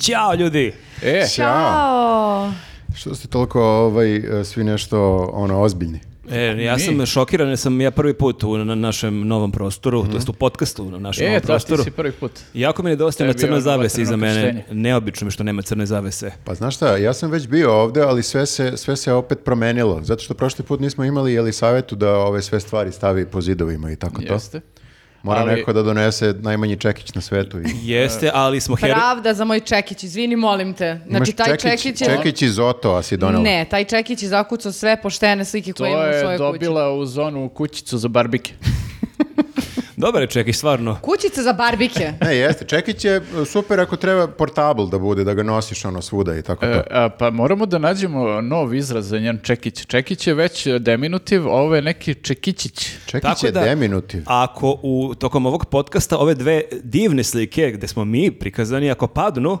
Ćao ljudi. E, Ćao. Što ste toliko ovaj, svi nešto ono, ozbiljni? E, ja sam šokiran, jer sam ja prvi put u na našem novom prostoru, to jest u podcastu na našem Mhm. e, novom to prostoru. ti si prvi put. Jako mi nedostaje na Tebi je crnoj ono zavesi iza vatreno mene. krštenje. Neobično mi što nema crne zavese. Pa znaš šta, ja sam već bio ovde, ali sve se, sve se opet promenilo. Zato što prošli put nismo imali jeli savetu da ove sve stvari stavi po zidovima i tako Jeste. to. Mora Ali- neko da donese najmanji čekić na svetu. I... E. Jeste, ali smo her... Pravda za moj čekić, izvini, molim te. Znači, Imaš taj čekić, je... čekić iz Otoa si donela. Ne, taj čekić je zakucao sve poštene slike To koje ima u svojoj je kući. dobila u zonu kućicu za barbike. Dobar je čekić, stvarno. Kućica za barbike. Ne, jeste. Čekić je e, super ako treba portabl da bude, da ga nosiš ono svuda i tako E, to. a, pa moramo da nađemo nov izraz za njen čekić. Čekić je već e, deminutiv, a ovo je neki čekićić. Čekić Tako je da- deminutiv. Ako u tokom ovog podcasta ove dve divne slike gde smo mi prikazani, ako padnu,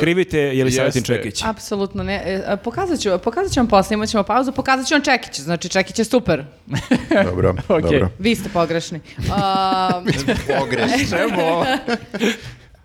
krivite je li savjetin E, jeste. čekić. Apsolutno ne. E, a, Pokazat ću, pokazat ću vam posle, imat ćemo pauzu, pokazat ću vam čekić. Znači, čekić je super. Dobro, Okej. dobro. Vi ste pogrešni. A, Pogrešno.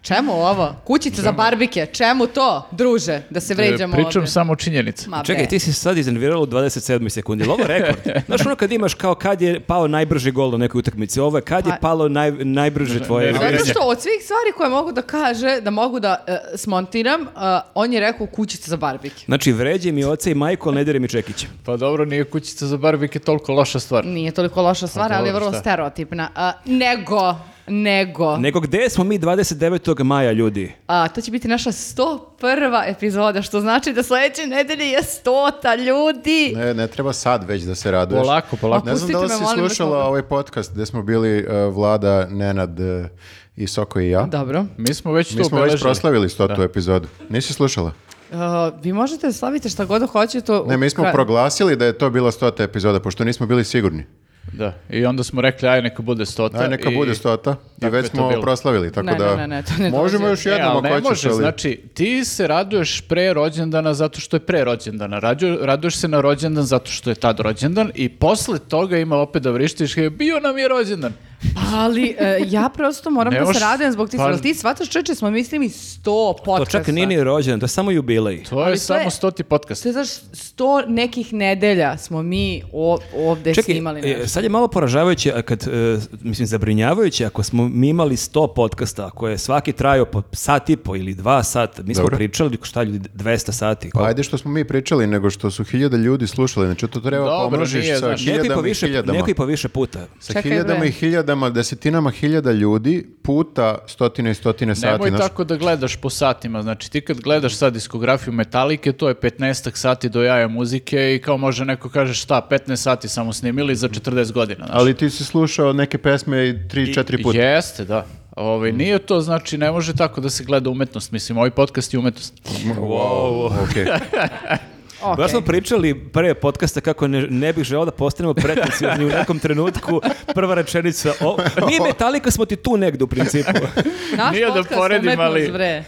čemu ovo? Kućica za barbike. Čemu to, druže? Da se E, vređamo Pričam ovde. samo činjenice. Ma Čekaj, bre. ti si se sad iznervirala u 27. sekundi. Jel Ovo je rekord. Znaš ono kad imaš kao kad je pao najbrži gol na nekoj utakmici, ovo je kad je Pa- palo naj, najbrže tvoje... Nerviranje. Zato što od svih stvari koje mogu da kaže, da mogu da e, smontiram, e, on je rekao kućica za barbike. Znači, vređe mi oca i majku, ali ne dere mi čekića. Pa dobro, nije kućica za barbike toliko loša stvar. Nije toliko loša stvar, ali je dobro, vrlo šta? stereotipna. A, nego, nego. Nego gde smo mi 29. maja, ljudi? A, to će biti naša 101. epizoda, što znači da sledeće nedelje je stota ljudi. Ne, ne treba sad već da se raduješ. Polako, polako. Ne znam da li Pustite si me, molim vas, slušala molim. ovaj podcast gde smo bili e, Vlada, Nenad e, i Soko i ja. Dobro. Mi smo već Mi to smo već obeležili. proslavili stotu epizodu. Nisi slušala? A, E, vi možete da slavite šta god hoćete. u- Ne, mi smo kra- proglasili da je to bila stota epizoda, pošto nismo bili sigurni. Da. I onda smo rekli, aj neka bude stota. Aj, neka i- bude stota. I Tako već je to smo bilo. proslavili, tako Ne, da... ne, ne, ne, to ne Možemo dolazi. još E, jednom ali ako ne hoćeš, može, ali- znači ti se raduješ pre rođendana zato što je pre rođendana, Rađu- raduješ se na rođendan zato što je tad rođendan i posle toga ima opet da vrištiš "E, bio nam je rođendan. Ali e, ja prosto moram Ne da se možeš- radujem zbog tih pa- stvari. Ti shvataš čeče, smo mislili mi 100 To podcasta. čak nije ni rođendan, to je samo jubilej. To je Ali to je- samo stoti podcast. Sve znaš, sto nekih nedelja smo mi o, ovde Čekaj, snimali e, nešto. sad je malo poražavajuće, a kad, e, mislim, zabrinjavajuće, ako smo mi imali 100 podcasta, koje svaki traju po sat i po ili dva sata, mi smo Dobro. pričali, šta ljudi, 200 sati. Pa ajde što smo mi pričali, nego što su hiljade ljudi slušali. Znači to treba Dobro, pomnožiš nije, sa znaš. Neko i po hiljadama i više, hiljadama. neko i po više puta. Sa Čekaj, hiljadama bre. i hiljadama, desetinama hiljada ljudi puta stotine i stotine sati. Nemoj znaš. tako da gledaš po satima, znači ti kad gledaš sad diskografiju Metalike, to je 15 sati do jaja muzike i kao može neko kaže šta, 15 sati samo snimili za 40 godina. Znači, znaš. Ali ti si slušao neke pesme i tri, četiri puta. Mm. Jeste, da. Ovaj, Nije to, znači ne može tako da se gleda umetnost, mislim, ovaj podcast je umetnost. Wow. Okay. Okej. Baš Pa smo pričali pre podcasta kako ne, ne bih želeo da postanemo pretenciozni u nekom trenutku. Prva rečenica, o, mi Metallica smo ti tu negde u principu. Naš Nije da podcast poredim, umetnost, ali- bre.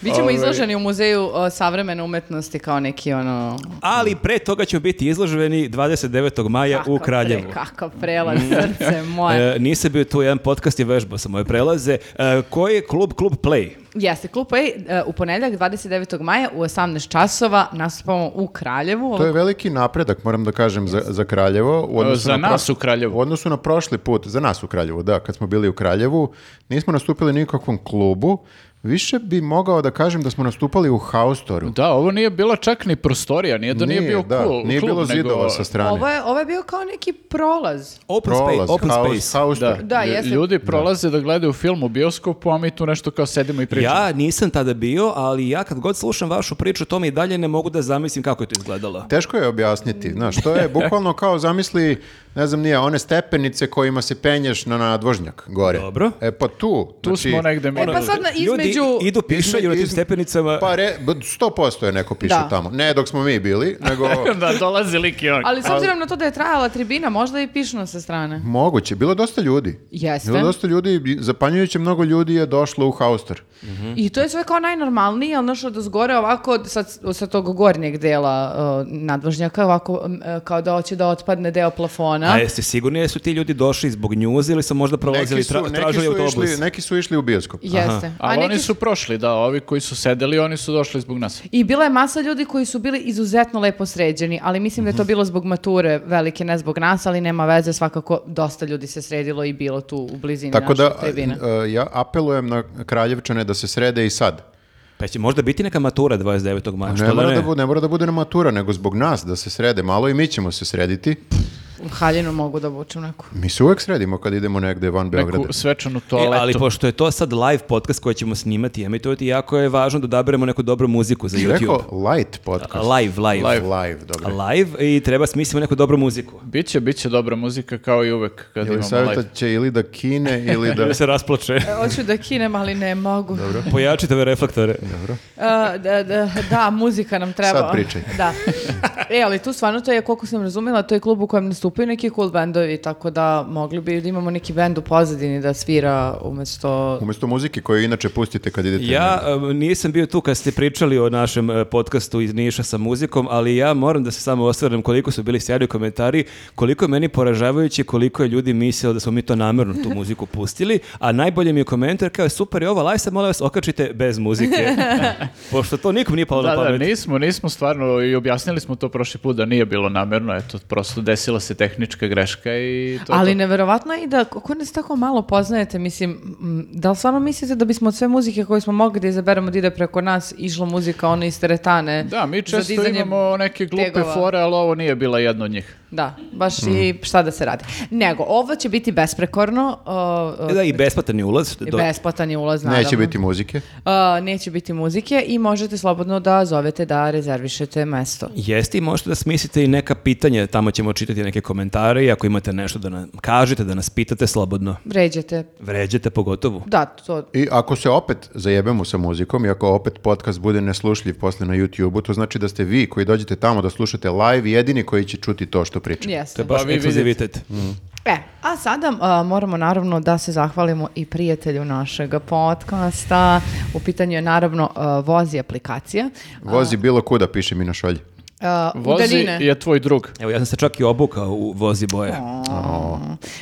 Bićemo izloženi u muzeju o, savremene umetnosti kao neki ono... Ali pre toga ćemo biti izloženi 29. maja Kakav u pre- Kraljevu. Kakav prelaz, srce moje. E, nisam bio tu jedan podcast i vežbao sam moje prelaze. E, koji je klub? Klub Play. Jeste, klub A, e, u ponedjeljak 29. maja u 18 časova nastupamo u Kraljevu. To je veliki napredak, moram da kažem, za, za Kraljevo. U odnosu Za na nas u Kraljevu. U odnosu na prošli put, za nas u Kraljevu, da, kad smo bili u Kraljevu, nismo nastupili nikakvom klubu, više bi mogao da kažem da smo nastupali u Haustoru. Da, ovo nije bila čak ni prostorija, nije da nije, bio da, cool, nije klub, bilo nego- zidova sa strane. Ovo je, ovo je bio kao neki prolaz. Open, Prolaz, space, open haus- space. Haustor. Da, Da, lju- jeste. ljudi prolaze da gledaju film u bioskopu, a mi tu nešto kao sedimo i pričamo. Ja nisam tada bio, ali ja kad god slušam vašu priču, to mi i dalje ne mogu da zamislim kako je to izgledalo. Teško je objasniti, znaš, to je bukvalno kao zamisli, ne znam nije, one stepenice kojima se penješ na nadvožnjak gore. Dobro. E pa tu, tu znači, smo negde ono- mi. E, pa sad na između... Ljudi idu pišaju na tim Izme- stepenicama. Pa re, b- 100% je neko piše Da. tamo. Ne dok smo mi bili, nego da, dolazi lik i on. pa- Ali s obzirom na to da je trajala tribina, možda i pišno sa strane. moguće. Bilo je dosta ljudi. Jeste. Bilo je dosta ljudi, i zapanjujuće mnogo ljudi je došlo u Haustor. I to je sve kao najnormalnije, ali našo da zgore ovako, sa, sa tog gornjeg dela uh, nadvožnjaka, ovako m, e, kao da hoće da otpadne deo plafona. dana. A jeste sigurni jesu ti ljudi došli zbog njuza ili su možda prolazili, tra, tražili su autobus? išli, neki su išli u bioskop. Jeste. A Ali neki oni su prošli, da, ovi koji su sedeli, oni su došli zbog nas. I bila je masa ljudi koji su bili izuzetno lepo sređeni, ali mislim da je to bilo zbog mature velike, ne zbog nas, ali nema veze, svakako dosta ljudi se sredilo i bilo tu u blizini Tako Tako da, tribina. e, ja apelujem na Kraljevčane da se srede i sad. Pa će možda biti neka matura 29. maja, Pa Ne što da mora ne? da, bu- ne mora da bude na matura, nego zbog nas da se srede malo i mi ćemo se srediti. U haljinu mogu da obuču neku. Mi se uvek sredimo kad idemo negde van Beograda. Neku svečanu E, toaletu. ali pošto je to sad live podcast koji ćemo snimati i emitovati, jako je važno da odaberemo neku dobru muziku za Ti YouTube. rekao light podcast. Live, live. Live, dobro. Live i treba smislimo neku dobru muziku. Biće, biće dobra muzika kao i uvek kad imamo Ili live. savjeta će ili da kine ili da... Da se rasplače. Hoću da kinem, ali ne mogu. Pojačite ove reflektore. A, da, da, E, da, muzika nam treba. Sad pričaj. Da. E, ali tu stvarno to je, koliko sam razumela, to je klub u kojem nastupaju neki cool bendovi, tako da mogli bi da imamo neki bend u pozadini da svira umjesto... Umjesto muzike koju inače pustite kad idete... Ja em, nisam bio tu kad ste pričali o našem eh, podcastu iz Niša sa muzikom, ali ja moram da se samo osvrnem koliko su bili sjajni komentari, koliko je meni poražavajuće, koliko je ljudi mislilo da smo mi to namjerno tu muziku pustili, a najbolje mi je komentar kao super je ova live sad molim vas okačite bez muzike. Pošto to nikom nije palo na Da, da, pamet. nismo, nismo stvarno i objasnili smo to prošli put da nije bilo namerno, eto, prosto desila se tehnička greška i to je Ali to. neverovatno je i da kako nas tako malo poznajete, mislim, m, da li stvarno mislite da bismo od sve muzike koje smo mogli da izaberemo da ide preko nas, išla muzika ona iz teretane? Da, mi za često dizanje imamo neke glupe tegova? fore, ali ovo nije bila jedna od njih. Da, baš i Mhm. šta da se radi. Nego, ovo će biti besprekorno, o, o, Da, i besplatan je ulaz. i E Do- besplatan je ulaz, naravno. Neće biti muzike. A, neće biti muzike i možete slobodno da zovete da rezervišete mesto. Jeste i možete da smislite i neka pitanja, tamo ćemo čitati neke komentare i ako imate nešto da nam kažete, da nas pitate slobodno. Vređate. Vređate pogotovo. Da, to... I ako se opet zajebemo sa muzikom i ako opet podcast bude neslušljiv posle na YouTube-u, to znači da ste vi koji dođete tamo da slušate live jedini koji će čuti to što pričam. To Jeste. je baš Pa vi vidite. ekskluzivitet. E, a sada a, moramo naravno da se zahvalimo i prijatelju našeg podcasta. U pitanju je naravno a, vozi aplikacija. Vozi bilo kuda, piše mi na šolji. A, u Vozi daljine. je tvoj drug. Evo, ja sam se čak i obukao u vozi boje.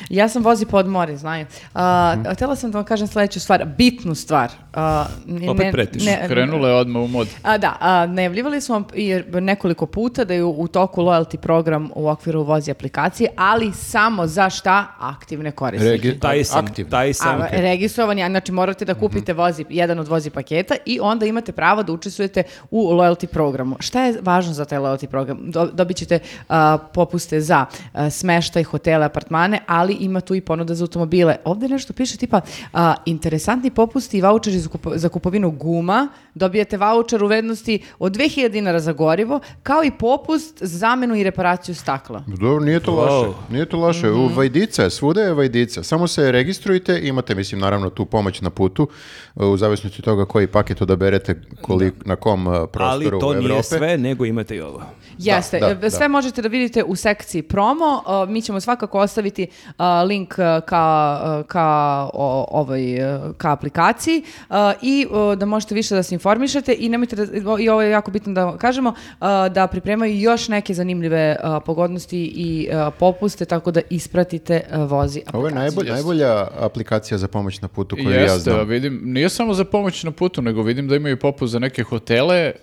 Ja sam vozi pod more, znaju. A, Htjela sam da vam kažem sljedeću stvar, bitnu stvar. A, n- Opet pretiš. Krenula je odmah u mod. A, da, a, najavljivali smo vam i nekoliko puta da je u toku loyalty program u okviru vozi aplikacije, ali samo za šta aktivne korisnike. Regi- Taj sam, aktivno. taj sam. A, registrovani, a znači morate da kupite vozi, jedan od vozi paketa i onda imate pravo da učestvujete u loyalty programu. Šta je važno za taj loyalty program? Do- dobit ćete a, popuste za a, smeštaj, hotele, apartmane, ali ima tu i ponuda za automobile. Ovdje nešto piše tipa a, interesantni popusti i voucheri za, kupo- za kupovinu guma, dobijete voucher u vrednosti od 2000 dinara za gorivo, kao i popust za zamenu i reparaciju stakla. Dobro, nije to Wow. loše. Nije to loše. U Mhm. Vajdica, je, svuda je Vajdica. Samo se registrujte, imate, mislim, naravno tu pomoć na putu, e, u zavisnosti od toga koji paket odaberete kolik, na kom uh, Ali prostoru to Evrope. nije sve, nego imate i ovo. Jeste, e, Da, da, sve možete da vidite u sekciji promo, a, mi ćemo svakako ostaviti a, link a, ka, a, ka, o- ovoj, a, ka aplikaciji a, i a, da možete više da se informišete i nemojte da, i ovo je jako bitno da kažemo, a, da pripremaju još neke zanimljive a, pogodnosti i a, popuste, tako da ispratite a, vozi aplikaciju. Ovo je najbolj, najbolja aplikacija za pomoć na putu koju ja Jeste, znam. a vidim, nije samo za pomoć na putu, nego vidim da imaju popust za neke hotele, e,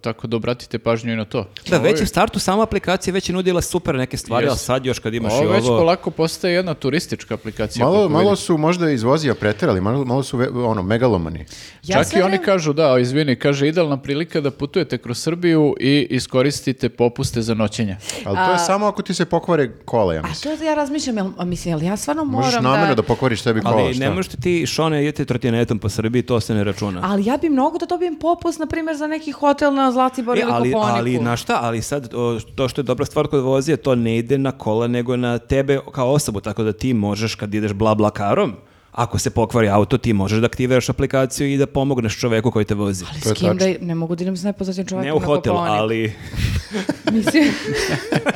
tako da obratite pažnju i na to. Da, Ovo je- već je u startu sama aplikacija već je nudila super neke stvari, Jest. ali sad još kad imaš i Ovo već ovo... polako postaje jedna turistička aplikacija. Malo, koliko malo vidim. su možda iz vozija preterali, malo, malo su ve- ono, megalomani. Ja Čak sve i oni vreme- kažu, da, izvini, kaže, idealna prilika da putujete kroz Srbiju i iskoristite popuste za noćenje. Ali to je samo ako ti se pokvare kola, ja A mislim. to da ja razmišljam, jel, a mislim, jel ja stvarno Možeš moram namerno da... da... pokvariš sebi kola, Ali šta? ne možete ti, Šone, idete trotinetom po Srbiji, to se ne računa. Ali ja bi mnogo da dobijem popust, na primjer, za neki hotel na Zlatiboru E, ili ali, Koponiku. ali, na šta, ali sad o, to što je dobra stvar kod vozija, to ne ide na kola nego na tebe kao osobu, tako da ti možeš kad ideš bla bla karom, ako se pokvari auto, ti možeš da aktiviraš aplikaciju i da pomogneš čoveku koji te vozi. Ali To je s kim da, tačno. ne mogu da idem s nepoznatim čovekom Ne u na hotel, Kopaonik. ali... Mislim,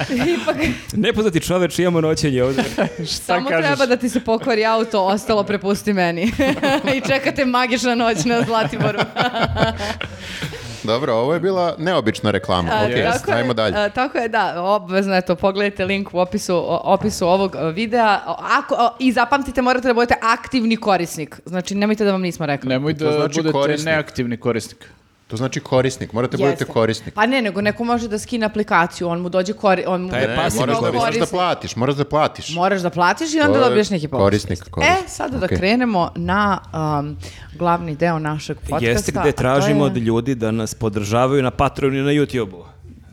ipak Nepoznati čoveč, imamo noćenje ovdje. samo treba da ti se pokvari auto, ostalo prepusti meni. I čekate magična noć na Zlatiboru. Dobro, ovo je bila neobična reklama. A, Ok, tako je, ajmo dalje. a, tako je, da, obvezno, eto, pogledajte link u opisu, o- opisu ovog e, videa O, ako, o, i zapamtite, morate da budete aktivni korisnik. Znači, nemojte da vam nismo rekli. Nemoj To da znači budete korisnik. neaktivni korisnik. To znači korisnik, morate budete Jeste. korisnik. Pa ne, nego neko može da skine aplikaciju, on mu dođe kori, on mu Taj je Ne, pasivni E, moraš da, korisnik. moraš da platiš, moraš da platiš. Moraš da platiš i onda To je dobiješ neki popust. korisnik, korisnik. E, sada da Okej. krenemo na um, glavni deo našeg podcasta. Jeste a gde to tražimo je- od ljudi da nas podržavaju na Patreonu i na YouTubeu.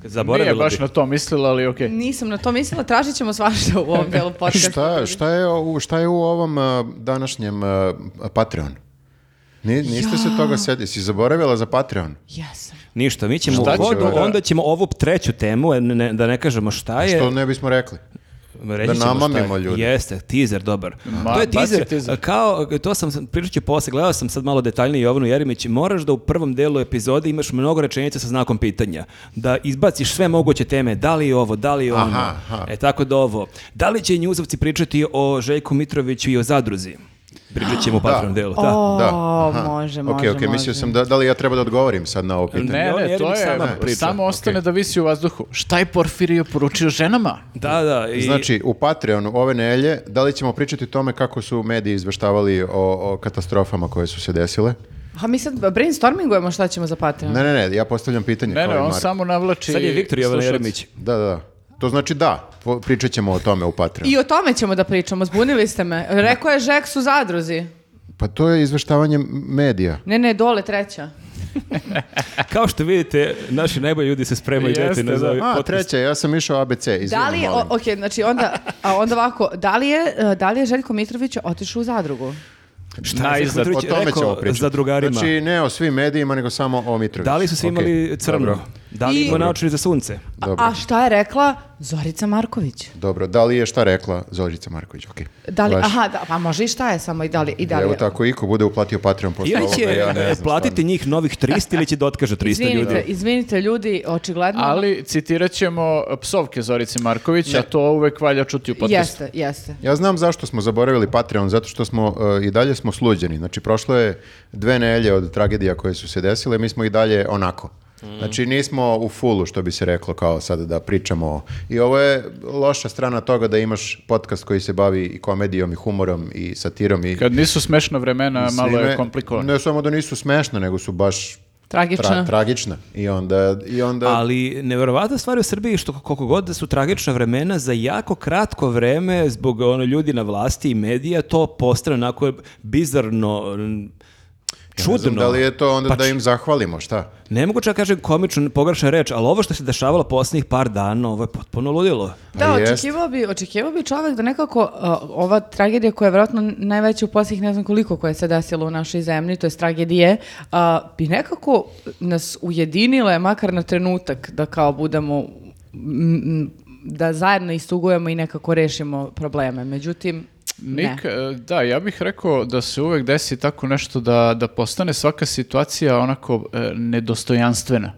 Nije Zaboravila baš bi. na to mislila, ali okej. Nisam na to mislila, tražit ćemo svašta u ovom delu podcasta. Šta, šta, je, u, šta je u ovom uh, današnjem uh, Patreon? Ni, niste se toga sjetili, si zaboravila za Patreon? Jesam. Ništa, mi ćemo u Šta će vodu, ovo? onda ćemo ovu treću temu, e, ne- ne- da ne kažemo šta je. Što ne bismo rekli? Reći Da ćemo šta je. namamimo ljude. Jeste, teaser dobar. Ma, to je baci teaser, teaser. kao, to sam, pričat ću posle, gledao sam sad malo detaljnije Jovanu Jerimić, moraš da u prvom delu epizode imaš mnogo rečenica sa znakom pitanja, da izbaciš sve moguće teme, da li je ovo, da li je ono, Aha, aha. e tako da ovo. Da li će njuzovci pričati o Željku Mitroviću i o Zadruzi? Pričat ćemo u patrom delu, da. O, Da. može, Ok, može, ok, mislio može. sam da, da li ja treba da odgovorim sad na ovo pitanje. Ne, Jovan ne, to Jeremić je, sama priča. samo ostane da visi u vazduhu. Šta je Porfirio poručio ženama? Da, da. I, Znači, u Patreonu ove nelje, da li ćemo pričati o tome kako su mediji izveštavali o, o katastrofama koje su se desile? A mi sad brainstormingujemo šta ćemo za Patreon. Ne, ne, ne, ja postavljam pitanje. Ne, kao ne, i on Marko. samo navlači... sad je Viktor Jovan slušalce. Jeremić. Da, da, da. To znači da, po- pričat ćemo o tome u Patreonu. I o tome ćemo da pričamo, zbunili ste me. Rekao je Žeks u zadruzi. Pa to je izveštavanje medija. Ne, ne, dole treća. Kao što vidite, naši najbolji ljudi se spremaju Jeste, deti na da. za ovaj A, podcast. treće, ja sam išao ABC, izvini, Da li je, molim. o- ok, znači onda, a onda ovako, da li je, e, da li je Željko Mitrović otišao u zadrugu? Šta je Najzad, Zahvatrović O tome rekao ćemo pričati. za drugarima? Znači, ne o svim medijima, nego samo o Mitroviću. Da li su svi Okej, imali crno? Dobro. Da li I- ima naočari za sunce? A- Dobro. A šta je rekla Zorica Marković? Dobro, da li je šta rekla Zorica Marković? Okej. Da li, Baš. aha, da, pa može i šta je samo i da li, i da li Evo je- tako, iko bude uplatio Patreon posle Ili ovoga, će ja ne e, znam platiti stvarno. njih novih 300 ili će da otkaže 300 ljudi? Izvinite, izvinite ljudi, očigledno. Ali citirat ćemo psovke Zorice Marković, a to uvek valja čuti u podcastu. Jeste, jeste. Ja znam zašto smo zaboravili Patreon, zato što smo e, i dalje smo sluđeni. Znači, prošlo je dve nelje od tragedija koje su se desile, mi smo i dalje onako. Znači, nismo u fullu, što bi se reklo, kao sada da pričamo. o- I ovo je loša strana toga da imaš podcast koji se bavi i komedijom, i humorom, i satirom, i Kad nisu smešna vremena, malo je Svime- komplikovano. Ne samo da nisu smešne, nego su baš Tragična. tra- tragične. I onda, i onda Ali nevjerovatna stvar je u Srbiji što koliko god da su tragična vremena, za jako kratko vreme zbog ono, ljudi na vlasti i medija to postane onako bizarno, n- Ja čudno. ne znam da li je to onda Pa da im zahvalimo, šta? Ne mogu čak kažem komičnu, pogrešna reč, ali ovo što se dešavalo posljednjih par dana, ovo je potpuno ludilo. Da, Pa jest. očekivao bi, očekivao bi čovjek da nekako a, ova tragedija koja je vjerojatno najveća u posljednjih ne znam koliko koja se desila u našoj zemlji, to je tragedije, a, bi nekako nas ujedinile makar na trenutak da kao budemo m, m, da zajedno istugujemo i nekako rešimo probleme. Međutim, ne. Nik, e, da, ja bih rekao da se uvek desi tako nešto da, da postane svaka situacija onako e, nedostojanstvena.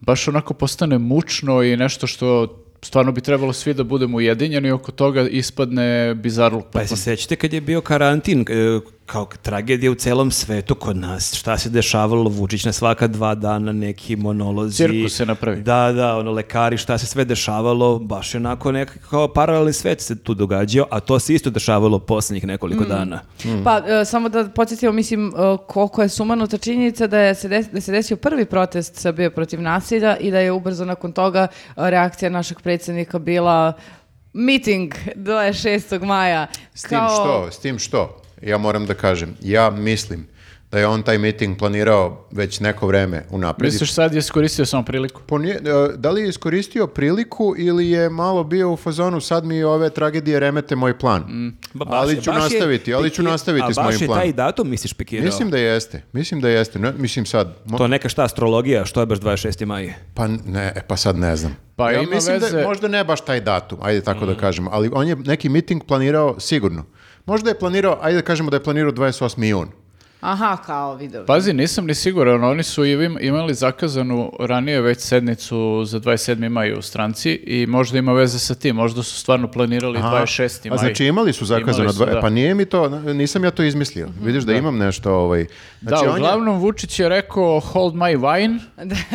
Baš onako postane mučno i nešto što stvarno bi trebalo svi da budemo ujedinjeni oko toga ispadne bizarluk. Pa se sećate kad je bio karantin, e, kao tragedija u celom svetu kod nas, šta se dešavalo, Vučić na svaka dva dana neki monolozi. Cirkus se napravi. Da, da, ono, lekari, šta se sve dešavalo, baš je onako nekako kao paralelni svet se tu događao, a to se isto dešavalo posljednjih nekoliko dana. Pa, e, samo da podsjetimo, mislim, e, koliko je sumanuta činjenica da, je se des- da se desio prvi protest Srbije protiv nasilja i da je ubrzo nakon toga e, reakcija našeg predsjednika bila miting 26. maja. S tim što, s tim što, ja moram da kažem, ja mislim da je on taj miting planirao već neko vreme unapred. Misliš sad je iskoristio samo priliku? Po nije- e, da li je iskoristio priliku ili je malo bio u fazonu sad mi ove tragedije remete moj plan? Mm. Ba- baš je- ali ću baš je nastaviti, ali ću piki- nastaviti s A mojim baš je taj planom. datum, misliš, pikirao? Mislim da jeste, mislim da jeste. Ne, mislim sad, mo- To je neka šta astrologija, što je baš 26. maj? pa ne, e, pa sad ne znam. Pa ja ima mislim da veze- je- možda ne baš taj datum, ajde tako Mm. da kažemo, ali on je neki miting planirao sigurno. Možda je planirao, ajde da kažemo da je planirao 28. jun. Aha, kao vidovi. Pazi, nisam ni siguran, oni su im- imali zakazanu ranije već sednicu za 27. maj u stranci i možda ima veze sa tim, možda su stvarno planirali Aha. 26. maj. A znači imali su zakazano, Imali su, dva- da. Mhm. pa nije mi to, nisam ja to izmislio. Vidiš da, imam nešto ovaj. Znači, da, on je- uglavnom Vučić je rekao hold my wine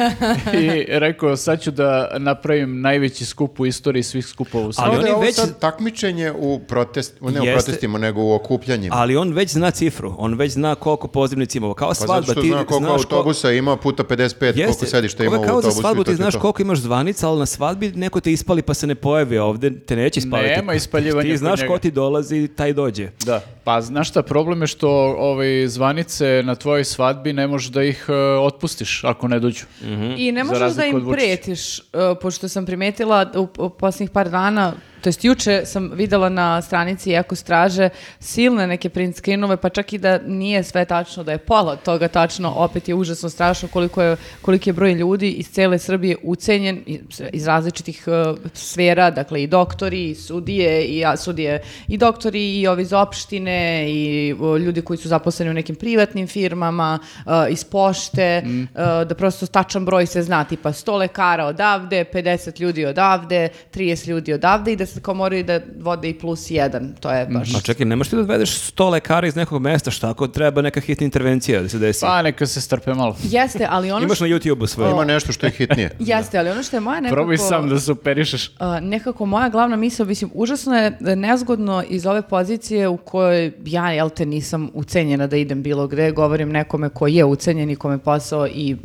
i rekao sad ću da napravim najveći skup u istoriji svih skupova u Ali Kao da je oni ovo već- sad takmičenje u protest, ne u Jeste. protestima, nego u okupljanjima. Ali on već zna cifru, on već zna koliko pozivnica ima. Kao pa svadba, zato što ti zna koliko znaš ko- autobusa ima puta 55, koliko Jeste, sedišta ovo ima je u kao autobusu. za i svadbu to ti je znaš to. koliko imaš zvanica, ali na svadbi neko te ispali pa se ne pojavi ovde, te neće ispaliti. Nema ispaljivanja Ti kod znaš ko njega. ti dolazi, taj dođe. Da. Pa znaš šta, problem je što ovaj, zvanice na tvojoj svadbi ne možeš da ih e, otpustiš ako ne dođu. I ne Mhm. Za možeš da razliku od im Vučića. pretiš, uh, pošto sam primetila da u, u posljednjih par dana, to jest juče sam videla na stranici Eko Straže silne neke print screenove, pa čak i da nije sve tačno, da je pola toga tačno, opet je užasno strašno koliko je, koliki je broj ljudi iz cele Srbije ucenjen i- iz različitih uh, sfera, dakle i doktori, i sudije, i a, sudije, i doktori, i ovi iz opštine, i o, ljudi koji su zaposleni u nekim privatnim firmama, e, iz pošte, Mhm. e, da prosto tačan broj se zna, tipa 100 lekara odavde, 50 ljudi odavde, 30 ljudi odavde i da se kao moraju da vode i plus jedan, to Mhm. je baš... A Pa čekaj, nemaš ti da odvedeš 100 lekara iz nekog mesta, šta ako treba neka hitna intervencija da se desi? Pa neka se strpe malo. Jeste, ali ono Imaš što... na YouTube-u sve. Ima nešto što je hitnije. Jeste, ali ono što je moja nekako... Probaj sam da se operišeš. A, Eh, nekako moja glavna misla, mislim, užasno je e, nezgodno iz ove pozicije u kojoj ja, jel te, nisam ucenjena da idem bilo gde, govorim nekome ko je ucenjen i kome posao i m,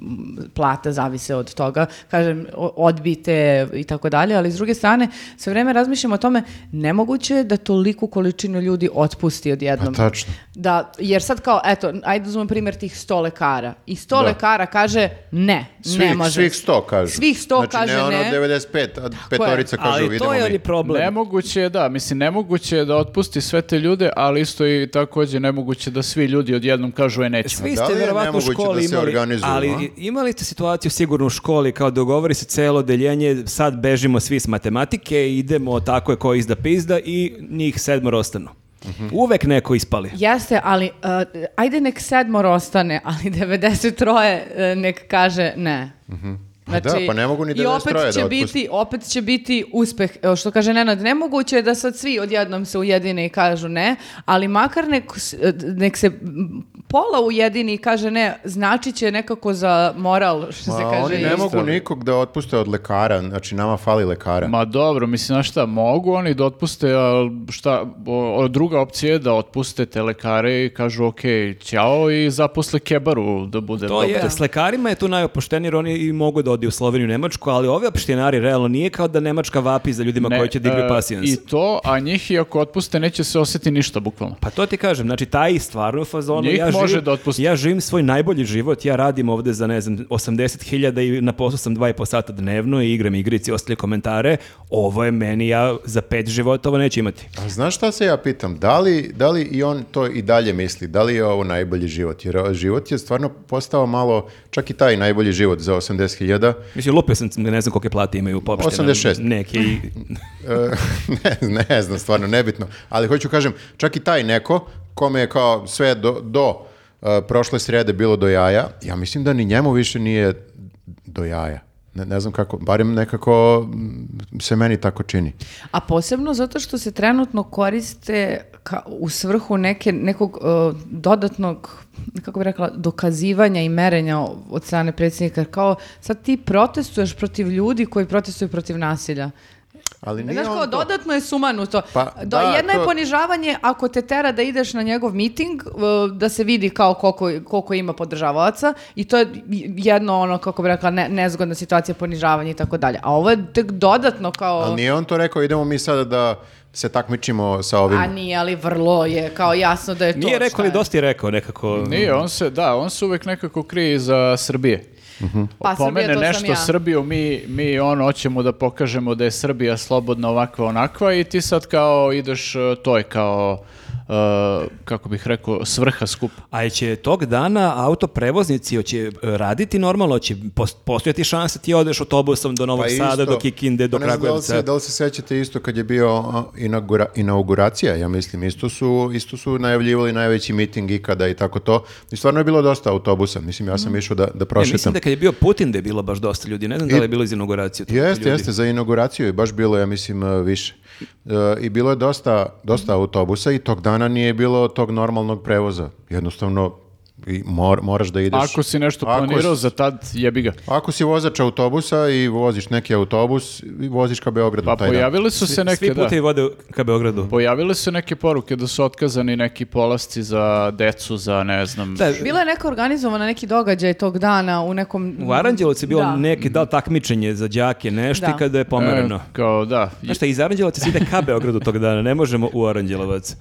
plata zavise od toga, kažem, o- odbite i tako dalje, ali s druge strane, sve vreme razmišljam o tome, nemoguće je da toliku količinu ljudi otpusti odjednom. Pa tačno. Da, jer sad kao, eto, ajde uzmem primjer tih 100 lekara. I 100 lekara kaže ne, ne Svih, može. svih sto kažu. Svih 100 znači, kaže ne. ono ne. 95, a petorica kažu Ali vidimo to je mi. ali problem. Nemoguće je, da, mislim, nemoguće je da otpusti sve te ljude, ali isto i takođe nemoguće da svi ljudi odjednom kažu "E, je nećemo. Svi Da li ste je verovatno u nemoguće školi da se imali, organizuju, ali a? imali ste situaciju sigurno u školi kao dogovori se celo deljenje, sad bežimo svi s matematike, idemo tako je ko izda pizda i njih sedmor ostanu. Mhm. Uvek neko ispali. Jeste, ali uh, ajde nek sedmor ostane, ali 93 uh, nek kaže ne. Znači, Pa da, pa ne mogu ni I opet 93 će, da otpuste. biti, opet će biti uspeh, evo što kaže Nenad, nemoguće je da sad svi odjednom se ujedine i kažu ne, ali makar nek, s- e, nek se m, pola ujedini i kaže ne, znači će nekako za moral, što se Ma, kaže. oni i- ne mogu isto. nikog da otpuste od lekara, znači nama fali lekara. Ma dobro, mislim, znaš šta, mogu oni da otpuste, ali šta, o- o, druga opcija je da otpuste te lekare i kažu, ok, ćao i zaposle kebaru da bude To je, doktor. s lekarima je tu najopoštenije jer oni i mogu da odi u Sloveniju, Nemačku, ali ovi opštinari realno nije kao da Nemačka vapi za ljudima Ne, koji će digli e, pasijans. I to, a njih i ako otpuste neće se osjeti ništa, bukvalno. Pa to ti kažem, znači taj stvarno je u fazonu, Njih ja, može živim, da otpusti. ja živim svoj najbolji život, ja radim ovde za ne znam 80.000 i na poslu sam 2,5 sata dnevno i igram igrici i ostale komentare, ovo je meni, ja za pet života ovo neću imati. A znaš šta se ja pitam? Da li, da li i on to i dalje misli? Da li je ovo najbolji život? Jer o, život je stvarno postao malo, čak i taj najbolji život za e, 80.000. Mislim, lupio sam, ne znam kolike plate imaju popštene. 86. Neki, E, ne, ne znam, stvarno, nebitno. Ali hoću kažem, čak i taj neko kome je kao sve do, do e, prošle srede bilo do jaja, ja mislim da ni njemu više nije do jaja. Ne, ne znam kako, barem nekako mm, se meni tako čini. A posebno zato što se trenutno koriste ka, u svrhu neke, nekog e, dodatnog kako bih rekla, dokazivanja i merenja od strane predsjednika. Kao sad ti protestuješ protiv ljudi koji protestuju protiv nasilja. Ali nije Znaš on kao, to- dodatno je sumanuto. Pa, Do, da, jedno to- je ponižavanje ako te tera da ideš na njegov miting, e, da se vidi kao koliko, koliko ima podržavaoca i to je jedno ono, kako bih rekla, ne, nezgodna situacija ponižavanja i tako dalje. A ovo je tek dodatno kao... Ali nije on to rekao, idemo mi sada da se takmičimo sa ovim. A nije, ali vrlo je kao jasno da je to. nije šta rekao, ali je. dosta je rekao nekako. Nije, on se, da, on se uvek nekako krije iza Srbije. Pa Pomene Srbija, to sam nešto ja. Srbiju, mi, mi ono, hoćemo da pokažemo da je Srbija slobodna ovakva, onakva i ti sad kao ideš, e, to je kao e, kako bih rekao, svrha skupa. A će tog dana autoprevoznici hoće e, raditi normalno, hoće pos- postojati šansa ti odeš autobusom do Novog Sada, do Kikinde, do Pa ne znam da li se- Kragujevca. Da li se sećate isto kad je bio a, inaugura- inauguracija, ja mislim, isto su, isto su najavljivali najveći miting ikada i tako to. I stvarno je bilo dosta autobusa, mislim, ja sam išao da, da E, mislim prošetam. da kad je bio Putin da je bilo baš dosta ljudi, ne znam da li je bilo iz inauguracije. toliko Jeste, ljudi. jeste, za inauguraciju je baš bilo, ja mislim, e, više. E, I bilo je dosta, dosta Mhm. autobusa i tog dana nije bilo tog normalnog prevoza. Jednostavno, i mor- moraš da ideš. Ako si nešto Ako planirao si- za tad, jebi ga. Ako si vozač autobusa i voziš neki autobus, i voziš ka Beogradu Pa taj dan. pojavile su se neke, Svi da, putevi vode ka Beogradu. pojavile su se neke poruke da su otkazani neki polasci za decu, za ne znam... Da, Bila je neka organizovana neki događaj tog dana u nekom... u Aranđelovcu je bilo Da. neki, da li takmičenje za đake, nešto Da. i kada je E, pomereno. kao da, Znaš šta, iz Aranđelovaca se ide ka Beogradu tog dana, ne možemo u Aranđelovac.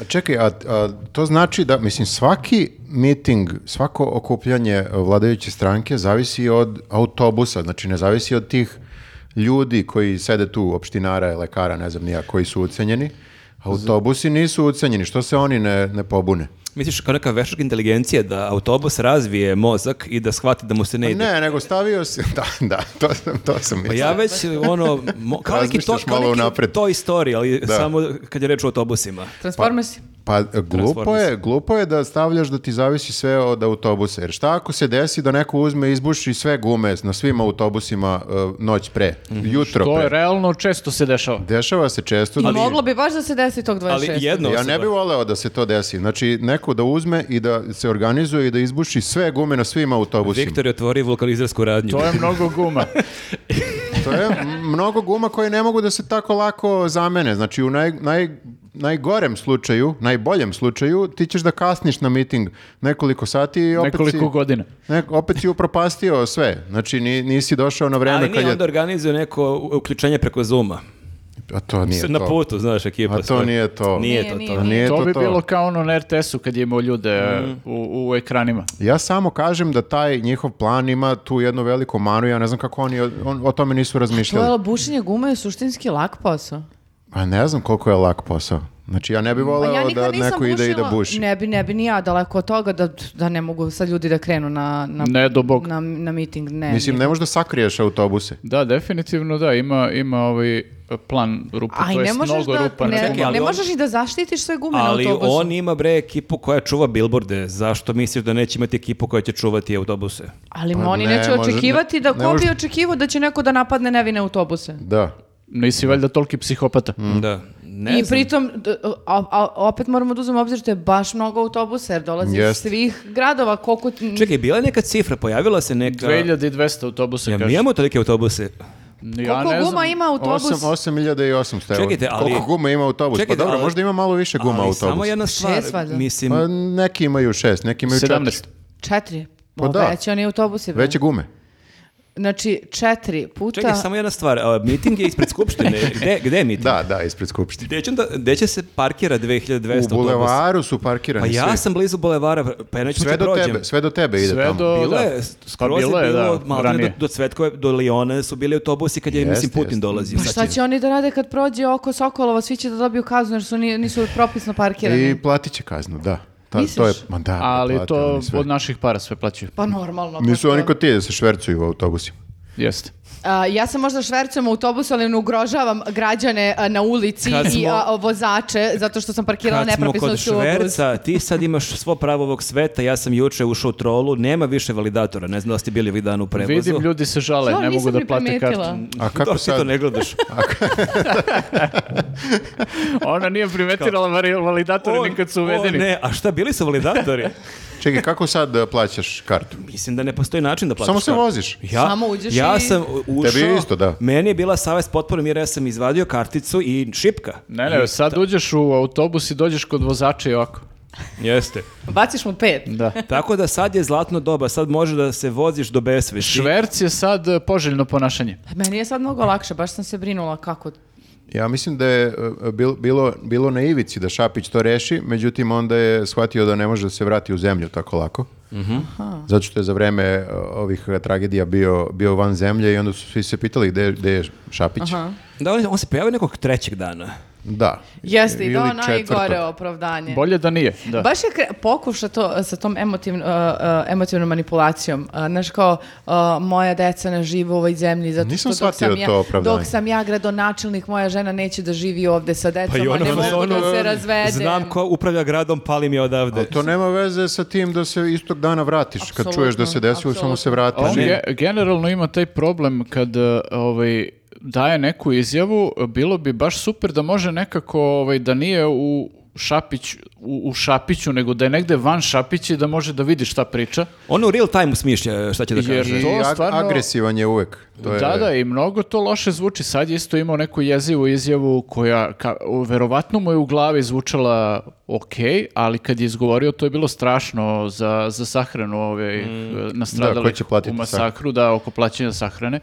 A čekaj, a, a to znači da, mislim, svaki miting, svako okupljanje vladajuće stranke zavisi od autobusa, znači ne zavisi od tih ljudi koji sede tu, opštinara, lekara, ne znam nija, koji su ucenjeni. Autobusi nisu ucenjeni, što se oni ne, ne pobune? Misliš kao neka veštačka inteligencija da autobus razvije mozak i da shvati E, da mu se ne ide. Pa Ne, nego stavio si, da, da, to sam, to sam Pa mislio. ja već, ono, mo- kao neki to, Razmišljaš kao malo neki unapred. Toy Story, ali Da. samo kad je reč o autobusima. Transformers. Pa e, glupo je, Transformers. glupo je da stavljaš da ti zavisi sve od autobusa. Jer šta ako se desi da neko uzme i izbuši sve gume na svim autobusima e, noć pre, jutro to pre. je realno često se dešava. Dešava se često. I da- moglo bi baš da se desi tog 26. Pa, Ali jedno Ja ne bih voleo da se to desi. Znači, neko da uzme i da se organizuje i da izbuši sve gume na svim autobusima. Viktor je otvorio vulkanizersku radnju. To je mnogo guma. To je m- mnogo guma koje ne mogu da se tako lako zamene. Znači, u naj, naj, najgorem slučaju, najboljem slučaju, ti ćeš da kasniš na miting nekoliko sati i opet Nekoliko si... godina. Ne, opet si upropastio sve. Znači, ni- nisi došao na vreme Ali ono kad nije je... onda organizuje neko u- uključenje preko Zooma. A to nije Na to. putu, znaš, ekipa. A to svoja. nije to. Nije, Nije, to nije. to. A nije to to bi to. bilo kao ono na RTS-u kad je imao ljude e, Mhm. u, u ekranima. Ja samo kažem da taj njihov plan ima tu jednu veliku manu, ja ne znam kako oni o, on- o tome nisu To je razmišljali. bušenje gume je suštinski lak posao. Pa ne znam koliko je lak posao. Znači ja ne bih Pa voleo ja nikad da nisam neko ide i da bušila- buši. Ne bi, ne bi ni ja daleko od toga da, da ne mogu sad ljudi da krenu na, na, Ne, do Bog. na, na miting. Ne, Mislim, nije. ne možeš da sakriješ autobuse. Da, definitivno da, ima, ima ovaj plan rupa, Aj, to ne je možeš, mnogo da, rupa. ne, na Čekaj, guma. ali ne on- možeš i da zaštitiš sve gume Ali na autobusu. on ima bre ekipu koja čuva bilborde. Zašto misliš da neće imati ekipu koja će čuvati autobuse? Ali Pa oni ne neće može- očekivati da ne ko bi može- očekivao da će neko da napadne nevine autobuse. Da. Nisi valjda toliki psihopata. Da. Ne I znam. pritom, d- a, a- opet moramo da uzmemo u obzir što je baš mnogo autobusa, jer dolazi iz Jeste. svih gradova, koliko... ti- Čekaj, bila je neka cifra, pojavila se neka... 2200 autobusa, Ja, mi kaže. imamo tolike autobuse. Ja Koliko ne guma znam. ima autobus? Osam- 8800 eura. Čekajte, ali- Koliko guma ima autobus? Čekajte, pa dobro, ali- možda ima malo više guma Ali autobus. samo jedna stvar, Šest valjda. mislim... Pa neki imaju šest, neki imaju 17. četiri. Četiri. Pa Pa da. Veći oni autobusi. bre. Veće gume. Znači, četiri puta... Čekaj, samo jedna stvar. a, Miting je ispred skupštine. gde, gde je miting? Da, da, ispred skupštine. Gde će, onda- gde će se parkira 2200 U autobusa? bulevaru su Pa parkirani ja svi. sam blizu bulevara, pa ja neću Sve moći da do prođem. tebe, sve do tebe ide Sve tamo. do... Bilo da. je, skoro pa bilo je je, bilo, da, malo ranije. do, do Cvetkove, do Lijone su bili autobusi kad je, Jeste, mislim, Putin jeste. dolazio. Pa šta će oni da rade kad prođe oko Sokolova, svi će da dobiju kaznu jer su, ni- nisu propisno parkirani. I platit će kaznu, da. Ta, Misliš? to je, ma da, Ali plate to oni sve. od naših para sve plaćaju. Pa normalno. Nisu pa oni to- kod ti da se švercuju u autobusima. Jeste. A, ja se možda švercujem u autobusu, ali ne ugrožavam građane a, na ulici Kad i smo- a, vozače, zato što sam parkirala Kad smo nepropisno kod ću u autobus. šverca, ti sad imaš svo pravo ovog sveta, ja sam juče ušao u trolu, nema više validatora, ne znam da ste bili ovih dana u prevozu. Vidim, ljudi se žale, Što, ne mogu nisam da ni plate primetila. kartu. A kako Dobro, ti to sad? ne gledaš. Ona nije primetila vari- validatore O, ni kad su o, uvedeni. ne, a šta, bili su validatori? Čekaj, kako sad e, plaćaš kartu? Mislim da ne postoji način da platiš. Samo se kartu. voziš. Ja, Samo uđeš ja i- sam ušao, Tebi isto, da. meni je bila savest potpuno jer ja sam izvadio karticu i šipka. Ne, ne, sad uđeš u autobus i dođeš kod vozača i ovako. Jeste. Baciš mu pet. Da. Tako da sad je zlatno doba, sad može da se voziš do besvesti. Šverc je sad e, poželjno ponašanje. Meni je sad mnogo lakše, baš sam se brinula kako... Ja mislim da je e, bil- bilo, bilo na ivici da Šapić to reši, međutim onda je shvatio da ne može da se vrati u zemlju tako lako. Mhm. Zato što je za vreme e, ovih e, tragedija bio, bio van zemlje i onda su svi se pitali gde, gde je Šapić. Da, on, on se pojavio nekog trećeg dana. Da. Jeste, i Ili to četvrtog. najgore opravdanje. Bolje da nije, da. Baš je kre- pokuša to e, sa tom emotivn- e, e, emotivnom manipulacijom. E, Znaš kao, e, moja deca ne žive u ovoj zemlji zato Nisam što dok shvatio sam, ja, to opravdanje. dok sam ja gradonačelnik, moja žena neće da živi ovde sa decom, Pa i a ono ne mogu da se razvede. Znam ko upravlja gradom, pali mi odavde. Ali E, to nema veze sa tim da se istog dana vratiš. Kad čuješ da se Apsolutno, desilo, samo se apsolutno. vratiš. On ge- generalno ima taj problem kad e, ovaj, daje neku izjavu, bilo bi baš super da može nekako ovaj, da nije u Šapić, u, u Šapiću, nego da je negde van Šapića i da može da vidi šta priča. Ono u real time smišlja šta će da Jer- kaže. I to ag- stvarno- agresivan je uvek. To je... Da, da, i mnogo to loše zvuči. Sad je isto imao neku jezivu izjavu koja, ka, o, verovatno mu je u glavi zvučala ok, ali kad je izgovorio to je bilo strašno za, za sahranu ove, Mm. Da, nastradali ko će platiti u masakru, da, oko plaćanja sahrane.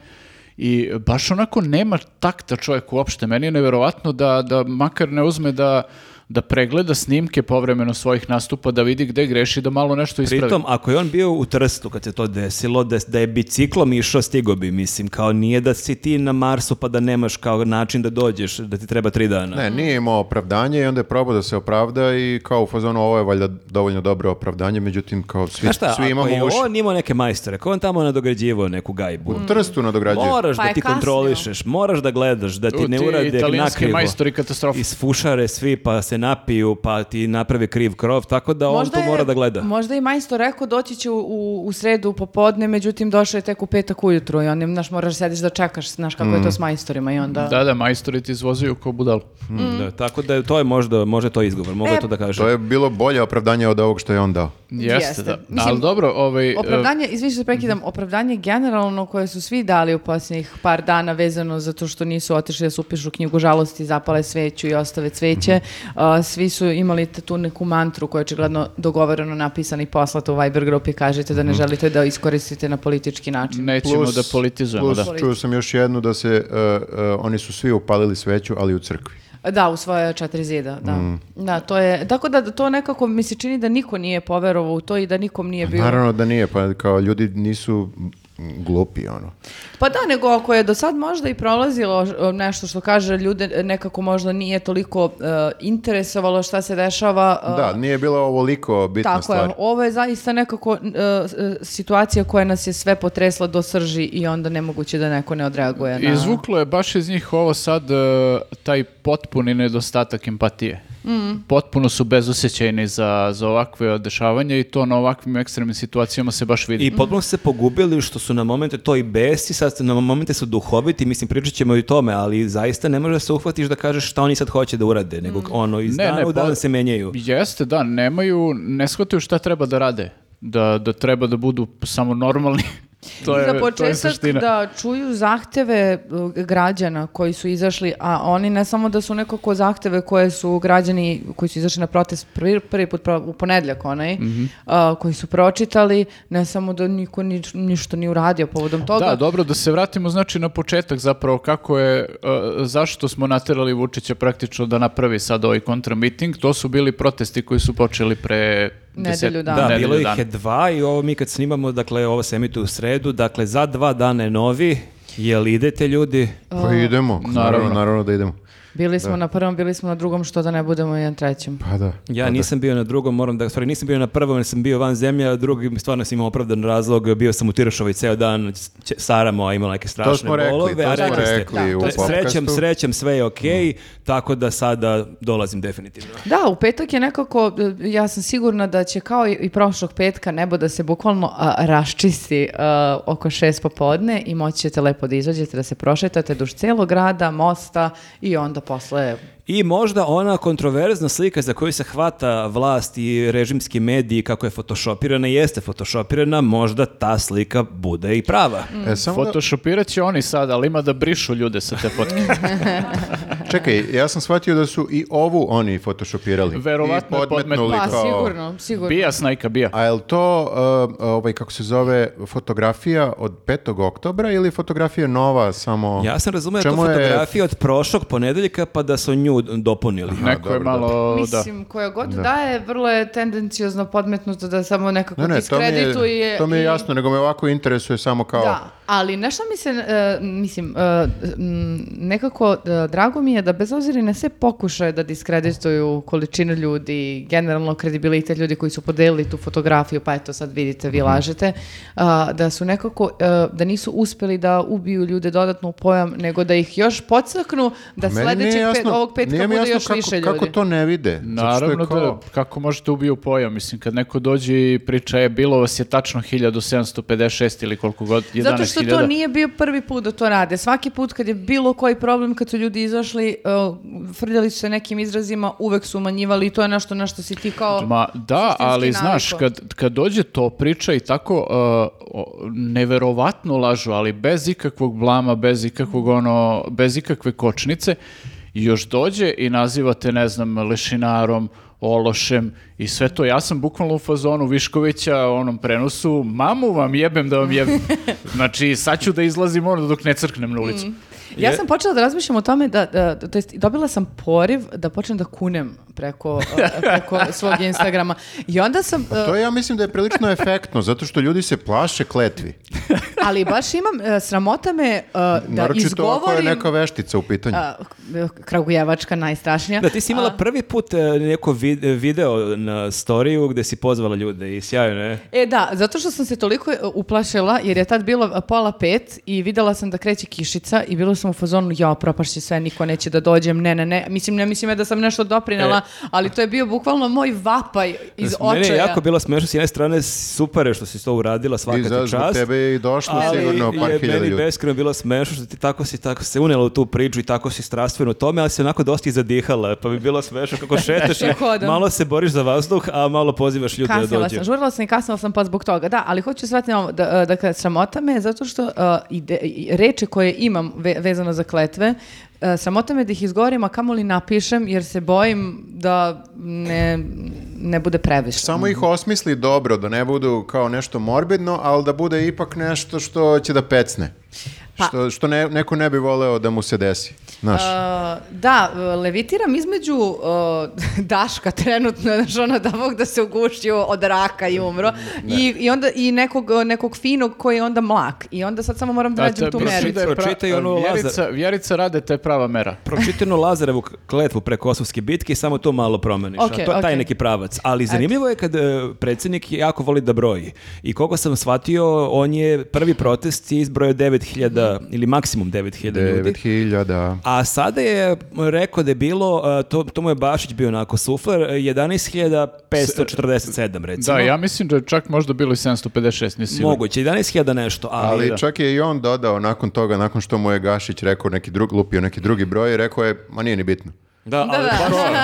I baš onako nema takta čovjek uopšte. Meni je neverovatno da, da makar ne uzme da da pregleda snimke povremeno svojih nastupa, da vidi gde greši, da malo nešto ispravi. Pritom, ako je on bio u Trstu kad se to desilo, da, da je biciklom išao, stigo bi, mislim, kao nije da si ti na Marsu pa da nemaš kao način da dođeš, da ti treba tri dana. Ne, nije imao opravdanje i onda je probao da se opravda i kao u fazonu ovo je valjda dovoljno dobro opravdanje, međutim kao svi, Znaš šta, svi imamo ako je uši. Mm. on imao neke majstore, ako je on tamo nadograđivao neku gajbu, U Trstu nadograđuje. moraš Pa da je ti kasnio. kontrolišeš, moraš da gledaš, da ti U, ne ti urade italijanski nakrivo. majstori katastrofa. Isfušare svi pa se napiju pa ti naprave kriv krov, tako da on tu je- mora da gleda. Možda je majstor rekao doći će u, u, u sredu popodne, međutim došao je tek u petak ujutru i on je, znaš, moraš sediš da čekaš, znaš kako Mm. je to s majstorima i onda... Da, da, majstori ti izvozuju kao budalu. Mm, Da, tako da je- to je možda, možda je to izgovor, mogu Mm. E, je to da kažem. To je bilo bolje opravdanje od ovog što je on dao. Jeste, Jeste. da. Mislim, Ali dobro, ovaj... e, Mhm. Opravdanje, izvini što te prekidam, opravdanje generalno koje su svi dali u posljednjih par dana vezano zato što nisu otišli da se upišu u knjigu žalosti, zapale sveću i ostave cveće, Mhm. a, svi su imali t- tu neku mantru koja je očigledno dogovoreno napisana i poslata u Viber grupi, kažete Mhm. da ne želite da iskoristite na politički način. Nećemo Plus- da politizujemo, plus da. čuo sam još jednu da se, e, e, oni su svi upalili sveću, ali u crkvi. Da, u svoje četiri zida, da. Mm. Da, to je, tako da to nekako mi se čini da niko nije poverovao u to i da nikom nije bio. Naravno da nije, pa kao ljudi nisu glupi, ono. Pa da, nego ako je do sad možda i prolazilo e, nešto što kaže ljude e, nekako možda nije toliko e, interesovalo šta se dešava. e, Da, nije bila ovoliko bitna Tako stvar. je, ono, ovo je zaista nekako e, s- e, situacija koja nas je sve potresla do srži i onda nemoguće da neko ne odreaguje na... Izvuklo je baš iz njih ovo sad e, taj potpuni nedostatak empatije. Mm. Potpuno su bezosećajni za, za ovakve dešavanja i to na ovakvim ekstremnim situacijama se baš vidi. I potpuno su se pogubili što su na momente to i besi, sad na momente su duhoviti, mislim pričat ćemo i o tome, ali zaista ne može da se uhvatiš da kažeš šta oni sad hoće da urade, nego ono iz Mm. Ne, dana ne, u dan pa- se menjaju. Jeste, da, nemaju, ne shvataju šta treba da rade. Da, da treba da budu samo normalni. to, je, I za to je početak suština. da čuju zahteve uh, građana koji su izašli, a oni ne samo da su nekako zahteve koje su građani koji su izašli na protest prvi, prvi put pro- u ponedljak onaj, Mhm. uh, koji su pročitali, ne samo da niko nič- ništa ni uradio povodom toga. Da, dobro, da se vratimo znači na početak zapravo kako je, e, zašto smo naterali Vučića praktično da napravi sad ovaj kontramiting, to su bili protesti koji su počeli pre deset- Nedelju dana. Da, nedelju bilo ih dana. je dva i ovo mi kad snimamo, dakle ovo se emituje u sredu, dakle za dva dana je novi, jel idete ljudi? Pa idemo, naravno, naravno da idemo. Bili smo na prvom, bili smo na drugom, što da ne budemo i na trećem. Pa da. Ja nisam bio na drugom, moram da, stvari nisam bio na prvom, jer sam bio van zemlje, a drugi stvarno sam imao opravdan razlog, bio sam u Tirašovoj ceo dan, ć- Sara moja imala neke strašne smo rekli, bolove, to a smo ste, rekli Da, u to je- Tre- Srećem, podcastu. srećem, sve je okej, tako da sada dolazim definitivno. Da, u petak je nekako, e, ja sam sigurna da će kao i- i prošlog petka nebo da se bukvalno a, raščisti a, oko šest popodne i moći ćete lepo da izađete, da se prošetate duž celog grada, mosta i onda posle... I možda ona kontroverzna slika za koju se hvata vlast i režimski mediji kako je fotoshopirana, jeste fotoshopirana, možda ta slika bude i prava. Mm. E, samo da- Photoshopirat će oni sad, ali ima da brišu ljude sa te fotke. čekaj, ja sam shvatio da su i ovu oni photoshopirali. Verovatno I je podmetnuli. podmetnuli Pa, kao... sigurno, sigurno. bija snajka, bija. A je li to, uh, ovaj, kako se zove, fotografija od 5. oktobra ili fotografija nova samo... Ja sam razumio da je to Čemu je- fotografija od prošlog ponedeljika pa da su nju dopunili. Neko je dobro, malo, da. Mislim, koja god da. daje, vrlo je tendencijozno podmetnuto da samo nekako Ne, ne, to mi je, diskredituje. to mi je i- jasno, nego me ovako interesuje samo kao... Da, ali nešto mi se, e, mislim, e, m, nekako e, drago mi je da bez obzira i na sve pokušaje da diskredituju količinu ljudi, generalno kredibilitet ljudi koji su podelili tu fotografiju, pa eto sad vidite, Mhm. vi lažete, a, da su nekako, e, da nisu uspeli da ubiju ljude dodatno u pojam, nego da ih još podsaknu, da Pa Meni nije sledećeg pet, jasno- ovog petka nije mi bude jasno još kako, više ljudi. Kako to ne vide? Zato što je Naravno da, kao- kako možete ubiju pojam, mislim, kad neko dođe i priča je, bilo vas je tačno 1756 ili koliko god, 11.000. Zato što to nije bio prvi put da to rade. Svaki put kad je bilo koji problem, kad su ljudi izašli, uh, frljali su se nekim izrazima, uvek su umanjivali i to je nešto na što si ti kao... Ma da, suštinski ali znaš, navikao. kad, kad dođe to priča i tako uh, o- neverovatno lažu, ali bez ikakvog blama, bez ikakvog ono, bez ikakve kočnice, i još dođe i nazivate, ne znam, lešinarom, ološem i sve to. Ja sam bukvalno u fazonu Viškovića, onom prenosu, mamu vam jebem da vam jebem. Znači, sad ću da izlazim ono dok ne crknem na ulicu. Mm. Ja Je- sam počela da razmišljam o tome da, da, da- to jest dobila sam poriv da počnem da kunem preko, uh, preko svog Instagrama. I onda sam, uh, To ja mislim da je prilično efektno, zato što ljudi se plaše kletvi. e, ali baš imam, uh, sramota me uh, da Naročito ako je izgovorim... neka veštica u pitanju. uh, Kragujevačka najstrašnija. Da, ti si imala prvi put e, neko vid- video na storiju gde si pozvala ljude i sjajno je. E da, zato što sam se toliko e, uplašila jer je tad bilo e, pola pet i videla sam da kreće kišica i bilo sam u fazonu ja propašće sve, niko neće da dođem, ne, ne, ne. Mislim, ne mislim ja da sam nešto doprinela, ali to je bio bukvalno moj vapaj iz očaja. E. Meni je jako bilo smešno, s jedne strane super je što si to uradila, svaka I ti za čast. zbog tebe je i došlo sigurno par je hiljada meni ljudi. beskreno bilo smešno što ti tako si tako se unela u tu priču i tako si strastveno u tome, ali si onako dosta i zadihala, pa bi bilo smešno kako šetaš i Kako hodam. malo se boriš za vazduh, a malo pozivaš ljude da Kasnila dođe. sam, žurila sam i kasnila sam pa zbog toga. Da, ali hoću shvatiti ovo, da, e, dakle, sramota me je zato što e, ide, i reči koje imam ve- vezano za kletve, e, sramota me je da ih izgovorim, a kamoli napišem, jer se bojim da ne, ne bude previše. Samo Mm. ih osmisli dobro, da ne budu kao nešto morbidno, ali da bude ipak nešto što će da pecne. Pa- Što, što ne- neko ne bi voleo da mu se desi. Znaš, Uh, da, levitiram između uh, Daška trenutno, znaš, ono da Bog da se ugušio od raka i umro, i, i onda i nekog, uh, nekog finog koji je onda mlak. I onda sad samo moram da A nađem te- tu pročitaj mericu. pra- Pročitaj ono Vjerica, Vjerica rade, te prava mera. Pročitano Lazarevu k- kletvu pre Kosovske bitke i samo to malo promeniš. a Okej, to, Taj okej. neki pravac. Ali zanimljivo je kad e, predsjednik jako voli da broji. I koliko sam shvatio, on je prvi protest je izbrojao 9000 ili maksimum 9000 ljudi. 9000. A sada je rekao da je bilo, e, to, to mu je Bašić bio onako sufler, e, 11.547 recimo. Da, ja mislim da je čak možda bilo i 756, nisi siguran. Moguće, 11.000 nešto, ali... Ali čak je i on dodao nakon toga, nakon što mu je Gašić rekao neki drug, lupio neki drugi broj, rekao je, ma nije ni bitno. Da, ali da. baš ono.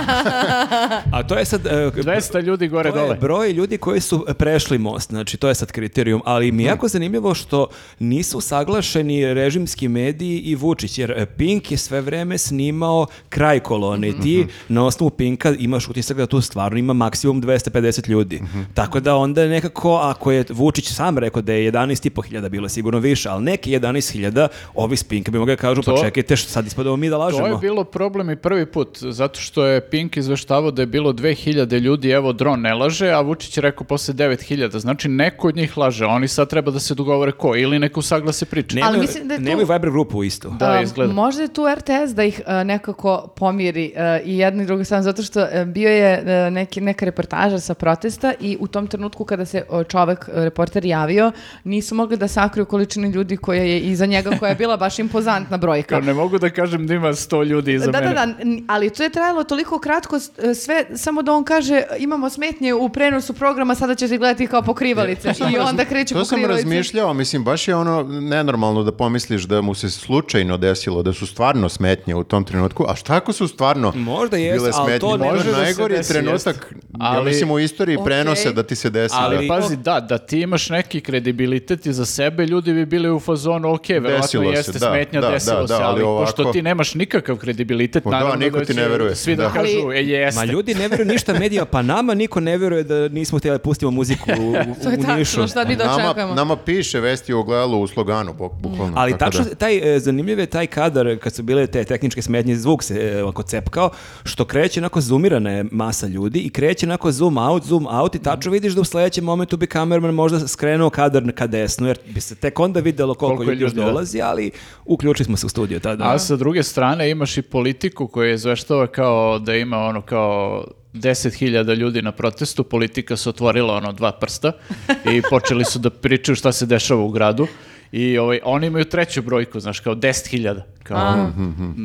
A to je sad... e, 200 ljudi gore To je dole. broj ljudi koji su e, prešli most, znači to je sad kriterijum, ali mi je Hmm. jako zanimljivo što nisu saglašeni režimski mediji i Vučić, jer e, Pink je sve vreme snimao kraj kolone Hmm. i ti na osnovu Pinka imaš utisak da tu stvarno ima maksimum 250 ljudi. Hmm. Tako da onda nekako, ako je Vučić sam rekao da je 11.500 bilo sigurno više, ali neki 11.000, ovi s Pinka bi mogli da kažu, To- pa čekajte, što sad ispadamo mi da lažemo. To je bilo problem i prvi put, zato što je Pink izveštavao da je bilo 2000 ljudi, evo dron ne laže, a Vučić je rekao posle 9000, znači neko od njih laže, oni sad treba da se dogovore ko, ili neko saglase priče. Nemaju, Ali mislim da je tu- nemaju Viber grupu isto. Da, Um, izgleda. možda je tu RTS da ih uh, nekako pomiri uh, i jedno i drugo samo zato što uh, bio je uh, neki, neka reportaža sa protesta i u tom trenutku kada se uh, čovek, uh, reporter javio, nisu mogli da sakriju količinu ljudi koja je iza njega, koja je bila baš impozantna brojka. Kao, ne mogu da kažem da ima 100 ljudi iza Da, mene. da, da, n- ali to je trajalo toliko kratko, s- e, sve, samo da on kaže imamo smetnje u prenosu programa, sada ćete gledati kao pokrivalice i onda kreću To sam pokrivalice. razmišljao, mislim, baš je ono nenormalno da pomisliš da mu se slučajno desilo, da su stvarno smetnje u tom trenutku, a šta ako su stvarno Možda jest, bile ali smetnje? to ne Možda može da se najgori desi, trenutak, jest. ja Ali- mislim, u istoriji Okej. prenose da ti se desi. Ali, da. pazi, da, da ti imaš neki kredibilitet i za sebe, ljudi bi bili u fazonu, ok, verovatno Desilo se, jeste da, smetnja, da, desilo da, se, da, ali, ali ovako- pošto ti nemaš nikakav kredibilitet, Pa da, naravno niko da ti će ne veruje, svi da, da. kažu, Ali- e, jeste. Ma ljudi ne veruju ništa medija, pa nama niko ne veruje da nismo htjeli da pustimo muziku u, u, To je u Nišu. tačno, šta mi Pa, Nama, dočekujemo. nama piše vesti u ogledalu u sloganu, buk- bukvalno. Ali tako tačno, da. taj, e, zanimljiv je taj kadar kad su bile te tehničke smetnje, zvuk se e, ovako cepkao, što kreće onako zumirana je masa ljudi i kreće onako zoom out, zoom out i Mhm. tačno vidiš da u sledećem momentu bi kamerman možda skrenuo kadar ka desnu, jer bi se tek onda videlo koliko, Koliko je ljudi još ljudi, da. dolazi, ali uključili smo se u studio tada. A sa druge strane imaš i politiku koja je izveštava kao da ima ono kao 10.000 ljudi na protestu, politika se otvorila ono dva prsta i počeli su da pričaju šta se dešava u gradu i ovaj, oni imaju treću brojku, znaš, kao 10.000. Kao,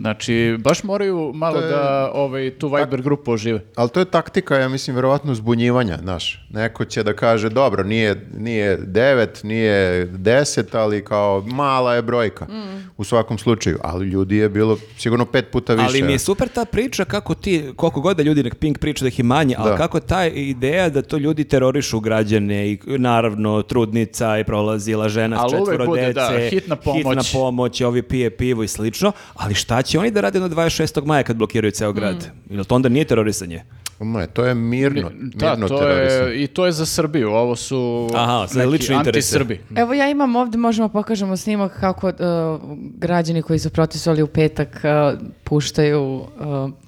znači, baš moraju malo da ovaj, tu Viber grupu ožive. Ali to je taktika, ja mislim, verovatno zbunjivanja, znaš. Neko će da kaže, dobro, nije, nije devet, nije deset, ali kao mala je brojka Mm. u svakom slučaju. Ali ljudi je bilo sigurno pet puta više. Ali mi je super ta priča kako ti, koliko god da ljudi nek Pink priča da ih je manje, ali Da. kako ta ideja da to ljudi terorišu građane i naravno trudnica i prolazila žena Ali s uvek četvoro bude, dece, da, hitna pomoć. hitna pomoć, ovi pije pivo i slično, ali šta će oni da rade na 26. maja kad blokiraju ceo Mm. grad? Ili to onda nije terorisanje? Ne, to je mirno, Da, mirno to terorisanje. je, i to je za Srbiju, ovo su Aha, za lične interese. anti-Srbi. Evo ja imam ovdje, možemo pokažemo snimak kako e, građani koji su protestovali u petak e, puštaju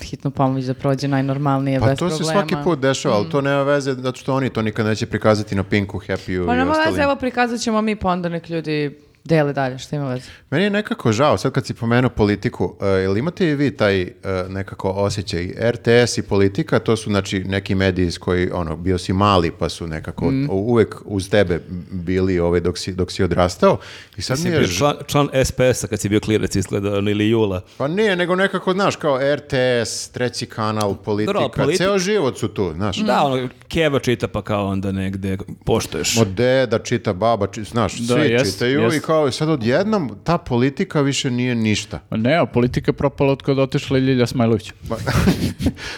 e, hitnu pomoć da prođe najnormalnije Pa bez to problema. Mm. se svaki put dešava, ali to nema veze, zato što oni to nikad neće prikazati na Pinku, Happy-u Pa i nema ostalim. veze, evo prikazat ćemo mi, pa onda nek ljudi dele dalje, što ima veze. Meni je nekako žao, sad kad si pomenuo politiku, e, jel imate i vi taj e, nekako osjećaj, RTS i politika, to su znači neki mediji s koji, ono, bio si mali pa su nekako Mhm. u- uvek uz tebe bili ovaj, dok, si, dok si odrastao i sad mi Si je bio ž- član, član SPS-a kad si bio klirac izgleda, ono, ili Jula. Pa nije, nego nekako, znaš, kao RTS, treći kanal, politika, Dobro, politika- ceo život su tu, Mm. znaš. Da, ono, Keva čita pa kao onda negde poštoješ. Od deda čita, baba, čita, znaš, Da, svi jest, čitaju i jest. kao sad odjednom ta politika više nije ništa. Ma Ne, a politika je propala od kada otišla Ljilja Smajlović. Pa,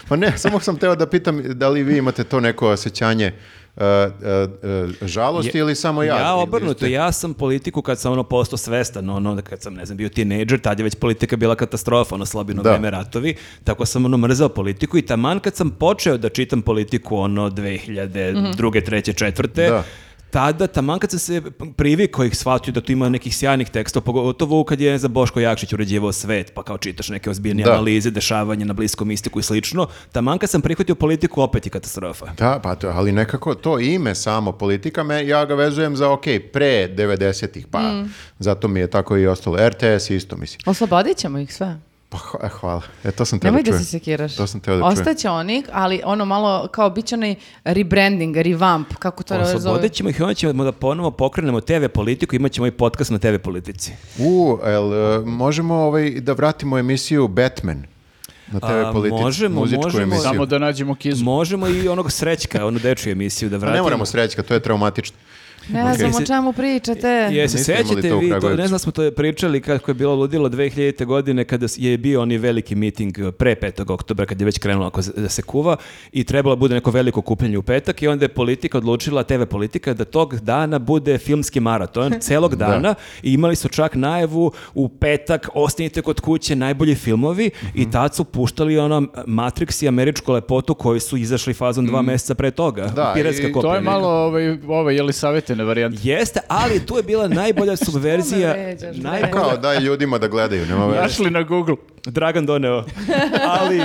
pa ne, samo sam teo da pitam da li vi imate to neko osjećanje uh, uh, uh, žalosti ili samo ja? Ja Ili obrnuto, ste- ja sam politiku kad sam ono postao svestan, ono da kad sam ne znam bio tinejdžer, tad je već politika bila katastrofa, ono slabino Da. vreme ratovi, tako sam ono mrzao politiku i taman kad sam počeo da čitam politiku ono 2002. treće, četvrte, Da. tada, taman kad sam se privikao ih shvatio da tu ima nekih sjajnih tekstova, pogotovo kad je ne znam, Boško Jakšić uređivao svet, pa kao čitaš neke ozbiljne Da. analize, dešavanja na bliskom istiku i slično, taman kad sam prihvatio politiku, opet je katastrofa. Da, pa to, ali nekako to ime samo politika, me, ja ga vezujem za ok, pre 90-ih, pa Mm. zato mi je tako i ostalo. RTS isto, mislim. Oslobodit ćemo ih sve. Pa hva- e, hvala, e, to sam teo Nemoj da da čujem. se sekiraš. To sam teo da čujem. Ostaće oni, ali ono malo kao bit će onaj rebranding, revamp, kako to zove. Ono Oslobodit ćemo ih i onda ćemo da ponovo pokrenemo TV politiku, imat ćemo i podcast na TV politici. U, el, e, možemo ovaj, da vratimo emisiju Batman na TV A, politici, možemo, muzičku možemo. emisiju. Samo da nađemo kizu. Možemo i onog srećka, onu dečju emisiju da Pa vratimo. ne moramo srećka, to je traumatično. Ne znam Jesi- o čemu pričate. Jesi, Niste imali sećate to u vi, to, ne Kragujevcu. znam da smo to pričali kako je bilo ludilo 2000. godine kada je bio oni veliki miting eh, pre 5. oktobra kad je već krenulo ako se- da se kuva i trebalo bude neko veliko kupljanje u petak i onda je politika odlučila, TV politika, da tog dana bude filmski maraton, celog dana i imali su čak najavu u petak ostanite kod kuće najbolji filmovi Mhm. i tad su puštali ono Matrix i američku lepotu koji su izašli fazom dva meseca pre toga. Mhm. Da, piratska i To kopija. je malo ovaj, ovaj je li savjetene varijante. Jeste, ali tu je bila najbolja subverzija. vređaš, bre? najbolja- Kao daj ljudima da gledaju, nema veze. Našli na Google. Dragan doneo. Ali,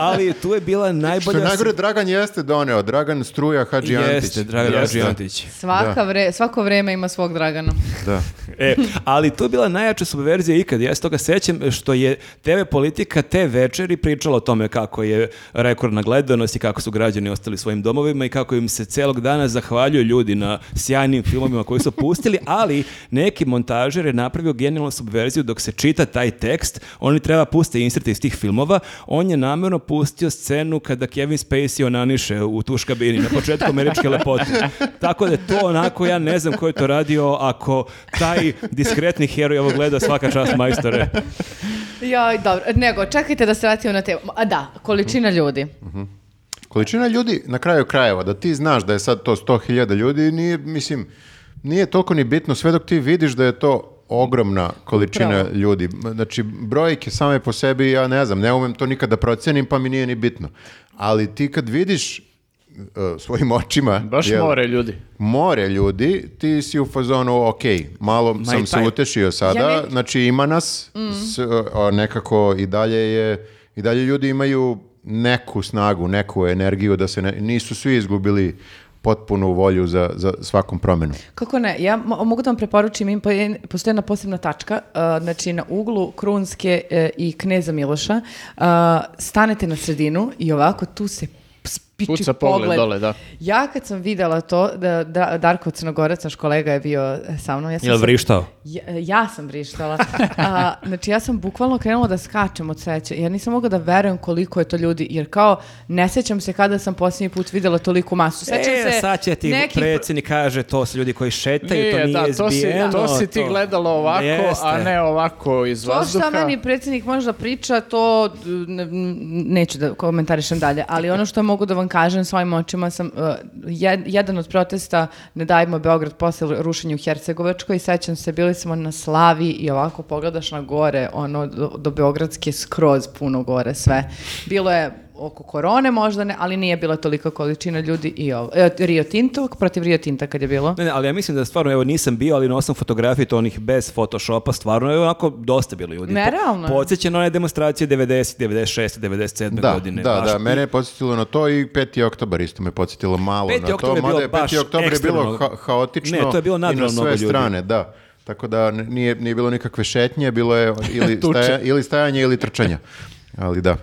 ali tu je bila Što najbolja... je najgore, Dragan jeste doneo. Dragan Struja Hadži Antić. Jeste, Dragan Jeste. Đorđević. Svaka vre- svako vreme ima svog Dragana. Da. E, ali tu je bila najjača subverzija ikad. Ja se toga sećam što je TV politika te večeri pričala o tome kako je rekordna gledanost i kako su građani ostali u svojim domovima i kako im se celog dana zahvaljuju ljudi na sjajnim filmovima koji su pustili, ali neki montažer je napravio genijalnu subverziju dok se čita taj tekst, oni treba pustiti inserte iz tih filmova, on je namjerno pustio scenu kada Kevin Spacey onaniše u tuš kabini na početku američke lepote. Tako da je to onako, ja ne znam ko je to radio, ako taj diskretni heroj ovo gleda svaka čast majstore. Joj, dobro. Nego, čekajte da se vratimo na temu. A da, količina ljudi. Količina ljudi na kraju krajeva, da ti znaš da je sad to 100.000 ljudi, nije, mislim, nije toliko ni bitno, sve dok ti vidiš da je to ogromna količina Upravo. ljudi. Znači, brojke same po sebi, ja ne znam, ne umem to nikada da procenim, pa mi nije ni bitno. Ali ti kad vidiš e, svojim očima... Baš jel, more ljudi. more ljudi, ti si u fazonu, ok, malo i sam se taj- utešio sada, Ja ne- znači ima nas, s- a nekako i dalje je, i dalje ljudi imaju neku snagu, neku energiju da se ne- nisu svi izgubili potpunu volju za, za svakom promenu. Kako ne, ja mo- mogu da vam preporučim, im- poje- postoji jedna posebna tačka, uh, znači na uglu Krunske e, i Kneza Miloša, uh, stanete na sredinu i ovako tu se spiči Puca pogled pogled. dole, da. Ja kad sam videla to, da, da- Darko Crnogorac, naš kolega je bio e, sa mnom, ja sam Jel se- vrištao? Ja, eh, ja sam vrištala. A, znači ja sam bukvalno krenula da skačem od sreće. Ja nisam mogla da verujem koliko je to ljudi, jer kao ne sećam se kada sam posljednji put videla toliku masu. Sećam e, se sad će ti nekih- predsjednik kaže to su ljudi koji šetaju, to Nije, nije E, da, to si, izbijeno. to si ti gledala ovako, a Jeste. ne ovako iz To vazduha. šta meni predsjednik možda priča, to ne- n- neću da komentarišem dalje, ali ono što mogu da vam kažem svojim očima sam, uh, jed- jedan od protesta Ne dajmo Beograd posle rušenja u Hercegovačkoj, sećam se, bili smo na Slavi i ovako pogledaš na gore, ono do, do Beogradske skroz puno gore sve. Bilo je oko korone možda ne, ali nije bila tolika količina ljudi i ovo. E, Rio Tinto, protiv Rio Tinta kad je bilo. Ne, ne, ali ja mislim da stvarno, evo nisam bio, ali na osam fotografije to onih bez Photoshopa, stvarno je onako dosta bilo ljudi. Ne, Po- realno je. Podsjeća na one demonstracije 90, 96, 97 Da, godine. da, baš. da, mene je podsjetilo na to i 5. oktobar isto me podsjetilo malo 5. na to, oktobar je bio mada je 5. baš oktobar je bilo ekstremno. ha- haotično Ne, to je bilo i na nadrealno sve mnogo ljudi. strane, da. Tako da n- nije, nije bilo nikakve šetnje, bilo je ili, Tuče. staja- ili stajanje ili trčanja. Ali da.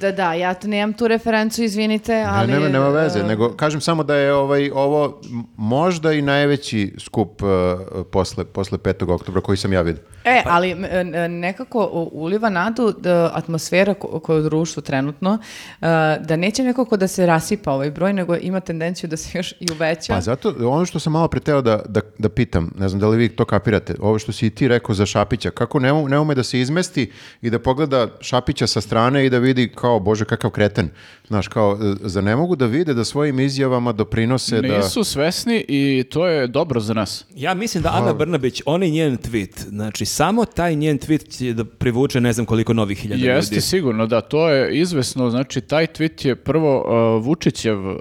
Da, da, ja t- nemam tu referencu, izvinite, ali... Ne, nema, nema veze, e, nego kažem samo da je ovaj ovo m- možda i najveći skup e, posle, posle 5. oktobra koji sam ja vidio. E, ali m, e, nekako u- uliva nadu da atmosfera ko- koja je u društvu trenutno, e, da neće nekako da se rasipa ovaj broj, nego ima tendenciju da se još i uveća. Pa zato, ono što sam malo preteo da, da, da pitam, ne znam da li vi to kapirate, ovo što si i ti rekao za Šapića, kako ne, u- ne ume da se izmesti i da pogleda Šapića sa strane i da vidi kao, bože, kakav kreten. Znaš, kao, e, zar ne mogu da vide da svojim izjavama E, doprinose da... Nisu svesni i to je dobro za nas. Ja mislim da Ana Brnabić, onaj njen tweet, znači samo taj njen tweet će da privuče ne znam koliko novih hiljada Jeste ljudi. sigurno, da, to je izvesno, znači taj tweet je prvo uh, Vučićev, uh,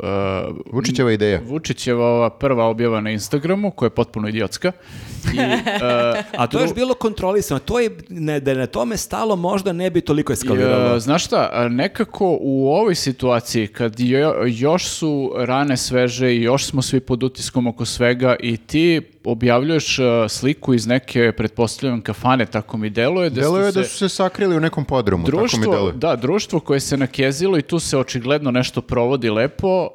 Vučićeva ideja. Vučićeva ova prva objava na Instagramu, koja je potpuno idiotska. I, uh, A to je još bilo kontrolisano. To je, ne, da je na tome stalo, možda ne bi toliko eskaliralo. E, Znaš šta, a nekako u ovoj situaciji kad jo- još su rane sveže i još smo svi pod utiskom oko svega i ti objavljuješ e, sliku iz neke, pretpostavljam, kafane, tako mi deluje. da Delo je su da se- su se sakrili u nekom podrumu, tako mi Društvo, deluje. da, društvo koje se nakezilo i tu se očigledno nešto provodi lepo.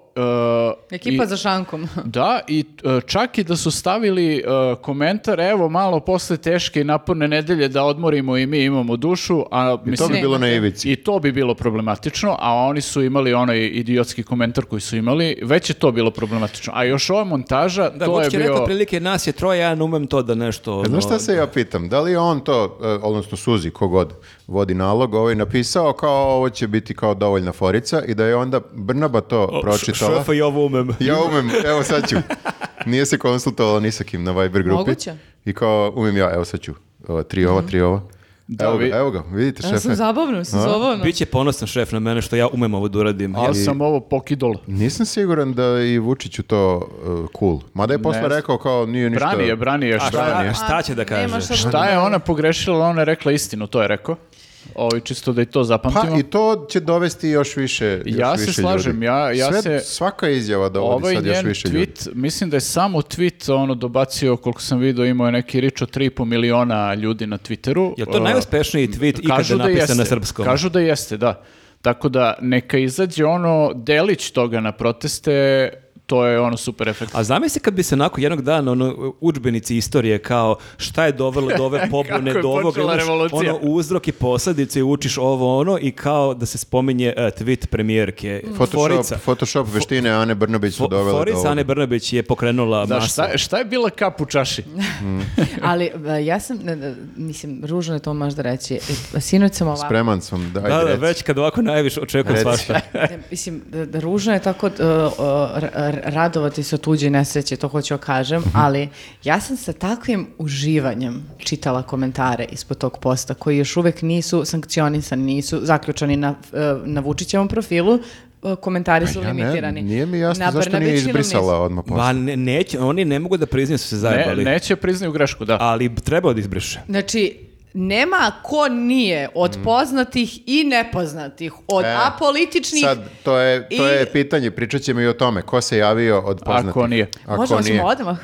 e, Ekipa i- za šankom. Da, i e, čak i da su stavili e, komentar, evo malo posle teške i naporne nedelje da odmorimo i mi imamo dušu, a I to mislim, bi bilo na Nemate. ivici. i to bi bilo problematično, a oni su imali onaj idiotski komentar koji su imali, već je to bilo problematično. A još ova montaža, Da, to je Vučić je rekao bio... prilike nas je troje, ja ne umem to da nešto... E, Znaš ono, šta se ja pitam? Da li je on to, e, odnosno Suzi, kogod vodi nalog, ovaj napisao kao ovo će biti kao dovoljna forica i da je onda Brnaba to o, š- pročitala? šefe, ja ovo umem. Pa Ja umem, evo sad ću. Nije se konsultovala ni sa kim na Viber grupi. Moguće. Mhm. I kao, umem ja, evo sad ću. Ova, tri ova, tri ova. evo, vi- ga, evo ga, vidite Ja šefe. sam zabavno, sam zabavno. Biće ponosan šef na mene što ja umem ovo da uradim. Ali sam ovo pokidolo. Nisam siguran da je i Vučiću to uh, cool. Mada je posle Ne znam. rekao kao nije ništa. Brani je, brani je. A Šta, šta, je? šta će da kaže? Nema šta da- šta je ona pogrešila, ona je rekla istinu, to je rekao. Ovo, čisto da i to Pa zapamtimo. i to će dovesti još više još Ja se više slažem, ljudi. ja- ja Sve- se- Svaka izjava dovodi Ovaj sad još njen više ljudi. tweet, mislim da je samo tweet ono dobacio, koliko sam vidio, imao je neki rič o 3,5 miliona ljudi na Twitteru. Je to Uh, najuspešniji tweet kažu ikada da napisan jeste. na srpskom? Kažu da jeste, da. Tako da neka izađe ono delić toga na proteste, to je ono super efekt. A zamisli kad bi se nakon jednog dana ono udžbenici istorije kao šta je dovelo do ove pobune Kako je do ovog počela imaš revolucija. ono uzrok i posledice i učiš ovo ono i kao da se spominje e, tweet premijerke Mm. Photoshop, Forica. Photoshop veštine Ane Brnabić su Fo- dovele do Forica ovoga. Ane Brnabić je pokrenula Da, masu. šta, šta je bila kap u čaši? Ali e, ja sam, ne, ne, mislim, ružno je to možda reći. E, Sinoć sam ovako. Spreman sam, daj Da, da, reci. već kad ovako najviše očekujem Reci. svašta. Pa Ne, mislim, da, da ružno je tako da, o, ra- ra- radovati se o tuđoj nesreći, to hoću da kažem, Mhm. ali ja sam sa takvim uživanjem čitala komentare ispod tog posta koji još uvek nisu sankcionisani, nisu zaključani na, e, na Vučićevom profilu, e, komentari su Ja ne, limitirani. nije mi jasno Na zašto nije Brnabićinom izbrisala odmah posle. Ma ne, neće, oni ne mogu da priznaju da su se Ne, zajebali. neće priznaju grešku, da. Ali treba da izbriše. Znači, nema ko nije od poznatih i nepoznatih, od Mhm. E, apolitičnih... Sad, to je, to i- je pitanje, pričat ćemo i o tome. Ko se javio od poznatih? Ako nije. Ako Možemo nije. ćemo odmah.